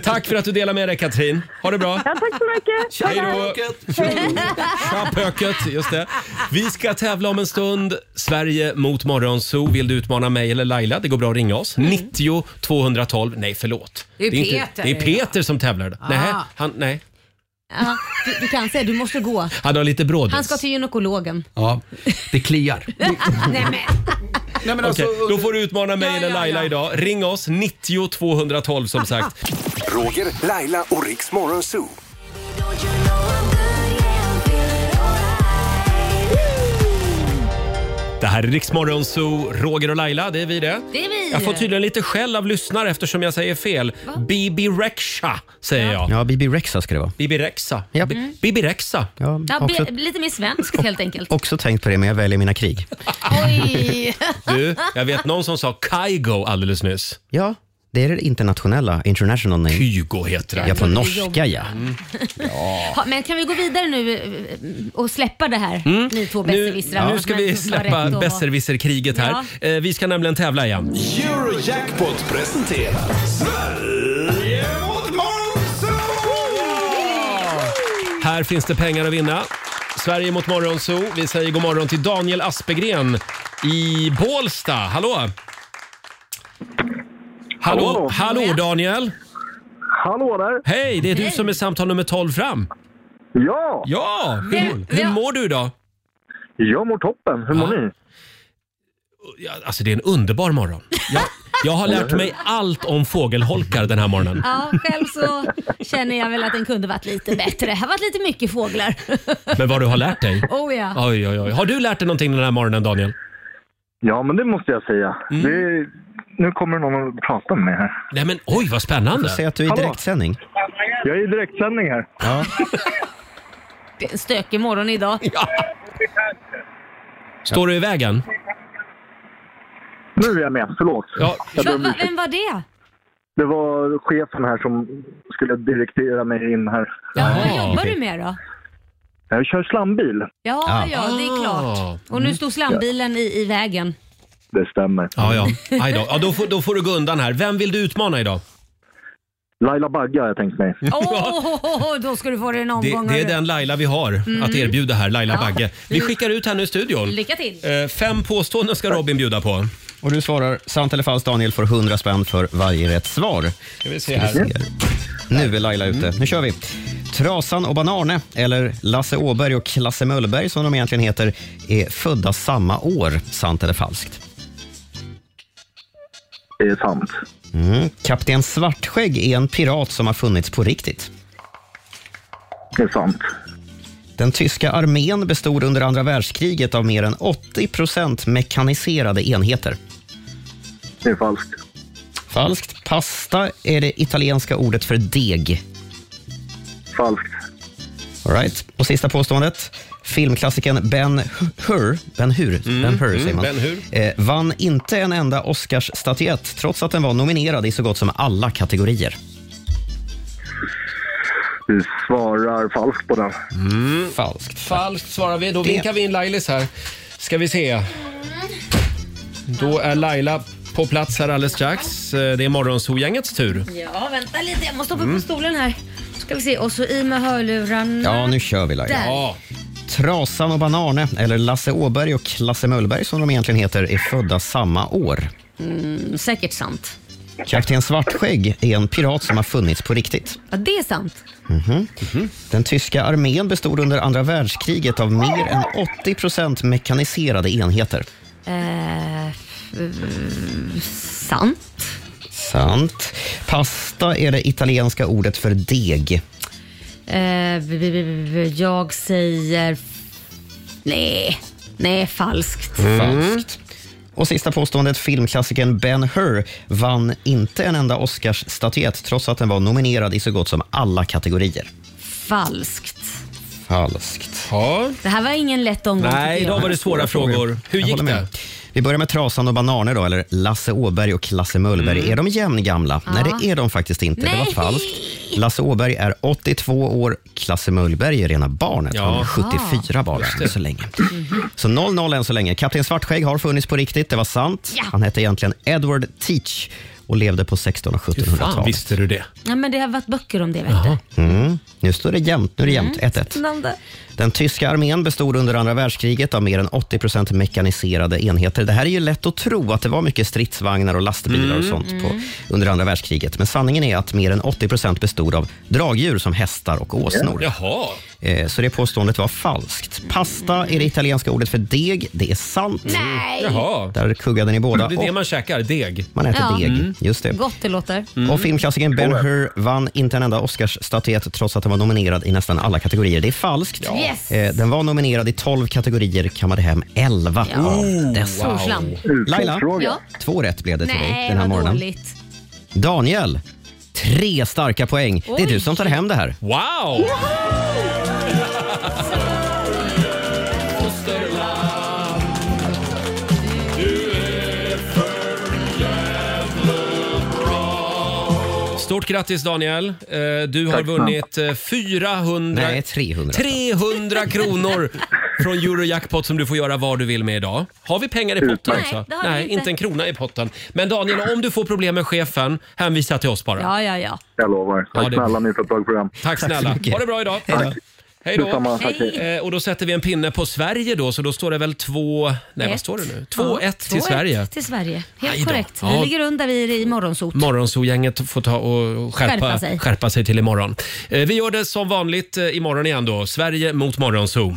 Speaker 1: Tack för att du delar med dig Katrin. Ha det bra.
Speaker 5: Ja, tack så mycket.
Speaker 1: Tja, hej då. Tja pöket, just det. Vi ska tävla om en stund. Sverige mot Morgonzoo. Vill du utmana mig eller Laila? Det går bra att ringa oss. 90 212. Nej, förlåt.
Speaker 2: Mm. Det är
Speaker 1: inte-
Speaker 2: Peter
Speaker 1: det är Peter som tävlar.
Speaker 2: Ah.
Speaker 1: Nej, han, nej,
Speaker 2: Ja, du, du kan säga du måste gå.
Speaker 1: han har lite brådis.
Speaker 2: Han ska till gynekologen.
Speaker 10: Ja, det kliar.
Speaker 2: Nej, men.
Speaker 10: Nej, men alltså,
Speaker 1: Okej, då får du utmana mig eller Laila idag. Ring oss, 90 212 som sagt.
Speaker 4: Roger, Laila och Riks Morgonzoo.
Speaker 1: Det här är Riksmorgon Zoo, Roger och Laila, det är vi det.
Speaker 2: Det är vi.
Speaker 1: Jag får tydligen lite skäll av lyssnare eftersom jag säger fel. Bibi Rexha säger jag.
Speaker 3: Ja, Bibi Rexa ska det vara.
Speaker 1: Bibi Rexa. Bi- Bibi Rexa.
Speaker 3: Ja,
Speaker 2: Ja,
Speaker 3: också,
Speaker 2: be, lite mer svenskt helt enkelt.
Speaker 3: också tänkt på det, men jag väljer mina krig.
Speaker 2: Oj.
Speaker 1: Du, jag vet någon som sa Kygo alldeles nyss.
Speaker 3: Ja, det är det internationella, international name.
Speaker 1: Kygo heter
Speaker 3: Ja, på norska ja.
Speaker 1: Mm.
Speaker 2: Ha, men kan vi gå vidare nu eh, och släppa det här? Ni två
Speaker 1: Mm. Nu,
Speaker 2: besserwissrar.
Speaker 1: nu ska vi släppa besserwisserkriget här. Eh, Vi ska nämligen tävla igen.
Speaker 15: Eurojackpot presenterar Sverige mot
Speaker 1: Här finns det pengar att vinna. Sverige mot Morgonzoo. Vi säger god morgon till Daniel Aspegren i Bålsta. Hallå! Hallå,
Speaker 16: Hallå.
Speaker 1: Hallå Daniel!
Speaker 16: Hallå där!
Speaker 1: Hej, det är du
Speaker 16: Hej.
Speaker 1: som är samtal nummer 12 fram.
Speaker 16: Ja!
Speaker 1: Ja!
Speaker 16: Vem-
Speaker 1: Hur, hur
Speaker 16: vem-
Speaker 1: mår du idag?
Speaker 16: Jag mår toppen. Hur mår ni?
Speaker 1: Ja, alltså det är en underbar morgon. Jag, jag har lärt mig allt om fågelholkar den här morgonen.
Speaker 2: Ja, själv så känner jag väl att den kunde varit lite bättre. Det har varit lite mycket fåglar.
Speaker 1: Men vad du har lärt dig.
Speaker 2: Oh ja.
Speaker 1: Ah. Oj, oj, oj. Har du lärt dig någonting den här morgonen Daniel?
Speaker 16: Ja, men det måste jag säga. Det, nu kommer någon att prata med mig här.
Speaker 1: Mm. Nej men oj vad spännande.
Speaker 16: Jag får säga att du är i Hallå.
Speaker 3: direktsändning.
Speaker 16: Jag är i direktsändning här.
Speaker 3: Ja.
Speaker 2: Det är en stökig morgon idag.
Speaker 1: Står du i vägen?
Speaker 16: Nu är jag med, förlåt.
Speaker 1: Ja.
Speaker 16: Jag
Speaker 2: Va,
Speaker 16: ber om
Speaker 2: va,
Speaker 16: ursäkt.
Speaker 2: vem var det?
Speaker 16: Det var chefen här som skulle direktera mig in här.
Speaker 1: Ah,
Speaker 2: Vad jobbar du med då?
Speaker 16: Jag kör slambil.
Speaker 2: Ja, ja, det
Speaker 1: Ah.
Speaker 2: är klart. Och
Speaker 1: Mm.
Speaker 2: nu stod slambilen i, i vägen.
Speaker 16: Det stämmer.
Speaker 1: Ja, ja. Aj då. ja då, får, då får du gå undan här. Vem vill du utmana idag?
Speaker 16: Laila Bagga har jag tänkt mig.
Speaker 2: Åh, då ska du få dig en
Speaker 1: Det,
Speaker 2: omgång.
Speaker 1: det är
Speaker 2: hörru.
Speaker 1: den Laila vi har
Speaker 2: Mm.
Speaker 1: att erbjuda här, Laila
Speaker 2: Ja. Mm.
Speaker 1: Bagge. Vi skickar ut henne i studion.
Speaker 2: Lycka till.
Speaker 1: Eh, Fem påståenden ska Robin bjuda på.
Speaker 3: Och du svarar sant eller falskt. Daniel får 100 spänn för varje rätt svar.
Speaker 1: Ska vi se här.
Speaker 3: Nu är Laila ute. Nu kör vi. Trasan och Banarne, eller Lasse Åberg och Klasse Möllberg som de egentligen heter, är födda samma år. Sant eller falskt?
Speaker 16: Det är sant.
Speaker 3: Mm. Kapten Svartskägg är en pirat som har funnits på riktigt.
Speaker 16: Det är sant.
Speaker 3: Den tyska armén bestod under andra världskriget av mer än 80 procent mekaniserade enheter.
Speaker 16: Det är falskt.
Speaker 3: Falskt. Pasta är det italienska ordet för deg.
Speaker 16: Falskt.
Speaker 3: All right. Och sista påståendet. Filmklassikern Ben Hur, ben Hur, ben Hur,
Speaker 1: mm,
Speaker 3: säger man.
Speaker 1: Ben Hur.
Speaker 3: Eh, vann inte en enda Oscarsstatyett trots att den var nominerad i så gott som alla kategorier.
Speaker 16: Du svarar falskt på den.
Speaker 3: Falskt.
Speaker 1: Falskt svarar vi. Då vinkar vi in Lailis här. Ska vi se. Då är Laila på plats här alldeles strax. Eh, Det är Morgonzoo-gängets tur.
Speaker 2: Ja, vänta lite. Jag måste hoppa
Speaker 3: Mm.
Speaker 2: på stolen här. Ska vi se. Och så i med hörlurarna.
Speaker 3: Ja, nu kör vi
Speaker 2: Där.
Speaker 3: Laila. Trasan och Banarne, eller Lasse Åberg och Klasse Möllberg som de egentligen heter, är födda samma år.
Speaker 2: Mm, säkert sant.
Speaker 3: Kapten Svartskägg är en pirat som har funnits på riktigt.
Speaker 2: Ja, det är sant.
Speaker 3: Mhm. Den tyska armén bestod under andra världskriget av mer än 80 procent mekaniserade enheter.
Speaker 2: Eh, mm, sant.
Speaker 3: Sant. Pasta är det italienska ordet för deg.
Speaker 2: Eh, b- b- b- b- jag säger... Nej. Nej, falskt.
Speaker 1: Mm.
Speaker 3: Falskt. Mm. Och sista påståendet, filmklassikern Ben Hur vann inte en enda Oscarsstatyett trots att den var nominerad i så gott som alla kategorier.
Speaker 2: Falskt.
Speaker 3: Falskt.
Speaker 1: Ja.
Speaker 2: Det här var ingen lätt omgång. tycker jag.
Speaker 1: Hur gick
Speaker 3: det? Vi börjar med Trasan och Bananer, då, eller Lasse Åberg och Klasse Möllberg.
Speaker 1: Mm.
Speaker 3: Är de jämngamla?
Speaker 2: Ja.
Speaker 3: Nej, det är de faktiskt inte. Det
Speaker 2: Nej.
Speaker 3: var falskt. Lasse Åberg är 82 år, Klasse Möllberg är rena barnet. Han är
Speaker 1: Ja.
Speaker 3: 74 bara, än så länge. Så 0-0 än så länge. Kapten Svartskägg har funnits på riktigt, det var sant.
Speaker 2: Ja.
Speaker 3: Han hette egentligen Edward Teach och levde på 1600 och 1700-talet.
Speaker 1: fan visste du det?
Speaker 2: Ja, men det har varit böcker om det, vet du.
Speaker 3: Mm. Nu står det jämnt, nu är det
Speaker 2: Mm.
Speaker 3: jämnt. 1-1.
Speaker 2: Spännande.
Speaker 3: Den tyska armén bestod under andra världskriget av mer än 80 procent mekaniserade enheter. Det här är ju lätt att tro att det var mycket stridsvagnar och lastbilar och
Speaker 1: Mm.
Speaker 3: sånt på, under andra världskriget. Men sanningen är att mer än 80 procent bestod av dragdjur som hästar och åsnor.
Speaker 1: Jaha.
Speaker 3: Eh, Så det påståendet var falskt. Pasta är det italienska ordet för deg. Det är sant.
Speaker 2: Nej.
Speaker 1: Jaha.
Speaker 3: Där kuggade ni båda.
Speaker 1: Det är det man käkar, deg.
Speaker 3: Man äter
Speaker 2: Ja.
Speaker 3: deg,
Speaker 2: Mm.
Speaker 3: just det.
Speaker 2: Gott Mm. det låter.
Speaker 1: Mm.
Speaker 3: Och filmklassikern Ben Hur vann inte en enda Oscarsstatyett trots att den var nominerad i nästan alla kategorier. Det är falskt.
Speaker 2: Ja. Yes.
Speaker 3: Eh, Den var nominerad i 12 kategorier, kammade hem 11
Speaker 2: Ja. Oh,
Speaker 3: av
Speaker 2: Stor
Speaker 3: dessa.
Speaker 2: slam.
Speaker 3: Laila,
Speaker 2: Utslagsfråga. Ja.
Speaker 3: två rätt blev det till dig
Speaker 2: Nej,
Speaker 3: den här
Speaker 2: vad
Speaker 3: morgonen.
Speaker 2: dåligt.
Speaker 3: Daniel, tre starka poäng. Det
Speaker 2: Oj.
Speaker 3: är du som tar hem det här.
Speaker 1: Wow! Stort grattis Daniel. Eh, Du har
Speaker 3: Tack,
Speaker 1: vunnit eh, 400...
Speaker 3: Nej, 300.
Speaker 1: 300 kronor från Eurojackpot som du får göra vad du vill med idag. Har vi pengar i potten
Speaker 2: Nej,
Speaker 1: också?
Speaker 2: det har vi
Speaker 1: Nej,
Speaker 2: inte.
Speaker 1: inte en krona i potten. Men Daniel, om du får problem med chefen, hänvisa till oss bara.
Speaker 2: Ja, ja, ja.
Speaker 16: Jag lovar. Tack
Speaker 1: Ja, det-
Speaker 16: snälla ni för ett bra program.
Speaker 1: Tack snälla. Ha det bra idag.
Speaker 16: Hej då.
Speaker 1: Hej då.
Speaker 16: Detsamma, tack, hej.
Speaker 1: Eh, och då sätter vi en pinne på Sverige då, så då står det väl två... Nej, vad står det nu? 2-1 till
Speaker 2: Två, ett
Speaker 1: Sverige.
Speaker 2: till Sverige.
Speaker 1: Aj
Speaker 2: Helt
Speaker 1: då.
Speaker 2: korrekt.
Speaker 1: Ja.
Speaker 2: Vi ligger under vi i morgonsot.
Speaker 1: Morgonzoo-gänget får ta och skärpa, skärpa,
Speaker 2: Skärpa
Speaker 1: sig.
Speaker 2: sig.
Speaker 1: till imorgon. Eh, Vi gör det som vanligt eh, imorgon igen då. Sverige mot Morgonzoo.